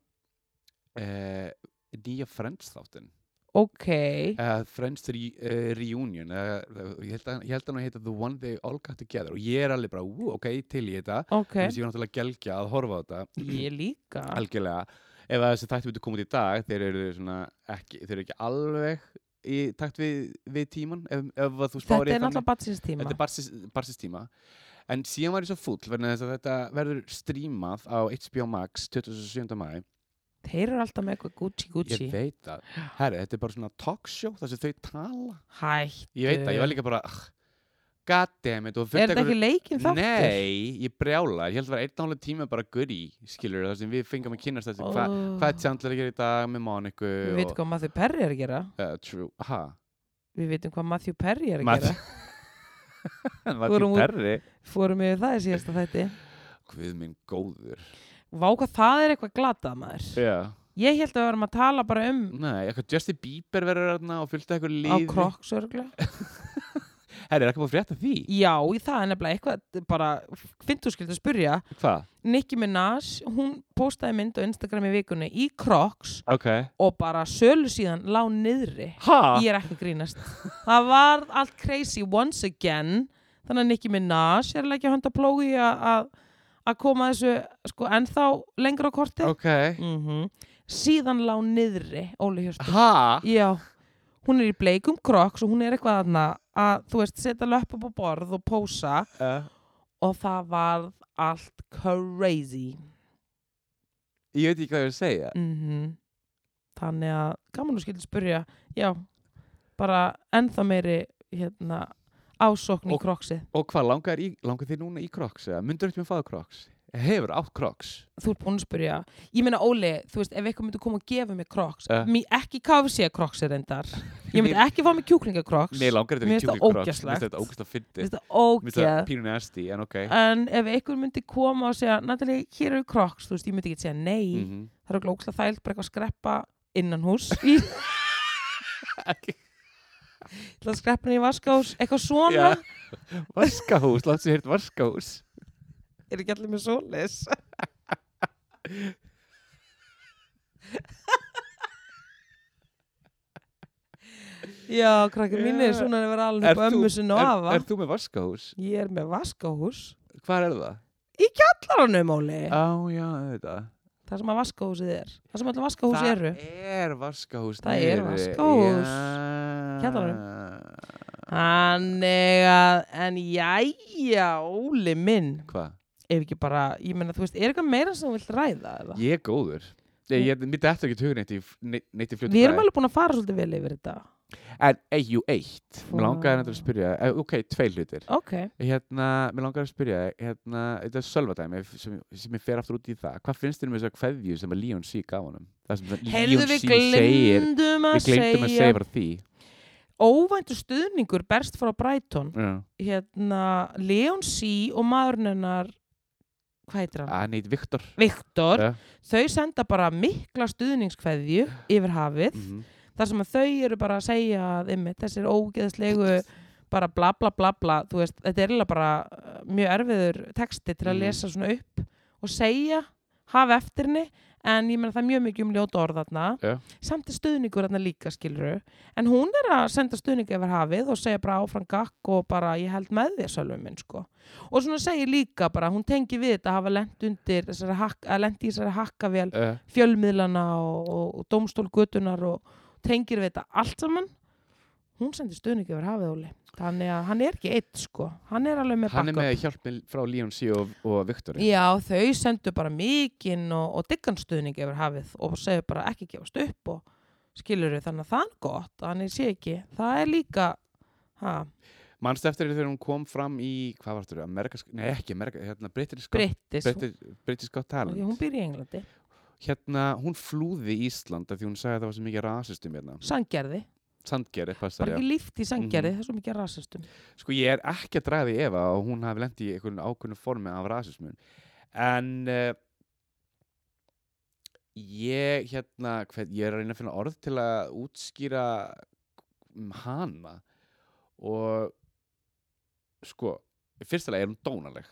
Speaker 2: uh, nýja Friends þáttinn.
Speaker 1: ok,
Speaker 2: uh, Friends re uh, Reunion uh, ég held að- ég held að hann heita The One They All Got Together og ég er alveg bara, ú, ok, til í þetta
Speaker 1: ok
Speaker 2: þess að ég var náttúrulega gelgja að horfa á þetta
Speaker 1: ég líka
Speaker 2: algjörlega, ef að þessi þætti myndi koma út í dag þeir eru svona ekki, þeir eru ekki alveg í takt við, við tíman ef, ef að þú
Speaker 1: þetta
Speaker 2: spáir í
Speaker 1: er náttúrulega batsins tíma
Speaker 2: þetta er barsis, barsis tíma en síðan var ég svo fúll verðin þess að þetta verður streamað á HBO Max 27. mæ
Speaker 1: þeir eru alltaf með eitthvað Gucci Gucci
Speaker 2: ég veit það, herri, þetta er bara svona talkshow þar sem þau tala
Speaker 1: hættu,
Speaker 2: Ég veit það, ég var líka bara "Ugh, God damn it
Speaker 1: Eh. er
Speaker 2: og fullt
Speaker 1: þetta ekki
Speaker 2: einhverju-
Speaker 1: leikin þáttur?
Speaker 2: Nei, ég brjála, ég held að það var einn álega tíma bara goodie, skilur þar sem við fengum að kynast þessu hva,
Speaker 1: Ó.
Speaker 2: hvað er Chandler að gera í dag með Moniku
Speaker 1: við veitum
Speaker 2: og,
Speaker 1: Oh. hvað Matthew Perry er að gera
Speaker 2: uh, True, ha
Speaker 1: við veitum hvað Matthew Perry er að
Speaker 2: Matt-
Speaker 1: gera
Speaker 2: (laughs) Hann
Speaker 1: Þú
Speaker 2: var
Speaker 1: erum
Speaker 2: til
Speaker 1: úr-
Speaker 2: berri
Speaker 1: fórum við það í síðasta þætti
Speaker 2: Guð minn góður
Speaker 1: Vá hvað það er eitthvað glatað maður
Speaker 2: Já,
Speaker 1: Ég held að við varum að tala bara um
Speaker 2: nei, eitthvað Justin Bieber verður þarna og fylgta eitthvað
Speaker 1: á
Speaker 2: lífi
Speaker 1: Crocs örgulega
Speaker 2: Herri, er ekki búin að frétta því?
Speaker 1: Já, í það er nefnilega eitthvað bara, finnst þú skilt að spurja
Speaker 2: Hvað?
Speaker 1: Nicki Minaj, hún postaði mynd á Instagram í vikunni í Crocs
Speaker 2: Ok
Speaker 1: og bara sölu síðan lá niðri
Speaker 2: Ha?
Speaker 1: Ég er ekki að grínast Það var allt crazy once again þannig að Nicki Minaj er að leggja hönd að plógi að að koma þessu sko ennþá lengra á kortið
Speaker 2: ok
Speaker 1: Mhm. síðan lá niðri Óli Hjörtur
Speaker 2: ha?
Speaker 1: Já, hún er í bleikum kroks og hún er eitthvað þarna að þú veist setja löpp upp á borð og pósa
Speaker 2: Uh,
Speaker 1: og það varð allt crazy
Speaker 2: ég veit ekki hvað ég er að segja
Speaker 1: mm þannig að gaman og skildi spyrja já, bara ennþá meiri hérna, ásókn í
Speaker 2: Og-
Speaker 1: kroksið
Speaker 2: og hvað langar, í, langar þið núna í Crocs eða myndur ekki með fáðu Crocs hefur átt Crocs
Speaker 1: þú ert búin að spyrja ég meina Óli, þú veist, ef eitthvað myndi koma að gefa mér kroks
Speaker 2: Eh.
Speaker 1: mér ekki KFC kroksir reyndar ég myndi ekki fá mér kjúklinga kroks
Speaker 2: Mér langar þetta
Speaker 1: Mér finnst
Speaker 2: ekki
Speaker 1: það
Speaker 2: kjúkling Crocs
Speaker 1: ógeðslegt.
Speaker 2: Mér finnst þetta ógæslega fyndið
Speaker 1: þetta
Speaker 2: Mér finnst það
Speaker 1: ógeð
Speaker 2: pínu nasty en ok
Speaker 1: en ef einhver myndi koma og segja Natalie, hér eru kroks, þú veist, ég myndi ekki segja nei
Speaker 2: Mhm.
Speaker 1: það eru glókslega þælt, bara eitthvað að skreppa innan
Speaker 2: (laughs)
Speaker 1: hús í
Speaker 2: Ekki-
Speaker 1: Það skreppa niður í vaskahús, eitthvað svona
Speaker 2: Já. Vaskahús, láttu sér hirt vaskahús
Speaker 1: er ekki allir með svolis Já, krakkar
Speaker 2: Já.
Speaker 1: mínir, svona er að vera alveg upp á ömmu sinni og
Speaker 2: er,
Speaker 1: afa
Speaker 2: er þú með vaskahús?
Speaker 1: Ég er með vaskahús
Speaker 2: Hvar er það?
Speaker 1: Allarunum, Óli,
Speaker 2: Á já, þetta
Speaker 1: það sem að vaskahúsið er Það sem allir vaskahús eru
Speaker 2: er vaskahús
Speaker 1: Það er
Speaker 2: niðri.
Speaker 1: vaskahús.
Speaker 2: Já.
Speaker 1: Þannig að, en jæja, Óli minn
Speaker 2: Hvað?
Speaker 1: Ef ekki bara, ég meina, þú veist, er eitthvað meira sem þú vilt ræða? eða?
Speaker 2: Ég er góður Ég, ég mitt eftir ekki tugur neitt í, neitt, neitt í fljótu
Speaker 1: Við erum
Speaker 2: bragði.
Speaker 1: alveg búin að fara svolítið vel yfir þetta
Speaker 2: En EU 1 Mér
Speaker 1: Vá.
Speaker 2: langaði hendur að spyrja eh, Ok, tvei hlutir
Speaker 1: Ok,
Speaker 2: hérna, Mér langaði að spyrja hérna, Þetta er sölvadæmi sem, sem ég fer aftur út í það Hvað finnst þér um þess að kveðju sem að Leon C gaf honum? Það sem að
Speaker 1: heyrðu
Speaker 2: Leon
Speaker 1: við
Speaker 2: C segir
Speaker 1: glemdum að
Speaker 2: Við gleymdum að
Speaker 1: segja
Speaker 2: segja bara því
Speaker 1: Óvæntu stuðningur berst frá Brighton
Speaker 2: Já.
Speaker 1: Hérna, Leon C. og maðurinn hennar Hvað heitir hann?
Speaker 2: Að neitt Viktor
Speaker 1: Viktor
Speaker 2: Ah, Ja.
Speaker 1: Þau senda bara mikla stuðningskveðju yfir hafið
Speaker 2: Mhm.
Speaker 1: Þar sem að þau eru bara að segja að einmitt, Þessir ógeðslegu bara bla bla bla bla þú veist, þetta er eiginlega bara uh, mjög erfiður texti til að
Speaker 2: Mhm.
Speaker 1: lesa svona upp og segja, hafa eftir henni en ég meina það er mjög mikið um ljóta orð þarna
Speaker 2: Já.
Speaker 1: samt er stuðningur þarna líka skilru en hún er að senda stuðning yfir hafið og segja bara áfram gakk og bara ég held með þér sjálfum minn sko og svona segir líka bara, hún tengi við þetta að hafa lent undir þessari hakka, að lent í þessari hakkavél
Speaker 2: Eh,
Speaker 1: fjölmiðlana og, og, og domstólgötunar og tengir við þetta allt saman hún sendir stuðning yfir hafið Óli þannig að hann er ekki eitt sko hann er alveg með
Speaker 2: Hann er
Speaker 1: backup.
Speaker 2: með hjálp með- frá Leon C og, og Viktori
Speaker 1: já þau sendur bara mikinn og, og diggan stuðning yfir hafið og segir bara ekki gefast upp og skilur þau þannig að það er gott þannig sé ekki, það er líka ha,
Speaker 2: Manst eftir þegar hún kom fram í Hvað var þetta? Amerikas, nei ekki Amerika hérna, British, Got-
Speaker 1: Brittis
Speaker 2: British, British Got Talent
Speaker 1: sko. hún býr í Englandi,
Speaker 2: hérna, hún flúði Ísland af því hún sagði að það var svo mikið rasistum hérna.
Speaker 1: sangerði
Speaker 2: Sandgerði, passar
Speaker 1: bara
Speaker 2: ég.
Speaker 1: ekki líft í sangerði,
Speaker 2: Mhm.
Speaker 1: það er svo mikið rasistum
Speaker 2: Sko ég er ekki að draga því efa og hún hafi lent í einhvern ákveðnu formi af rasismun. En uh, ég, hérna, hver, ég er að reyna að finna orð til að útskýra um hana og sko, í fyrsta lagi er hún dónaleg.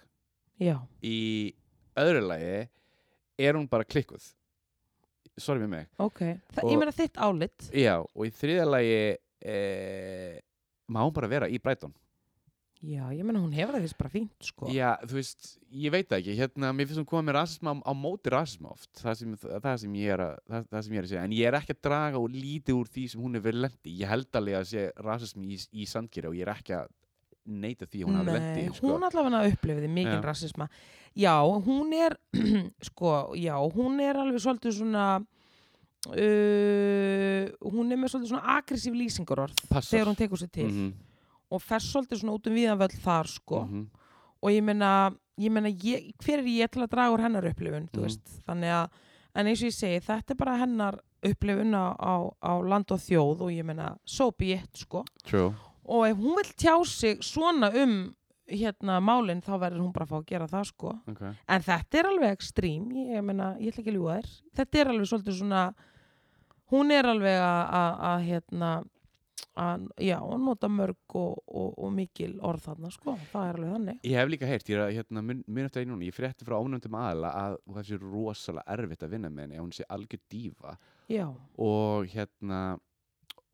Speaker 1: já,
Speaker 2: Í öðru lagi er hún bara klikkuð. Sorry með mig.
Speaker 1: ok, það,
Speaker 2: Og-
Speaker 1: ég meina þitt álit
Speaker 2: Já, og í þriðja lagi e, má hún bara vera í Brighton.
Speaker 1: Já, ég menna hún hefur það fyrst bara fínt sko.
Speaker 2: Já, þú veist, ég veit það ekki, hérna, mér finnst hún koma með rasisma á, á móti rasisma oft, það sem, það, sem ég er að, það, það sem ég er að segja, en ég er ekki að draga og lítið úr því sem hún hefur lendi. Ég held alveg að sé rasismi í, í sandgeri og ég er ekki að neita því að hún hafi sko. lendi.
Speaker 1: Nei, hún allavega upplifiði mikinn
Speaker 2: Já.
Speaker 1: rasisma Já, hún er (clears throat) sko, já, hún er alveg svolítið svona uh, hún er með svolítið svona aggressív lýsingarorð
Speaker 2: Passar.
Speaker 1: þegar hún tekur sér til
Speaker 2: Mhm,
Speaker 1: og fer svolítið svona út um viðanvöld þar sko
Speaker 2: mhm.
Speaker 1: og ég meina, ég meina ég, hver er ég til að draga úr hennar upplifun þú
Speaker 2: Mhm.
Speaker 1: veist, þannig að en eins og ég segi, þetta er bara hennar upplifun á, á, á land og þjóð og ég meina, so be it sko
Speaker 2: True.
Speaker 1: og ef hún vill tjá sig svona um hérna málinn þá verður hún bara að fá að gera það sko
Speaker 2: Ok.
Speaker 1: en þetta er alveg ekstrím ég meina, ég ætla ekki að ljúga þér þetta er alveg svolítið svona hún er alveg að- að að, hérna að, já, að nota mörg og, og, og mikil orð þarna sko, það er alveg þannig
Speaker 2: Ég hef líka heyrt, ég er að, hérna, mun, mun eftir einu núna, ég frétti frá ónöndum aðla að hún hef sér rosalega erfitt að vinna með henni, að hún sé algjör dífa.
Speaker 1: já,
Speaker 2: og hérna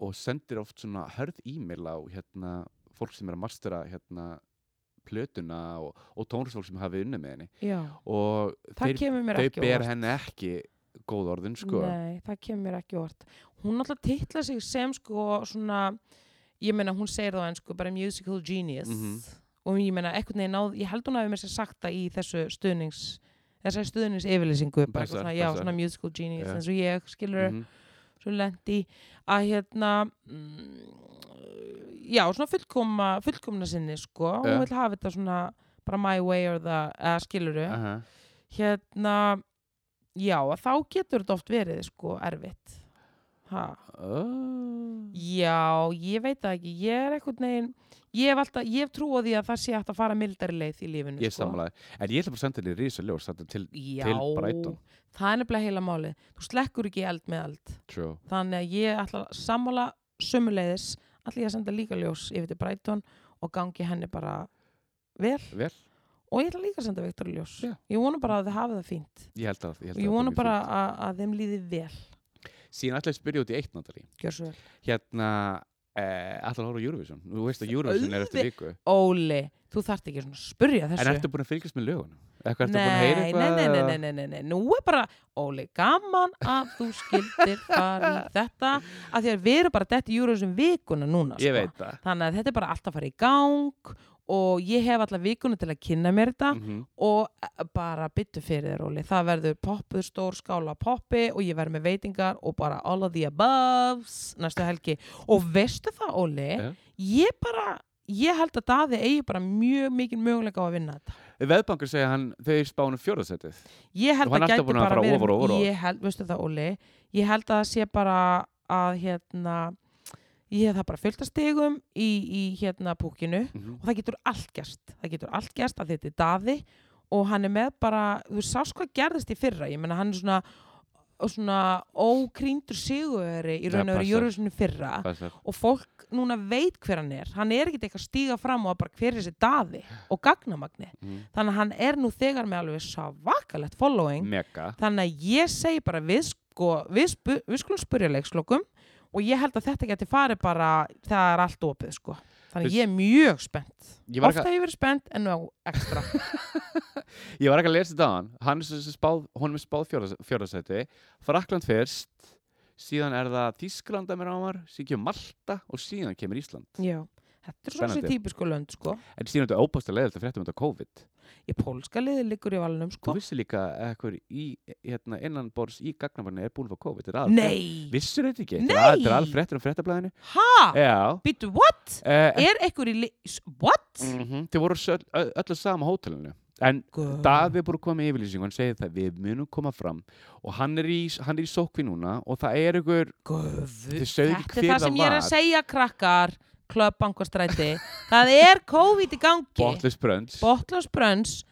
Speaker 2: og sendir oft svona hörð e-mail á hérna fólk sem er að mastera hérna plötuna og, og tónlistfólk sem hafi unnið með henni
Speaker 1: já,
Speaker 2: og
Speaker 1: það
Speaker 2: þeir,
Speaker 1: kemur mér
Speaker 2: þau
Speaker 1: ekki á
Speaker 2: ber
Speaker 1: óvart.
Speaker 2: henni ekki góð orðin sko
Speaker 1: Nei, það kemur mér ekki orð. Hún alltaf titla sig sem sko svona, ég meina hún segir þá enn sko bara musical genius
Speaker 2: Mhm.
Speaker 1: og ég meina eitthvað neginn náð, ég held hún hafi mér sér sagt það í þessu stuðnings, þessari stuðnings yfirlýsingu, bara
Speaker 2: Passar,
Speaker 1: eitthvað svona, já,
Speaker 2: passar.
Speaker 1: svona musical genius
Speaker 2: Já.
Speaker 1: eins og ég skilur
Speaker 2: Mhm.
Speaker 1: svo lendi að hérna mm, já, svona fullkoma, fullkomna sinni sko,
Speaker 2: Já.
Speaker 1: hún vil hafa þetta svona bara my way or the, eða skiluru
Speaker 2: Aha.
Speaker 1: hérna já, að þá getur þetta oft verið sko erfitt ha.
Speaker 2: Oh.
Speaker 1: já, ég veit það ekki ég er eitthvað negin ég hef, alltaf, ég hef trú á því að það sé hægt að fara mildari leið í lífinu
Speaker 2: Ég
Speaker 1: sko.
Speaker 2: samlaði, en ég ætla bara að senda henni rísa ljós þetta til
Speaker 1: já,
Speaker 2: til Brighton.
Speaker 1: það er nefnilega heila málið þú slekkur ekki eld með eld
Speaker 2: True.
Speaker 1: þannig að ég ætla að sammála sömuleiðis, ætla ég að senda líka ljós yfir til Brighton og gangi henni bara vel
Speaker 2: Vel,
Speaker 1: og ég ætla líka að senda Viktor ljós
Speaker 2: Já.
Speaker 1: ég vona bara að þið hafið það fínt
Speaker 2: ég held að, ég held
Speaker 1: ég
Speaker 2: að
Speaker 1: vona bara að, að þeim líði vel
Speaker 2: Síðan ætla ég að spyrja út í eitt náttúrulega
Speaker 1: gjör svo vel
Speaker 2: Hérna, eh, ætla að hóra Eurovision Þú veist að Eurovision er eftir viku
Speaker 1: Óli, þú þarft ekki svona að spurja þessu.
Speaker 2: En ertu búin að fylgjast með lögunum? Eitthvað ertu búin að heyra
Speaker 1: nei, nei, nei,
Speaker 2: eitthvað?
Speaker 1: nei, nei, nei, nei, nei, nú er bara, Óli, gaman að þú skildir fara í þetta, að því að við erum bara dætt í júruvísum vikuna núna, sko.
Speaker 2: Ég veit það
Speaker 1: Þannig að þetta er bara alltaf að fara í gang og ég hef alla vikuna til að kynna mér þetta
Speaker 2: Mhm.
Speaker 1: og eh, bara byttu fyrir þér, Óli. Það verður poppuð stór skála af poppi og ég verður með veitingar og bara all of the aboves næstu helgi. Og veistu það, Óli,
Speaker 2: Já.
Speaker 1: ég bara, ég held að Daði eigi bara mjög mikið möguleika á að vinna þetta.
Speaker 2: Veðbankar segja hann, þau spánu fjóðarsettið
Speaker 1: Ég held
Speaker 2: Og hann
Speaker 1: að
Speaker 2: alltaf
Speaker 1: gæti
Speaker 2: búinn að
Speaker 1: bara
Speaker 2: fara
Speaker 1: verið-
Speaker 2: ofar og ofar og ofar.
Speaker 1: Ég held, veistu það, Óli, ég held að það sé bara að, hérna, ég hef það bara fullt að stigum í, í hérna, púkinu
Speaker 2: Mhm.
Speaker 1: og það getur allt gerst það getur allt gerst að þetta er daði og hann er með bara, þú sást hvað gerðist í fyrra, ég menna hann er svona svona ókrýndur sigurveri í
Speaker 2: Það
Speaker 1: raun og veru
Speaker 2: passar.
Speaker 1: Jörgursinu fyrra og fólk núna veit hver hann er hann er ekkert eitthvað að stíga fram og að bara hver er þessi daði og gagnamagni
Speaker 2: Mhm.
Speaker 1: þannig að hann er nú þegar með alveg savakalett following
Speaker 2: Mega
Speaker 1: þannig að ég segi bara við, sko, við, spu, við skulum spurja leikslokum og ég held að þetta geti farið bara það er allt opið sko þannig að
Speaker 2: Þú-
Speaker 1: ég er mjög spennt
Speaker 2: Ég var
Speaker 1: ofta
Speaker 2: ekki
Speaker 1: hef ég verið spennt en nú
Speaker 2: (laughs)
Speaker 1: ekstra
Speaker 2: Ég var ekki að lesa þetta á hann Hann er sem sagt spáð, honum er spáð fjórðarsæti Frakland fyrst Síðan er það Þískland að mér ámar Síðan kemur Malta og síðan kemur Ísland
Speaker 1: já þetta er svona
Speaker 2: Spennandi.
Speaker 1: þessi típisku lönd sko
Speaker 2: En síðan er þetta óbást að leiða þetta fréttum þetta COVID
Speaker 1: ég pólska liði liggur í valnum
Speaker 2: Þú
Speaker 1: sko
Speaker 2: vissi líka að ekkur í, hérna, innan bors í gagnabarni er búin fyrir COVID Þetta er aðal-
Speaker 1: nei
Speaker 2: Vissir þetta ekki?
Speaker 1: Nei!
Speaker 2: Þetta er al- Þetta er alveg fréttur um fréttablaðinu
Speaker 1: ha
Speaker 2: Já
Speaker 1: býtu what
Speaker 2: eh,
Speaker 1: er einhver í li... s- what
Speaker 2: mm -hmm. Þið voru öll, öll að sama hótelinu En
Speaker 1: Guð.
Speaker 2: Daði er búin að koma með yfirlýsingu Hann segir það við munum koma fram Og hann er í, hann er í sókvi núna Og það er ykkur
Speaker 1: Guð,
Speaker 2: Þið sögðu ekki
Speaker 1: þetta er
Speaker 2: hver
Speaker 1: það
Speaker 2: það
Speaker 1: sem ég er að
Speaker 2: var.
Speaker 1: segja krakkar klöpbankastræti það er COVID í gangi
Speaker 2: botless brunch
Speaker 1: Botlas Brönns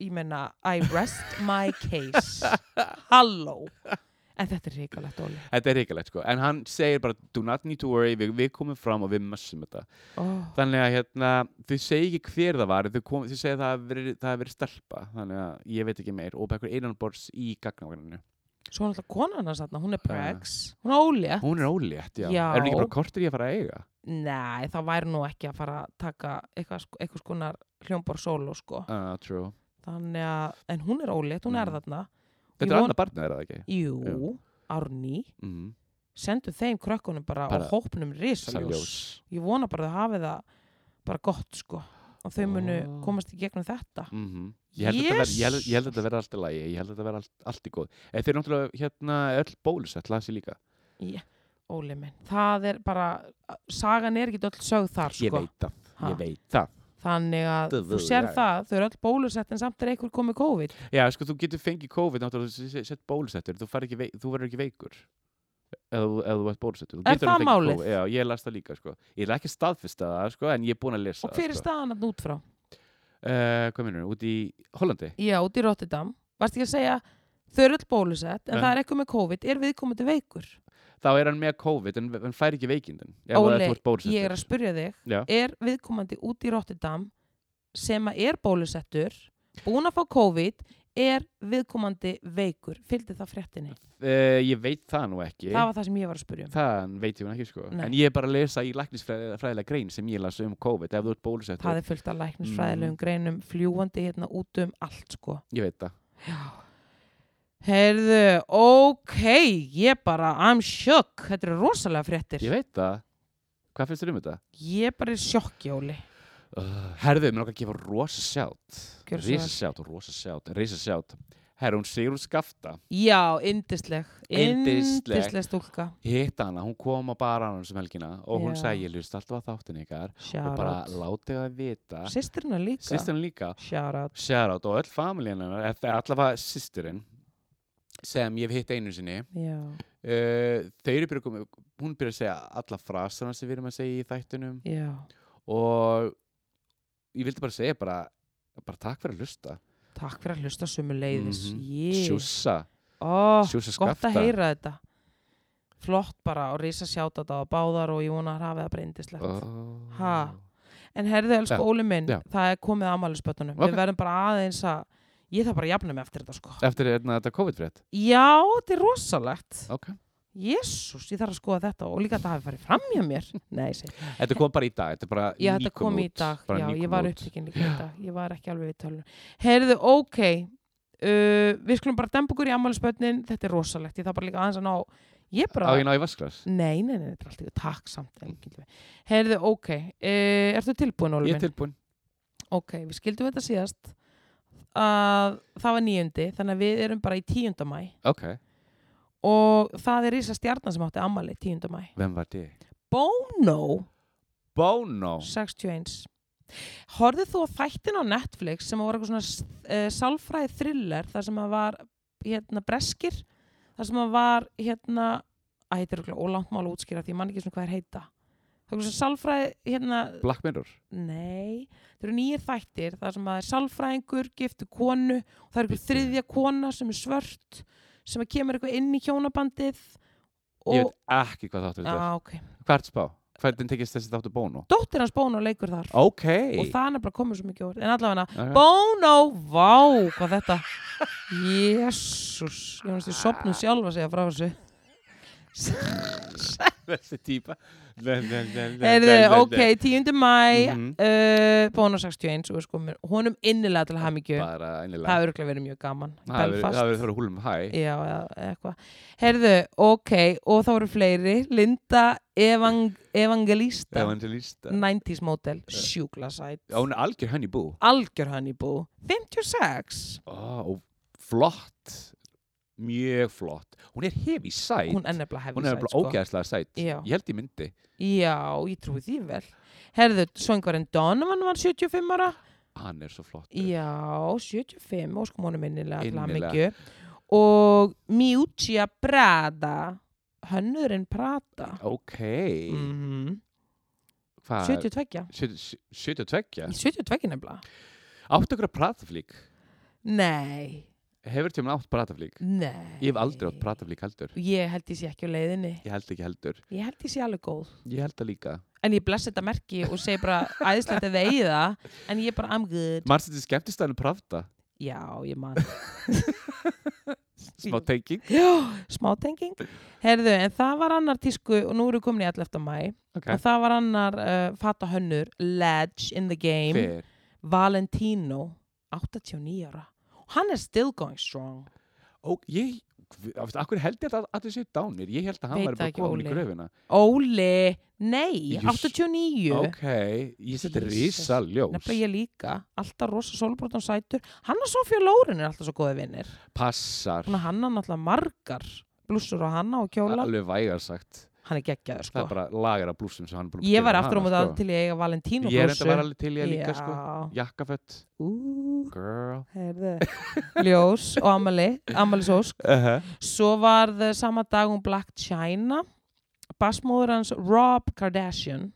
Speaker 1: ég menna, I rest my case Halló En þetta er ríkalegt, Óli
Speaker 2: Þetta er reykjalegt sko En hann segir bara Do not need to worry Við, við komum fram og við mössum þetta
Speaker 1: oh,
Speaker 2: Þannig að hérna Þau segir ekki hver það var en Þau, kom, þau segir það hafi verið, það hafi verið stelpa Þannig að ég veit ekki meir Og bara einhver einanbors í gagnavarninu
Speaker 1: Svo er alltaf konan hans aðna, hún er pregs Hún er Óli
Speaker 2: Hún er ólétt, já,
Speaker 1: Já.
Speaker 2: Er hún ekki bara kortir í að fara að eiga?
Speaker 1: Nei, það væri nú ekki að fara að taka eitthvað, sk- eitthvað skonar hljómbar solo sko.
Speaker 2: Uh, true
Speaker 1: Þannig að, en hún er Óli, hún er
Speaker 2: Mm.
Speaker 1: þarna
Speaker 2: Þetta
Speaker 1: Ég
Speaker 2: er
Speaker 1: von-
Speaker 2: annað barnið, er það ekki?
Speaker 1: Jú,
Speaker 2: Jú.
Speaker 1: Árný
Speaker 2: Mm.
Speaker 1: Sendu þeim krökkunum bara,
Speaker 2: Bara-
Speaker 1: og hópnum risaljós
Speaker 2: Saljós.
Speaker 1: Ég vona bara að þau hafi það bara gott sko og þau munu
Speaker 2: Ó.
Speaker 1: komast í gegnum þetta
Speaker 2: Mm ég, held að þetta verði- ég, held- ég held
Speaker 1: Jesus.
Speaker 2: að þetta verði allt í lagi Ég held að þetta verði allt, allt í góð En þeir eru náttúrulega hérna öll bólusett Las ég líka
Speaker 1: Óli minn, það er bara sagan er ekki öll sögð þar
Speaker 2: Ég
Speaker 1: sko.
Speaker 2: veit það,
Speaker 1: Ha.
Speaker 2: ég veit það
Speaker 1: þannig að
Speaker 2: Duh,
Speaker 1: þú
Speaker 2: duh,
Speaker 1: sér
Speaker 2: já.
Speaker 1: það, þau eru öll bólusett en samt er einhver komið COVID
Speaker 2: Já, sko, þú getur fengið COVID náttúrulega þú se- sett bólusettur, þú, færð ekki veik, þú verður ekki veikur eða þú- ef þú ert bólusettur Þú
Speaker 1: Er
Speaker 2: getur
Speaker 1: það
Speaker 2: alveg fengið
Speaker 1: málið?
Speaker 2: COVID. Já, ég las það líka, sko Ég er ekki staðfist að það, sko, en ég er búin að lesa
Speaker 1: og hver er
Speaker 2: það,
Speaker 1: staðan að út frá?
Speaker 2: Uh, hvað minnur, út í Hollandi?
Speaker 1: Já, út í Rotterdam, varst ekki að segja þau eru öll bólusett en
Speaker 2: Ja.
Speaker 1: það er eitthvað með COVID er við komandi veikur?
Speaker 2: Þá er hann með COVID, en, en fær ekki veikindin ef að
Speaker 1: Óli,
Speaker 2: þú ert bólusettur.
Speaker 1: ég er að spurja þig
Speaker 2: Já.
Speaker 1: er viðkomandi út í Rotterdam sem að er bólusettur búin að fá COVID er viðkomandi veikur fylgdi það fréttinni,
Speaker 2: Eh, ég veit það nú
Speaker 1: það
Speaker 2: ekki
Speaker 1: var það sem ég var að spyrja um
Speaker 2: þann veit ég hún ekki sko
Speaker 1: Nei.
Speaker 2: en ég er bara að lesa í læknisfræðilega grein sem ég las um COVID ef þú ert bólusett
Speaker 1: það er fullt af
Speaker 2: Mm.
Speaker 1: læknisfræðilegum greinum fljúandi hérna út um allt sko
Speaker 2: ég veit það
Speaker 1: heyrðu, ok ég bara, I'm shook þetta eru rosalega fréttir
Speaker 2: ég veit það hvað finnst þér um þetta?
Speaker 1: ég bara er sjokkjóli
Speaker 2: Uh, herðu, mér okkar að gefa rosa sjátt
Speaker 1: Gjörðu svo vel.
Speaker 2: risa sjátt, rosa sjátt, risa sjátt herru, hún Sigrun Skafta
Speaker 1: já, indisleg
Speaker 2: Yndisleg.
Speaker 1: indisleg stúlka
Speaker 2: ég hitt hana, hún kom á baranum sem helgina og hún
Speaker 1: Já.
Speaker 2: sagði, ég hlust alltaf að þáttin ykkar og bara
Speaker 1: sjárat
Speaker 2: látið það vita
Speaker 1: sýstirna líka
Speaker 2: sýstirinn líka
Speaker 1: sjárat
Speaker 2: sjátt og öll familjan hennar eða allavega sýstirinn sem ég hef hitt einu sinni
Speaker 1: já,
Speaker 2: uh, þau eru byrjuð að koma hún byrjuð að segja alla frasana sem við erum að segja í þættunum
Speaker 1: já,
Speaker 2: og ég vildi bara segja bara, bara takk fyrir að hlusta
Speaker 1: takk fyrir að hlusta sömu leiðis
Speaker 2: Mhm.
Speaker 1: ég,
Speaker 2: sjússa,
Speaker 1: ó,
Speaker 2: sjússa
Speaker 1: gott að
Speaker 2: skafta
Speaker 1: heyra þetta flott bara og risa sjáta þetta á báðar og ég vona að hafa það bara indislegt
Speaker 2: oh.
Speaker 1: Ha. En herðu, elsku
Speaker 2: Já,
Speaker 1: Óli minn,
Speaker 2: já.
Speaker 1: það er komið að amælisbötunum.
Speaker 2: Ok.
Speaker 1: Við verðum bara aðeins að, ég þarf bara að jafna mig eftir þetta sko.
Speaker 2: eftir hérna, þetta COVID-frétt
Speaker 1: Já, þetta er rosalegt.
Speaker 2: okay.
Speaker 1: Jésús, ég þarf að skoða þetta og líka að það hafi farið fram hjá mér. Nei, sé.
Speaker 2: þetta kom bara í dag, þetta er bara
Speaker 1: Já, þetta
Speaker 2: nýkom
Speaker 1: kom í
Speaker 2: út,
Speaker 1: dag.
Speaker 2: bara
Speaker 1: Já,
Speaker 2: nýkom
Speaker 1: ég var
Speaker 2: út.
Speaker 1: upptíkin líka í dag. Ég var ekki alveg við tölunum. Herðu, ok, uh, við skulum bara dempa okkur í amælisbötunin. Þetta er rosalegt. Ég þarf bara líka aðeins að ná, ég bara...
Speaker 2: á ég ná í vasklas
Speaker 1: Nei, nei, nei, þetta er allt í góð. Takk samt. engillinn. Heyrðu, ok. Uh, ertu tilbúin, Óli minn?
Speaker 2: ég er tilbúin
Speaker 1: Ok, við skildum þetta síðast að það var nýjundi þannig að við erum bara í tíundamæ
Speaker 2: ok,
Speaker 1: og það er Ísa Stjarnan sem átti ammali tíundamæ
Speaker 2: hvem var þið?
Speaker 1: Bono
Speaker 2: Bono
Speaker 1: 61 Horfðu þú á þættin á Netflix sem var eitthvað svona uh, sálfræði thriller þar sem að var hérna breskir þar sem að var hérna að heitir okkur ólangt mál að útskýra því ég man ekki svona hvað er heita það er eitthvað svona sálfræði hérna
Speaker 2: Black Mirror
Speaker 1: Nei, það eru nýjir þættir þar sem að er sálfræðingur, giftu konu og það er einhver þriðja kona sem er svört sem að kemur eitthvað inn í hjónabandið og
Speaker 2: ég veit ekki hvað þáttu þetta
Speaker 1: ah, okay.
Speaker 2: er hvert spá, hvernig tekist þessi þáttu Bono?
Speaker 1: dóttir hans Bono leikur þar
Speaker 2: ok
Speaker 1: og það er nefnilega komið svo mikið orð en allavega
Speaker 2: Ok.
Speaker 1: Bono, vá, hvað þetta Jésús ég finnst því sopnuð sjálfa segja frá þessu
Speaker 2: (laughs) þessi típa
Speaker 1: Heyrðu, ok, 10. mæ
Speaker 2: Mhm.
Speaker 1: uh, Bono 61 og sko, honum innilega til hamingju
Speaker 2: bara einlega
Speaker 1: það er örgulega verið mjög gaman í
Speaker 2: það hefur
Speaker 1: Belfast.
Speaker 2: það hefur þurfa húlum hæ
Speaker 1: Já, eða eitthvað. Herðu, ok, og þá eru fleiri. Linda Evang Evangelista,
Speaker 2: evangelista Eh.
Speaker 1: 90s model, sjúkla sæt.
Speaker 2: Já, hún er algjör henni bú
Speaker 1: Algjör hann í bú. 56.
Speaker 2: og flott mjög flott hún er hefi sæt
Speaker 1: Hún er nefnilega hefði
Speaker 2: Hún er bara ógæðslega sæt
Speaker 1: sko. Já.
Speaker 2: ég held ég myndi
Speaker 1: Já, ég trúi því vel. Herðu, svöngvarinn Donovan var 75 ára.
Speaker 2: hann er svo flott
Speaker 1: Já, 75, óskum sko, honum innilega til
Speaker 2: Innilega.
Speaker 1: hamingju. Og Miuccia Prada, hönnurinn Prada.
Speaker 2: ok
Speaker 1: Mm
Speaker 2: hvað
Speaker 1: 72.
Speaker 2: 70 72
Speaker 1: 72 nefnilega.
Speaker 2: áttu okkur að prataflík
Speaker 1: Nei,
Speaker 2: hefur tjóman átt prataflík
Speaker 1: nei.
Speaker 2: ég hef aldrei átt prataflík heldur
Speaker 1: Ég held ég sé ekki á leiðinni.
Speaker 2: ég held ekki heldur
Speaker 1: Ég held ég sé alveg góð.
Speaker 2: ég held það líka
Speaker 1: En ég bless þetta merki og segi bara æðislegt að eigi það, en ég er bara I'm good.
Speaker 2: mannst þetta skemmtist að hann prata
Speaker 1: Já, ég man.
Speaker 2: smá tenging
Speaker 1: Já, smá tenging. Herðu, en það var annar tísku, og nú erum við komin í 11. mæ,
Speaker 2: okay.
Speaker 1: og það var annar uh, fata hönnur, Ledge in the Game,
Speaker 2: Hver?
Speaker 1: Valentino, 89 ára. Og Hann er still going strong.
Speaker 2: og ég Akkur held ég að allir séu dánir? Ég held að hann
Speaker 1: Veit
Speaker 2: væri
Speaker 1: það
Speaker 2: bara
Speaker 1: ekki,
Speaker 2: komin í
Speaker 1: Óli.
Speaker 2: gröfina.
Speaker 1: Óli, nei,
Speaker 2: Jú,
Speaker 1: 89.
Speaker 2: Ok, ég seti
Speaker 1: Jesus.
Speaker 2: risa ljós.
Speaker 1: Nefnilega ég líka, alltaf rosa sólbrotan sætur Hann og Sofía Lóren er alltaf svo góði vinnir
Speaker 2: Passar.
Speaker 1: Þannig að hann er náttúrulega margar blússur á hanna og kjóla
Speaker 2: Alveg vægar sagt.
Speaker 1: Hann er geggjaður
Speaker 2: Það
Speaker 1: sko
Speaker 2: er bara lagar af blúsum sem hann er búin
Speaker 1: Ég var
Speaker 2: gera
Speaker 1: aftur á
Speaker 2: hana,
Speaker 1: móti
Speaker 2: sko.
Speaker 1: að til ég eiga Valentino
Speaker 2: Ég er
Speaker 1: blússu
Speaker 2: enda var alveg til ég líka sko.
Speaker 1: Já,
Speaker 2: Jakkafött.
Speaker 1: ú,
Speaker 2: Girl.
Speaker 1: herðu Ljós og Amali, Amali Sósk
Speaker 2: Uh -huh.
Speaker 1: Svo var það sama dag um Black China Bassmóður hans Rob Kardashian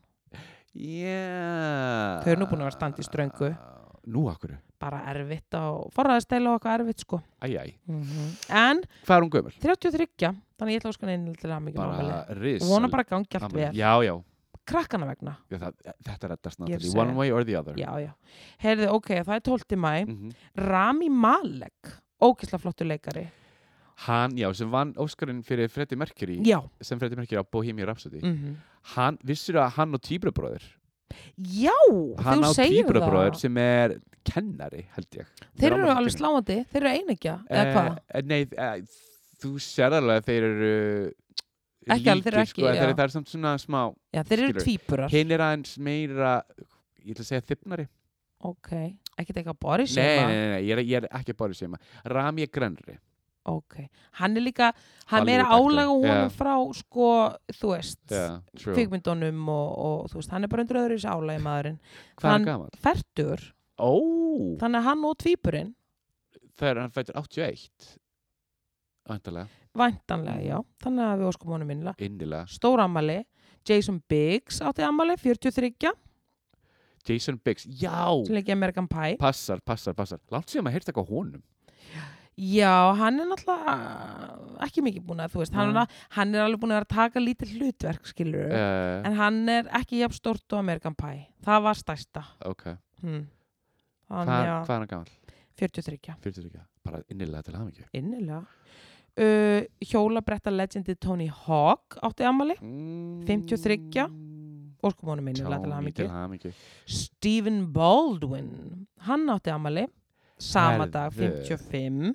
Speaker 2: Yeah. Uh,
Speaker 1: Þau eru nú búin að vera standa í ströngu.
Speaker 2: Nú akkur.
Speaker 1: Bara erfitt á, forraðastæla og eitthvað erfitt sko
Speaker 2: Æj, æj.
Speaker 1: En
Speaker 2: Hvað er hún gömul?
Speaker 1: 33, þannig ég ætla að sko neina til að mikið máli.
Speaker 2: Bara risa.
Speaker 1: Og vona bara að gangi allt vel.
Speaker 2: Amen. Já, já.
Speaker 1: Krakkana vegna,
Speaker 2: Já, það, þetta er reddast
Speaker 1: Ég er að
Speaker 2: náttúrulega.
Speaker 1: segja.
Speaker 2: One way or the other.
Speaker 1: já, já. Heyrðu, ok, það er 12. mæ.
Speaker 2: Mhm.
Speaker 1: Rami Malek, ókisla flottu leikari
Speaker 2: hann, já, sem vann Óskarinn fyrir Freddie Mercury,
Speaker 1: já,
Speaker 2: sem Freddie Mercury á Bohemian Rhapsody
Speaker 1: mm
Speaker 2: hann, vissir að hann og Týbrabróður
Speaker 1: já
Speaker 2: hann á
Speaker 1: þú segir
Speaker 2: Týbrabróður
Speaker 1: það
Speaker 2: sem er kennari, held ég
Speaker 1: þeir
Speaker 2: á
Speaker 1: eru
Speaker 2: Mallorquínu.
Speaker 1: alveg sláandi, þeir eru einegja eða
Speaker 2: Eh,
Speaker 1: hvað,
Speaker 2: eh, Nei, eh, þú sér alveg að þeir eru
Speaker 1: Ekki alveg, þeir eru ekki,
Speaker 2: sko, en þeir,
Speaker 1: já.
Speaker 2: það er samt svona smá
Speaker 1: já, þeir eru
Speaker 2: skilur.
Speaker 1: tvíburar
Speaker 2: hinn er aðeins meira ég ætla að segja þippnari
Speaker 1: ok, ekkert eitthvað Boris
Speaker 2: nei, nei,
Speaker 1: Shema.
Speaker 2: nei, nei, ég er, ég er ekki bara að segja maður Rami er grannri
Speaker 1: ok, hann er líka hann er meira álega
Speaker 2: Hollywood actor,
Speaker 1: honum
Speaker 2: já.
Speaker 1: frá sko, þú veist
Speaker 2: yeah, Hvað
Speaker 1: kvikmyndunum og, og þú veist, hann er bara undir öðru í þessu álægi maðurinn
Speaker 2: er
Speaker 1: hann-
Speaker 2: hann gamall?
Speaker 1: fertur,
Speaker 2: Ó,
Speaker 1: þannig að hann og tvíburinn
Speaker 2: það er hann fættur 81 Andalega,
Speaker 1: væntanlega, já, þannig að við óskum honum innlega
Speaker 2: innilega
Speaker 1: stór ammali, Jason Biggs átti ammali, 43
Speaker 2: Jason Biggs, já,
Speaker 1: sem leikja American Pie
Speaker 2: passar, passar, passar Látt sér maður heyrta eitthvað á honum
Speaker 1: já, hann er náttúrulega ekki mikið búin að, þú veist, hann,
Speaker 2: Nei.
Speaker 1: er ná- hann er alveg búin að vera að taka lítið hlutverk, skilur
Speaker 2: uh,
Speaker 1: en hann er ekki jafn stórt og American Pie það var stærsta
Speaker 2: Ok,
Speaker 1: hm.
Speaker 2: hvað
Speaker 1: þannig
Speaker 2: hvað
Speaker 1: að
Speaker 2: er hann gamall?
Speaker 1: 43
Speaker 2: 43, bara innilega til hafingi
Speaker 1: innilega uh, hjólabretta legendi Tony Hawk átti ammali, 53.
Speaker 2: Mm.
Speaker 1: óskum honum innilega til
Speaker 2: Tjáni
Speaker 1: hamingju
Speaker 2: til hamingi
Speaker 1: Stephen Baldwin hann átti amali sama
Speaker 2: Herðu.
Speaker 1: dag 55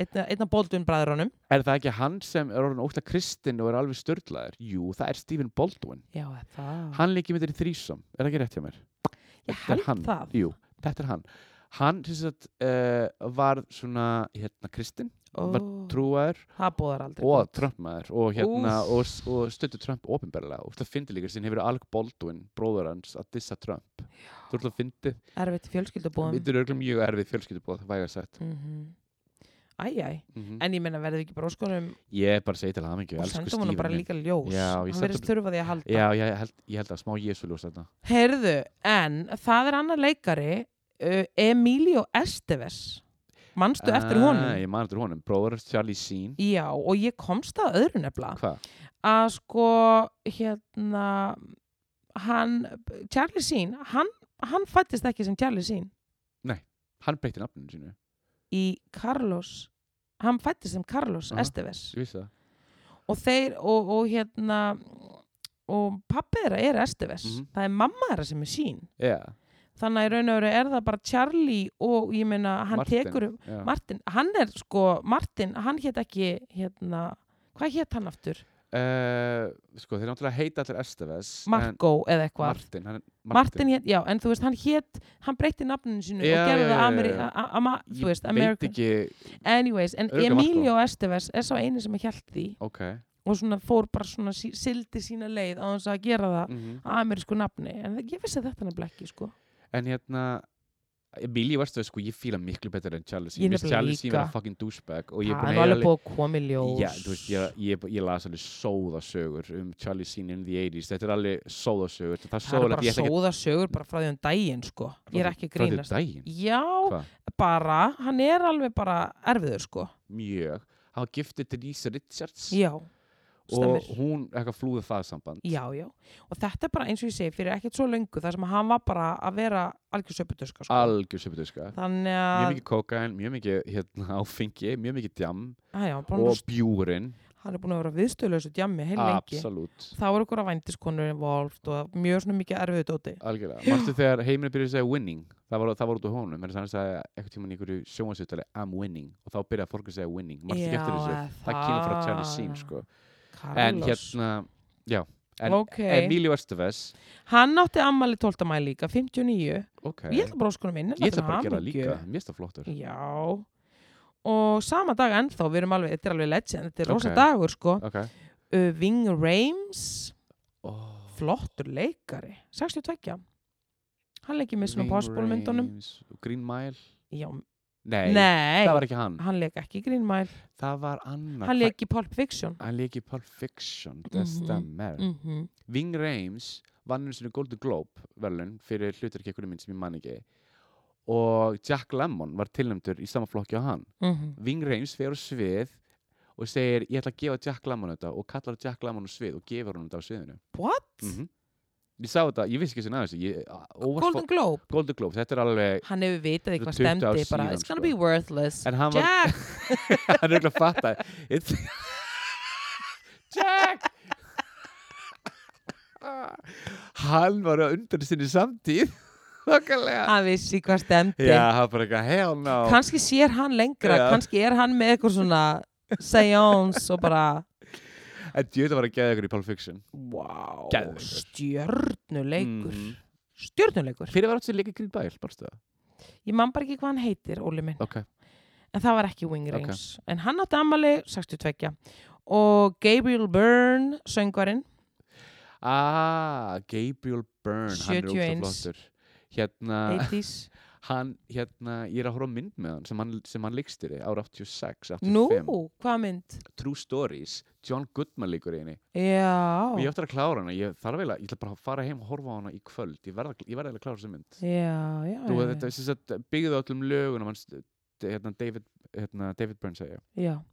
Speaker 1: einna, einna Baldwin bræðurunum
Speaker 2: Er það ekki hann sem er orðin ótla kristinn og er alveg störtlaður? Jú, það er Stephen Baldwin
Speaker 1: já er það
Speaker 2: Hann leikir með þeirri þrísom, er það ekki rétt hjá mér?
Speaker 1: Ah. ég
Speaker 2: Þetta er
Speaker 1: held
Speaker 2: hann.
Speaker 1: það
Speaker 2: Jú, þetta er hann Hann sem sagt, uh, var svona hérna, kristinn, var
Speaker 1: Ó,
Speaker 2: trúaður
Speaker 1: það búðar aldrei
Speaker 2: og
Speaker 1: gott.
Speaker 2: Trump-maður og, hérna,
Speaker 1: Úff.
Speaker 2: og, og stöttu Trump ofinberlega og það fyndi líka sem hefur Alec Baldwin, bróður hans, að dissa Trump Þú ætla að fyndi,
Speaker 1: erfitt fjölskyldubúðum
Speaker 2: þetta er örgulega mjög erfið fjölskyldubóð, vægar sagt
Speaker 1: mm -hmm. æjæ
Speaker 2: mm
Speaker 1: en ég menna verðið ekki bara óskonum
Speaker 2: Ég er bara að segja til hamingju,
Speaker 1: og
Speaker 2: elsku
Speaker 1: sendum hún bara
Speaker 2: Stephen minn.
Speaker 1: líka ljós
Speaker 2: Já, ég
Speaker 1: hann
Speaker 2: sendi
Speaker 1: verðist
Speaker 2: bara-
Speaker 1: þurfa því að halda
Speaker 2: Já, ég held, ég held að smá jésuljós þetta
Speaker 1: heyrðu, en það er annar leikari uh, Emilio Esteves manstu eftir
Speaker 2: Ah,
Speaker 1: honum
Speaker 2: Ég man eftir honum, bróður Charlie Sheen
Speaker 1: já, og ég komst að öðru nefnilega
Speaker 2: Hvað?
Speaker 1: að sko hérna hann, Charlie Sheen hann, hann fættist ekki sem Charlie Sheen
Speaker 2: Hann breytti nafninu sínu,
Speaker 1: í Carlos hann fættist sem Carlos
Speaker 2: Aha.
Speaker 1: Esteves
Speaker 2: ég vissi það
Speaker 1: og þeir og, og hérna og pappi þeirra er Esteves
Speaker 2: Mhm.
Speaker 1: það er mamma þeirra sem er Sheen
Speaker 2: Já,
Speaker 1: þannig að í raun og veru er það bara Charlie og ég meina hann
Speaker 2: Martin,
Speaker 1: tekur
Speaker 2: já.
Speaker 1: Martin, hann er sko Martin, hann hétt ekki hérna, hvað hétt hann aftur?
Speaker 2: Eh, Sko, þeir náttúrulega heita allir Esteves
Speaker 1: Marco eða
Speaker 2: en
Speaker 1: eitthvað
Speaker 2: Martin, hann,
Speaker 1: Martin, Martin hét, já, en þú veist, hann hét hann breytti nafninu sínu
Speaker 2: Já,
Speaker 1: og gerði
Speaker 2: já,
Speaker 1: það
Speaker 2: já,
Speaker 1: Ameri
Speaker 2: já.
Speaker 1: a- a- ma- þú veist,
Speaker 2: Ég veit
Speaker 1: American
Speaker 2: ekki,
Speaker 1: anyways, en
Speaker 2: Örugglega
Speaker 1: Emilio Esteves er sá eini sem held því
Speaker 2: ok
Speaker 1: og svona fór bara svona sí- sildi sína leið á þess að gera það
Speaker 2: mhm.
Speaker 1: að amerísku nafni, en það- ég vissi þetta nefnilega ekki sko,
Speaker 2: En hérna Billy Westwood, sko, ég fíla miklu betur en Charlie
Speaker 1: Ég
Speaker 2: Sheen Mér finnst
Speaker 1: nefnilega
Speaker 2: Charlie
Speaker 1: líka.
Speaker 2: Sheen vera fucking douchebag og ég er
Speaker 1: það er nú
Speaker 2: búin að heyra
Speaker 1: alveg
Speaker 2: alveg-
Speaker 1: búið að koma í ljós
Speaker 2: Já, þú veist, ég, ég, ég las alveg sóðasögur um Charlie Sheen in the 80s Þetta er alveg sóðasögur Það er
Speaker 1: það er
Speaker 2: sóðalegt,
Speaker 1: bara
Speaker 2: ég ætla ekki
Speaker 1: sóða sögur bara frá því um daginn sko, ég er ekki að
Speaker 2: frá því
Speaker 1: grínast
Speaker 2: daginn
Speaker 1: já,
Speaker 2: Hvað?
Speaker 1: bara, hann er alveg bara erfiður sko,
Speaker 2: mjög hann var giftið til Lisa Richards
Speaker 1: já
Speaker 2: og
Speaker 1: stemmir.
Speaker 2: hún eitthvað flúði það samband
Speaker 1: Já, já. Og þetta er bara eins og ég segi fyrir ekkert svo löngu þar sem hann var bara að vera algjör söputuska. Sko.
Speaker 2: algjör söputuska
Speaker 1: Þannig
Speaker 2: mjög
Speaker 1: að,
Speaker 2: mikið kókain, mjög mikið hérna, (laughs) áfengi mjög mikið djam
Speaker 1: að já, bara,
Speaker 2: og bjúrin
Speaker 1: hann er búin að vera viðstöðlösu djammi heil lengi.
Speaker 2: absolutt
Speaker 1: Þá er okkur að vændiskonur involvt og mjög svona mikið erfiðu dóti.
Speaker 2: algjörlega, mannstu þegar heiminu byrjaði að segja winning það var, það var út á honum, en þannig að eitthvað tíma í einhverju sjónvarsutali, I'm winning og þá byrjaði fólk að segja winning, mannstu ekki
Speaker 1: Já,
Speaker 2: eftir þessu
Speaker 1: er
Speaker 2: það kynna frá Charlie
Speaker 1: það.
Speaker 2: Sheen sko.
Speaker 1: Carlos.
Speaker 2: en hérna, já en
Speaker 1: ok.
Speaker 2: Emilio Estevez
Speaker 1: Hann átti ammali 12. mæ líka, 59.
Speaker 2: ok,
Speaker 1: Ég ætla bara að skona minna.
Speaker 2: Ég ætla bara að gera það líka, mér finnst það flottur
Speaker 1: Já. Og sama dag ennþá, við erum alveg, þetta er alveg legend, þetta er rosa
Speaker 2: Ok.
Speaker 1: dagur sko.
Speaker 2: okay.
Speaker 1: Uh, Ving Reims,
Speaker 2: oh.
Speaker 1: flottur leikari 62 hann leikir Mission Impossible myndunum
Speaker 2: Rames og Green Mile
Speaker 1: já,
Speaker 2: Nei,
Speaker 1: nei,
Speaker 2: það var ekki hann
Speaker 1: hann leik ekki í Green Mile
Speaker 2: Það var annar
Speaker 1: hann
Speaker 2: Hva-
Speaker 1: leik í Pulp Fiction
Speaker 2: Hann leik í Pulp Fiction That's
Speaker 1: Mhm,
Speaker 2: the man
Speaker 1: mm
Speaker 2: Ving Rames vann einu sinni Golden Globe verðlun fyrir hlutarkekkunum minn sem ég man ekki og Jack Lemmon var tilnæmdur í sama flokki á hann
Speaker 1: mhm.
Speaker 2: Ving Rames fer á svið og segir ég ætla að gefa Jack Lemmon þetta og kallar Jack Lemmon á svið og gefur hann þetta á sviðinu
Speaker 1: what?
Speaker 2: mm -hmm. ég sá þetta, ég vissi ekki sem aðeins ég, óvart
Speaker 1: Golden Globe,
Speaker 2: fó- Golden Globes, þetta er alveg
Speaker 1: hann hefur vitað eitthvað
Speaker 2: Þetta er 20 ár
Speaker 1: stemdi bara,
Speaker 2: síðan,
Speaker 1: it's gonna
Speaker 2: sko.
Speaker 1: be worthless
Speaker 2: en hann var,
Speaker 1: Jack,
Speaker 2: hann er ekki að fatta it's, Jack hann var á undan sinni samtíð þokkalega
Speaker 1: hann vissi
Speaker 2: (laughs)
Speaker 1: hvað stemdi
Speaker 2: já, hann bara eitthvað, hell no
Speaker 1: kannski sér hann lengra,
Speaker 2: Já.
Speaker 1: kannski er hann með eitthvað svona seance og bara
Speaker 2: en djöðu var að geða ykkur í Pulp Fiction
Speaker 1: wow,
Speaker 2: Geðveikur.
Speaker 1: stjörnuleikur
Speaker 2: Mhm.
Speaker 1: stjörnuleikur,
Speaker 2: fyrir var átt sér líka Green Bile, barstu það
Speaker 1: ég man bara ekki hvað hann heitir Óli minn,
Speaker 2: ok,
Speaker 1: en það var ekki Wing Rings en hann átti ammali 62 og Gabriel Byrne söngvarinn,
Speaker 2: ah, Gabriel Byrne hann er
Speaker 1: 71.
Speaker 2: ógeðslega flottur hérna
Speaker 1: 80s
Speaker 2: hann, hérna, ég er að horfa á mynd með hann sem hann, sem hann leikstir ára 86, 85
Speaker 1: nú, hvað mynd?
Speaker 2: True Stories, John Goodman líkur í henni
Speaker 1: já,
Speaker 2: og ég ætti að klára hana, ég þarf eiginlega, ég ætla bara að fara heim og horfa á hana í kvöld, ég verð að- ég verð eiginlega að klára þessa mynd
Speaker 1: já, já,
Speaker 2: þú,
Speaker 1: já,
Speaker 2: þetta er sem sagt byggðið á öllum um lögunum hans, hérna, David, hérna, David Byrne segja,
Speaker 1: já. já.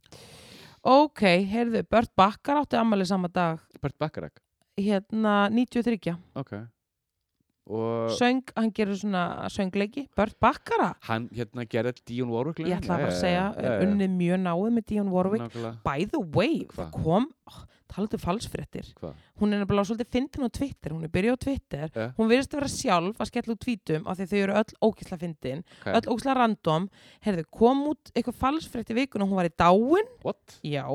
Speaker 1: ok, heyrðu, Bört Bakkar átti ammali sama dag
Speaker 2: Bert Bacharach
Speaker 1: hérna 93
Speaker 2: ok og
Speaker 1: söng, hann gerur svona söngleiki Bört Bakkara,
Speaker 2: hann, hérna, gerði Dionne Warwick
Speaker 1: ég ætla bara að segja unnið mjög náið með Dionne Warwick
Speaker 2: Nákvæmlega,
Speaker 1: by the way,
Speaker 2: Hva?
Speaker 1: það kom oh, talaðu falsfréttir,
Speaker 2: hvað?
Speaker 1: hún er nefnilega svolítið fyndin á Twitter, hún er byrjuð á Twitter
Speaker 2: Ja.
Speaker 1: hún virðist að vera sjálf að skella út tvítum af því að þau eru öll ókysla fyndin
Speaker 2: Okay.
Speaker 1: öll ókysla random, herðu, kom út eitthvað falsfrétt í vikuna, hún var í dáin
Speaker 2: What?
Speaker 1: já,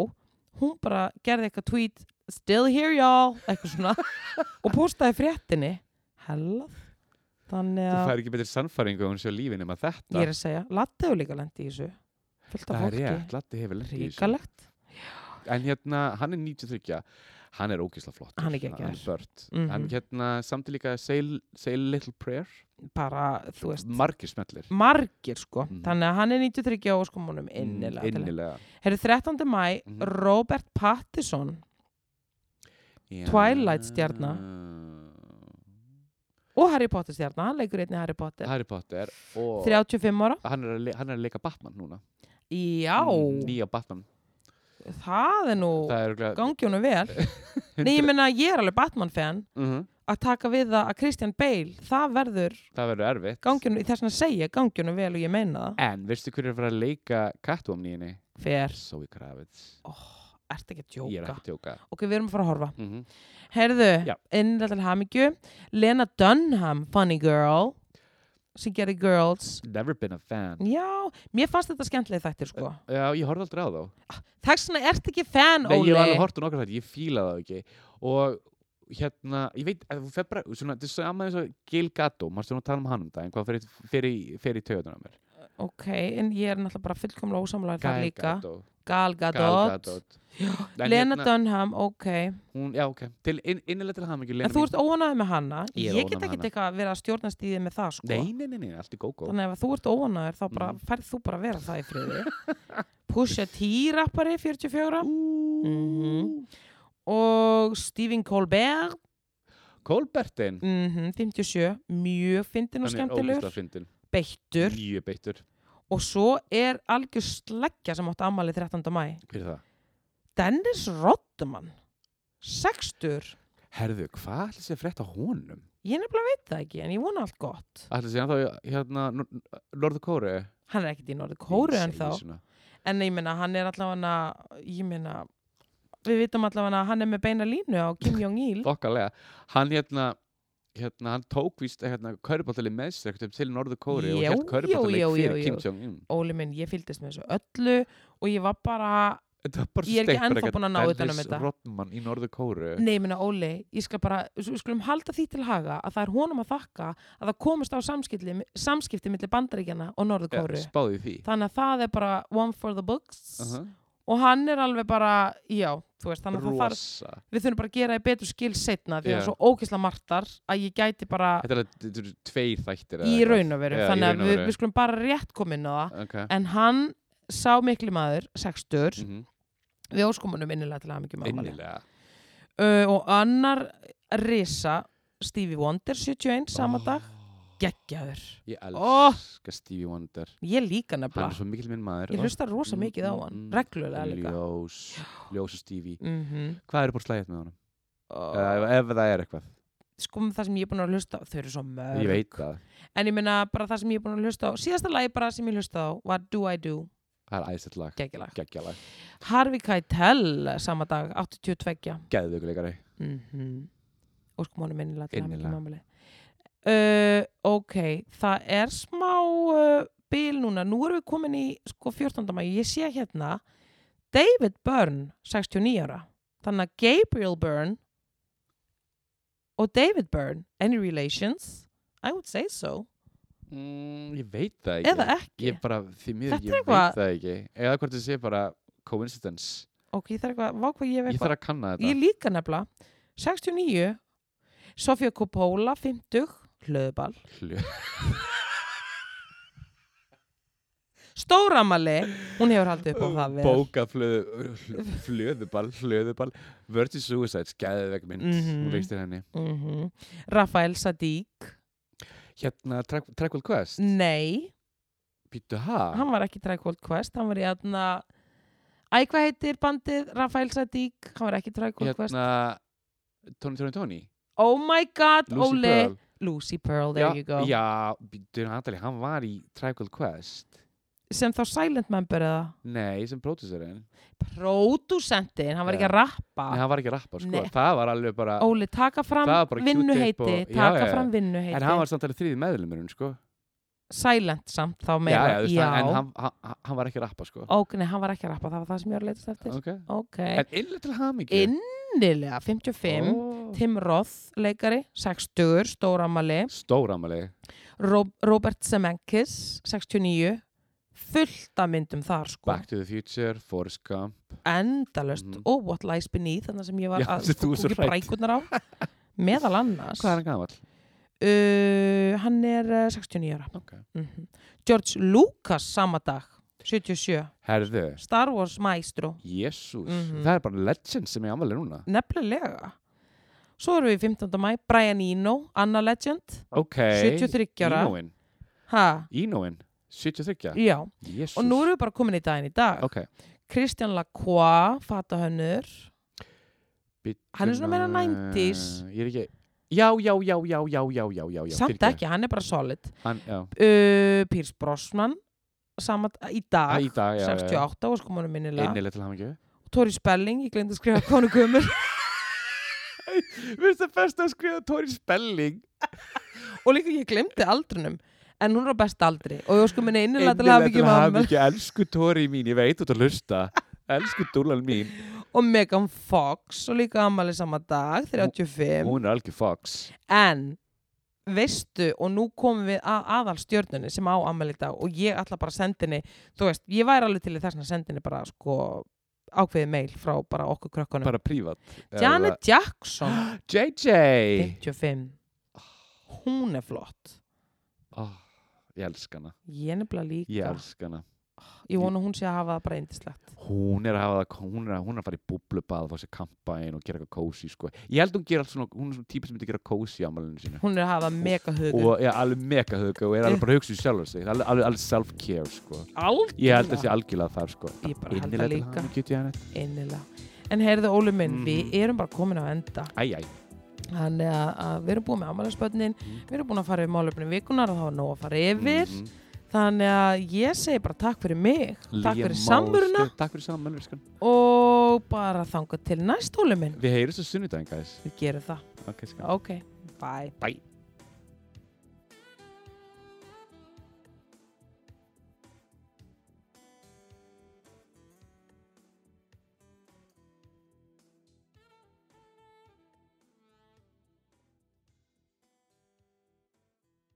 Speaker 1: hún bara gerði eitthvað tweet, still here y'all eitthvað
Speaker 2: (laughs)
Speaker 1: svona, og postaði fréttinni hella þannig
Speaker 2: Þú
Speaker 1: að,
Speaker 2: fær ekki betri sannfæringu að hún sé á lífi nema þetta
Speaker 1: ég er að segja Latti hefur líka lendi í þessu fullt af
Speaker 2: Það er
Speaker 1: fólki,
Speaker 2: rétt, Latti hefur lent í þessu.
Speaker 1: ríkalegt
Speaker 2: En hérna, hann er 93 Hann er ógislega flott
Speaker 1: Hann er geggjaður.
Speaker 2: Hann er börn
Speaker 1: Mhm.
Speaker 2: Hann hérna, samt í líka say, say a little prayer
Speaker 1: bara, þú veist
Speaker 2: Margir smetlir
Speaker 1: margir sko,
Speaker 2: Mhm.
Speaker 1: þannig að hann er 93 á skomunum innilega,
Speaker 2: Mm,
Speaker 1: innilega.
Speaker 2: Innilega
Speaker 1: Herru, 13. mæ,
Speaker 2: Mhm.
Speaker 1: Robert Pattinson
Speaker 2: Já.
Speaker 1: Twilight stjarna. og Harry Potter stjarnar, hann leikur einni Harry Potter
Speaker 2: Harry Potter og
Speaker 1: 35 ára
Speaker 2: hann, er að le- hann er að leika Batman núna
Speaker 1: já,
Speaker 2: Mm, Nýja Batman
Speaker 1: það er nú
Speaker 2: Það er örugglega
Speaker 1: gangi honum vel
Speaker 2: (laughs)
Speaker 1: Nei, ég meina, ég er alveg Batman-fan
Speaker 2: Mhm.
Speaker 1: að taka við það að Christian Bale það verður
Speaker 2: Það verður erfitt
Speaker 1: gangi honum, þess að segja gangi honum vel og ég meina það
Speaker 2: En veistu hverju er að fara að leika Catwoman í henni?
Speaker 1: fer,
Speaker 2: Zoe Kravitz
Speaker 1: ert ekki að
Speaker 2: Ég
Speaker 1: djóka
Speaker 2: er ekki að tjóka
Speaker 1: ok, við erum að fara að horfa
Speaker 2: mm Já.
Speaker 1: Herðu, innrætt til hamingju Lena Dunham, funny girl sem gerði Girls
Speaker 2: Never been a fan
Speaker 1: Já, mér fannst þetta skemmtilega þættir sko
Speaker 2: Já, ég horfði aldrei á þá
Speaker 1: Þess vegna ert ekki fan,
Speaker 2: Nei,
Speaker 1: Óli
Speaker 2: ég var alveg hort á nokkar þetta, ég fílaði það ekki Og hérna, ég veit, að þú fer bara, svona, þetta er sama eins og Gil Gatto Maður stóðum að tala um hann um daginn, hvað fer í- fer í, fer í töðunum mér
Speaker 1: Ok, en ég er náttúrulega bara fullkomlega ósamlega þar
Speaker 2: Gal
Speaker 1: líka
Speaker 2: Gadot,
Speaker 1: Gal
Speaker 2: Gal
Speaker 1: Gadot
Speaker 2: Gadot En
Speaker 1: Lena
Speaker 2: hérna,
Speaker 1: Dunham, ok
Speaker 2: hún, Já, ok, til, inn, innilega til hamingi
Speaker 1: En þú ert óanæðið með hanna Ég, get
Speaker 2: Ég er óánægð
Speaker 1: ekki
Speaker 2: með
Speaker 1: eitthvað að vera að stjórnast í þið með það sko
Speaker 2: Nei, Mm. nei, nei, nei, allt í gógó
Speaker 1: Þannig ef að þú ert óanæður þá bara færð þú bara að vera það í friði
Speaker 2: (laughs)
Speaker 1: Pusha T rappari 44 Mhm. og Stephen Colbert
Speaker 2: Kolbertin
Speaker 1: mm 57, mjög fyndin og skemmtilegur
Speaker 2: ógæslega fyndin
Speaker 1: beittur
Speaker 2: Mjög beittur
Speaker 1: og svo er algjör sleggja sem átti ammali 13. mæ
Speaker 2: Hver er það?
Speaker 1: Dennis Rodman sextur
Speaker 2: Herðu, hvað ætlis ég að frétta af honum?
Speaker 1: ég nefnilega veit það ekki en ég vona allt gott
Speaker 2: Ætlis ég að þá, hérna, Norður Kóru
Speaker 1: hann er ekkert í norðu kóru en þá
Speaker 2: svona.
Speaker 1: en ég meina hann er allavega ég meina við vitum allavega að hann er með beina línu á Kim Jong-il
Speaker 2: þokkalega hann hérna hérna, hann tók víst hérna, körbáttali með sér einhvern veginn til Norður Kóri og
Speaker 1: Jú,
Speaker 2: hélt körbáttali
Speaker 1: jú, jú,
Speaker 2: fyrir
Speaker 1: jú,
Speaker 2: Kim
Speaker 1: jú.
Speaker 2: Jong-un
Speaker 1: Óli minn, ég fylgdist með þessu öllu og ég var bara,
Speaker 2: Þetta var bara svo
Speaker 1: Ég er ekki
Speaker 2: steikt, bara
Speaker 1: ennþá
Speaker 2: eitthvað
Speaker 1: búin að ná utan um
Speaker 2: Dennis
Speaker 1: þetta.
Speaker 2: Rodman í Norður Kóri
Speaker 1: nei, ég meina Óli ég skal bara, við skulum halda því til haga að það er honum að þakka að það komist á samskipti, samskipti millir bandaríkjana og norðu kóru
Speaker 2: spáði því
Speaker 1: þannig að það er bara one for the books
Speaker 2: uh
Speaker 1: og hann er alveg bara, já, þú veist þannig að það þarf,
Speaker 2: rosa
Speaker 1: við þurfum bara að gera í betur skil setna því að það er
Speaker 2: Já.
Speaker 1: svo ókisla martar að ég gæti bara
Speaker 2: Þetta er alveg- þetta eru tveir þættir eða
Speaker 1: í
Speaker 2: eitthvað.
Speaker 1: raun og veru
Speaker 2: Já, í
Speaker 1: þannig
Speaker 2: raun
Speaker 1: að
Speaker 2: og
Speaker 1: við,
Speaker 2: veru.
Speaker 1: við skulum bara rétt koma inn á það
Speaker 2: okay.
Speaker 1: en hann sá mikli maður, sextur
Speaker 2: mm -hmm.
Speaker 1: við óskomunum innilega til að hafa mikið mamma
Speaker 2: Innilega
Speaker 1: uh, og annar risa Stevie Wonder 71 sama
Speaker 2: Ah.
Speaker 1: dag geggjaður,
Speaker 2: Oh, Ég
Speaker 1: Ó.
Speaker 2: elska Stevie Wonder
Speaker 1: ég líka
Speaker 2: Hann er
Speaker 1: nefnilega
Speaker 2: svo mikil minn maður
Speaker 1: ég hlusta rosa
Speaker 2: Mm,
Speaker 1: mikið á
Speaker 2: mm,
Speaker 1: hann,
Speaker 2: mm.
Speaker 1: reglulega líka
Speaker 2: Ljós Ljós og Stevie
Speaker 1: mhm
Speaker 2: Hvað er búin slæðið með honum?
Speaker 1: og
Speaker 2: Ef, ef hérna? það er eitthvað
Speaker 1: sko með það sem ég er búin að hlusta á, þau eru svo mörg
Speaker 2: ég veit það,
Speaker 1: en ég meina bara það sem ég er búin að hlusta á síðasta lagi bara sem ég hlusta á var Do I Do
Speaker 2: það er æðislegt lag
Speaker 1: geggilag
Speaker 2: geggjalag,
Speaker 1: Harvey Keitel sama dag 82
Speaker 2: geðvökuleikari
Speaker 1: mm -hmm. óskum honum innilega til hann ekki
Speaker 2: Mhm. Innilega.
Speaker 1: mámali uh, ok, það er smá uh, bil núna nú erum við komin í sko 14. mæg ég sé hérna David Byrne, 69 ára þannig að Gabriel Byrne og David Byrne any relations? I would say so
Speaker 2: mm, ég veit það ekki
Speaker 1: eða ekki
Speaker 2: ég bara, því miður,
Speaker 1: Þetta er
Speaker 2: ég veit
Speaker 1: eitthvað-
Speaker 2: það ekki eða hvort þið sé bara coincidence
Speaker 1: ok, ég þarf eitthvað, vá hvað ég hef
Speaker 2: ég
Speaker 1: eitthvað
Speaker 2: þarf að kanna þetta
Speaker 1: Ég líka nefnilega 69 Sofía Coppola 50 Hlöðuball
Speaker 2: Hlö-
Speaker 1: Stóramali Hún hefur haldið upp á það vel
Speaker 2: bókaflöðu hl- flöðuball, flöðuball Virtue Suicides, geðveg mynd
Speaker 1: Mhm.
Speaker 2: hún leikst í henni
Speaker 1: mm -hmm. Rafael Sadík
Speaker 2: hérna, Tra- Trackwell Quest
Speaker 1: Nei,
Speaker 2: býttu ha,
Speaker 1: Mm. hann var ekki Tribe Called Quest Hann var í aðna Æ, hvað heitir bandið Rafael Sadík Hann var ekki Tribe Called Quest
Speaker 2: hérna Tony Tony Tony
Speaker 1: Oh my god,
Speaker 2: Lucy
Speaker 1: Óli
Speaker 2: Pearl
Speaker 1: Lucy Pearl, there
Speaker 2: já,
Speaker 1: you go
Speaker 2: já, býttu Natalie, hann var í Trackwell Quest
Speaker 1: Sem þá silent member eða
Speaker 2: nei, sem pródúserinn
Speaker 1: Producentinn, hann var ekki
Speaker 2: Já.
Speaker 1: að rappa
Speaker 2: en hann var ekki að rappa, sko,
Speaker 1: Nei.
Speaker 2: það var alveg bara
Speaker 1: Óli, taka fram
Speaker 2: Það var bara
Speaker 1: vinnuheiti
Speaker 2: Q-tip og- já,
Speaker 1: taka
Speaker 2: já, já.
Speaker 1: fram vinnuheiti
Speaker 2: en hann var samt alveg þriði meðlumurinn, sko
Speaker 1: silent samt þá
Speaker 2: já,
Speaker 1: meira
Speaker 2: já, þú veist, en hann, hann, hann var ekki að rappa, sko
Speaker 1: Ó, nei, hann var ekki að rappa, það var það sem ég var að leitast eftir
Speaker 2: ok,
Speaker 1: ok,
Speaker 2: en illa til hamingi
Speaker 1: innilega 55, Tim Roth leikari 60, stóramali
Speaker 2: stóramali
Speaker 1: Sko. Rob Robert Zemeckis 69 fullt að myndum þar sko
Speaker 2: Back to the Future, Forrest Gump
Speaker 1: endalust, mm
Speaker 2: Mhm.
Speaker 1: og What Lies Beneath þannig sem ég var
Speaker 2: Já,
Speaker 1: að
Speaker 2: (laughs) sem þú
Speaker 1: sko,
Speaker 2: er svo
Speaker 1: kúkja
Speaker 2: hrædd.
Speaker 1: brækurnar á
Speaker 2: (laughs)
Speaker 1: meðal annars
Speaker 2: Hvað er hann gamall?
Speaker 1: Uh, hann er eh, 69 ára
Speaker 2: Ok.
Speaker 1: Mhm. George Lucas sama dag 77,
Speaker 2: Herðu,
Speaker 1: Star Wars maestro
Speaker 2: jésús,
Speaker 1: Mhm.
Speaker 2: það er bara legend sem ég ámæli núna
Speaker 1: nefnilega svo erum við 15. mæ, Brian Eno Anna Legend,
Speaker 2: Ok,
Speaker 1: 73 ára
Speaker 2: Ínóin,
Speaker 1: ha,
Speaker 2: Ínóin, 73
Speaker 1: já,
Speaker 2: Jésús
Speaker 1: og nú erum við bara komin í daginn í dag
Speaker 2: Ok,
Speaker 1: Kristján Lacroix, fatahönnur
Speaker 2: býttu
Speaker 1: Hann er svona meira
Speaker 2: nú-
Speaker 1: 90s.
Speaker 2: Ég er ekki, já, já, já, já, já, já, já, já, já
Speaker 1: samt
Speaker 2: fyrirgefðu.
Speaker 1: ekki, hann er bara solid
Speaker 2: Hann, já,
Speaker 1: uh, Pírs Brosman sama, í dag,
Speaker 2: Æ, í dag, já, já, já
Speaker 1: 68 og sko mannum minnilega
Speaker 2: Einnilega til hann ekki
Speaker 1: Tori Spelling, ég glemt að skrifa konu gömur
Speaker 2: (laughs) Mér finnst það best að skrifa Tóri Spelling
Speaker 1: og líka ég glemdi aldrunum en hún er á best aldri og ég sko minni innilega til hafa ekki mamma
Speaker 2: ekki Elsku Tóri mín, ég veit út
Speaker 1: (laughs)
Speaker 2: að hlusta Elsku Dúlan mín,
Speaker 1: og Megan Fox og líka ammali sama dag 35
Speaker 2: hún er algjör fox
Speaker 1: en veistu og nú komum við að aðalstjörnunni sem á ammali dag og ég ætla bara að senda henni þú veist, ég væri alveg til í þess að senda henni bara sko ákveðið meil frá bara okkur krökkunum
Speaker 2: Bara prívat
Speaker 1: Janet Jackson
Speaker 2: (gasps) JJ
Speaker 1: 55 hún er flott
Speaker 2: oh, Ég elska hana
Speaker 1: ég er nefnilega
Speaker 2: Ég
Speaker 1: líka
Speaker 2: elska hana
Speaker 1: ég vona hún sé að hafa það bara eindislegt
Speaker 2: Hún er að hafa það Hún er að, hún er að fara í búblubað Fá sér kampaðin og gera eitthvað kósi sko. Ég held hún gera allt svona Hún er svona típa sem myndi gera kósi á mæluninu sínu
Speaker 1: hún er að hafa mega hugun
Speaker 2: Og er alveg mega huga Og er alveg bara að hugsa í sjálfur sig Alveg, alveg, alveg self-care sko.
Speaker 1: Algjörlega.
Speaker 2: Ég held að sé algjörlega þar sko.
Speaker 1: Ég bara held það
Speaker 2: Innilega til
Speaker 1: líka.
Speaker 2: hamingju, Janet.
Speaker 1: Innilega. En heyrðu Óli minn,
Speaker 2: Mhm.
Speaker 1: við erum bara komin á enda.
Speaker 2: Æ, æ
Speaker 1: Þannig að, að við erum búin með ámælisbönnin,
Speaker 2: Mhm.
Speaker 1: við erum búin að fara yfir málöfnum vikunar og það var nóg að fara yfir.
Speaker 2: Mhm.
Speaker 1: Þannig að ég segi bara takk fyrir mig, takk
Speaker 2: Lía
Speaker 1: fyrir
Speaker 2: Málsdóttir,
Speaker 1: samveruna
Speaker 2: Takk fyrir samveruna
Speaker 1: og bara þangað til næst Óli minn.
Speaker 2: Við heyrjum svo sunnudaginn guys
Speaker 1: Við gerum það.
Speaker 2: Ok, skal
Speaker 1: Ok, bye.
Speaker 2: Bye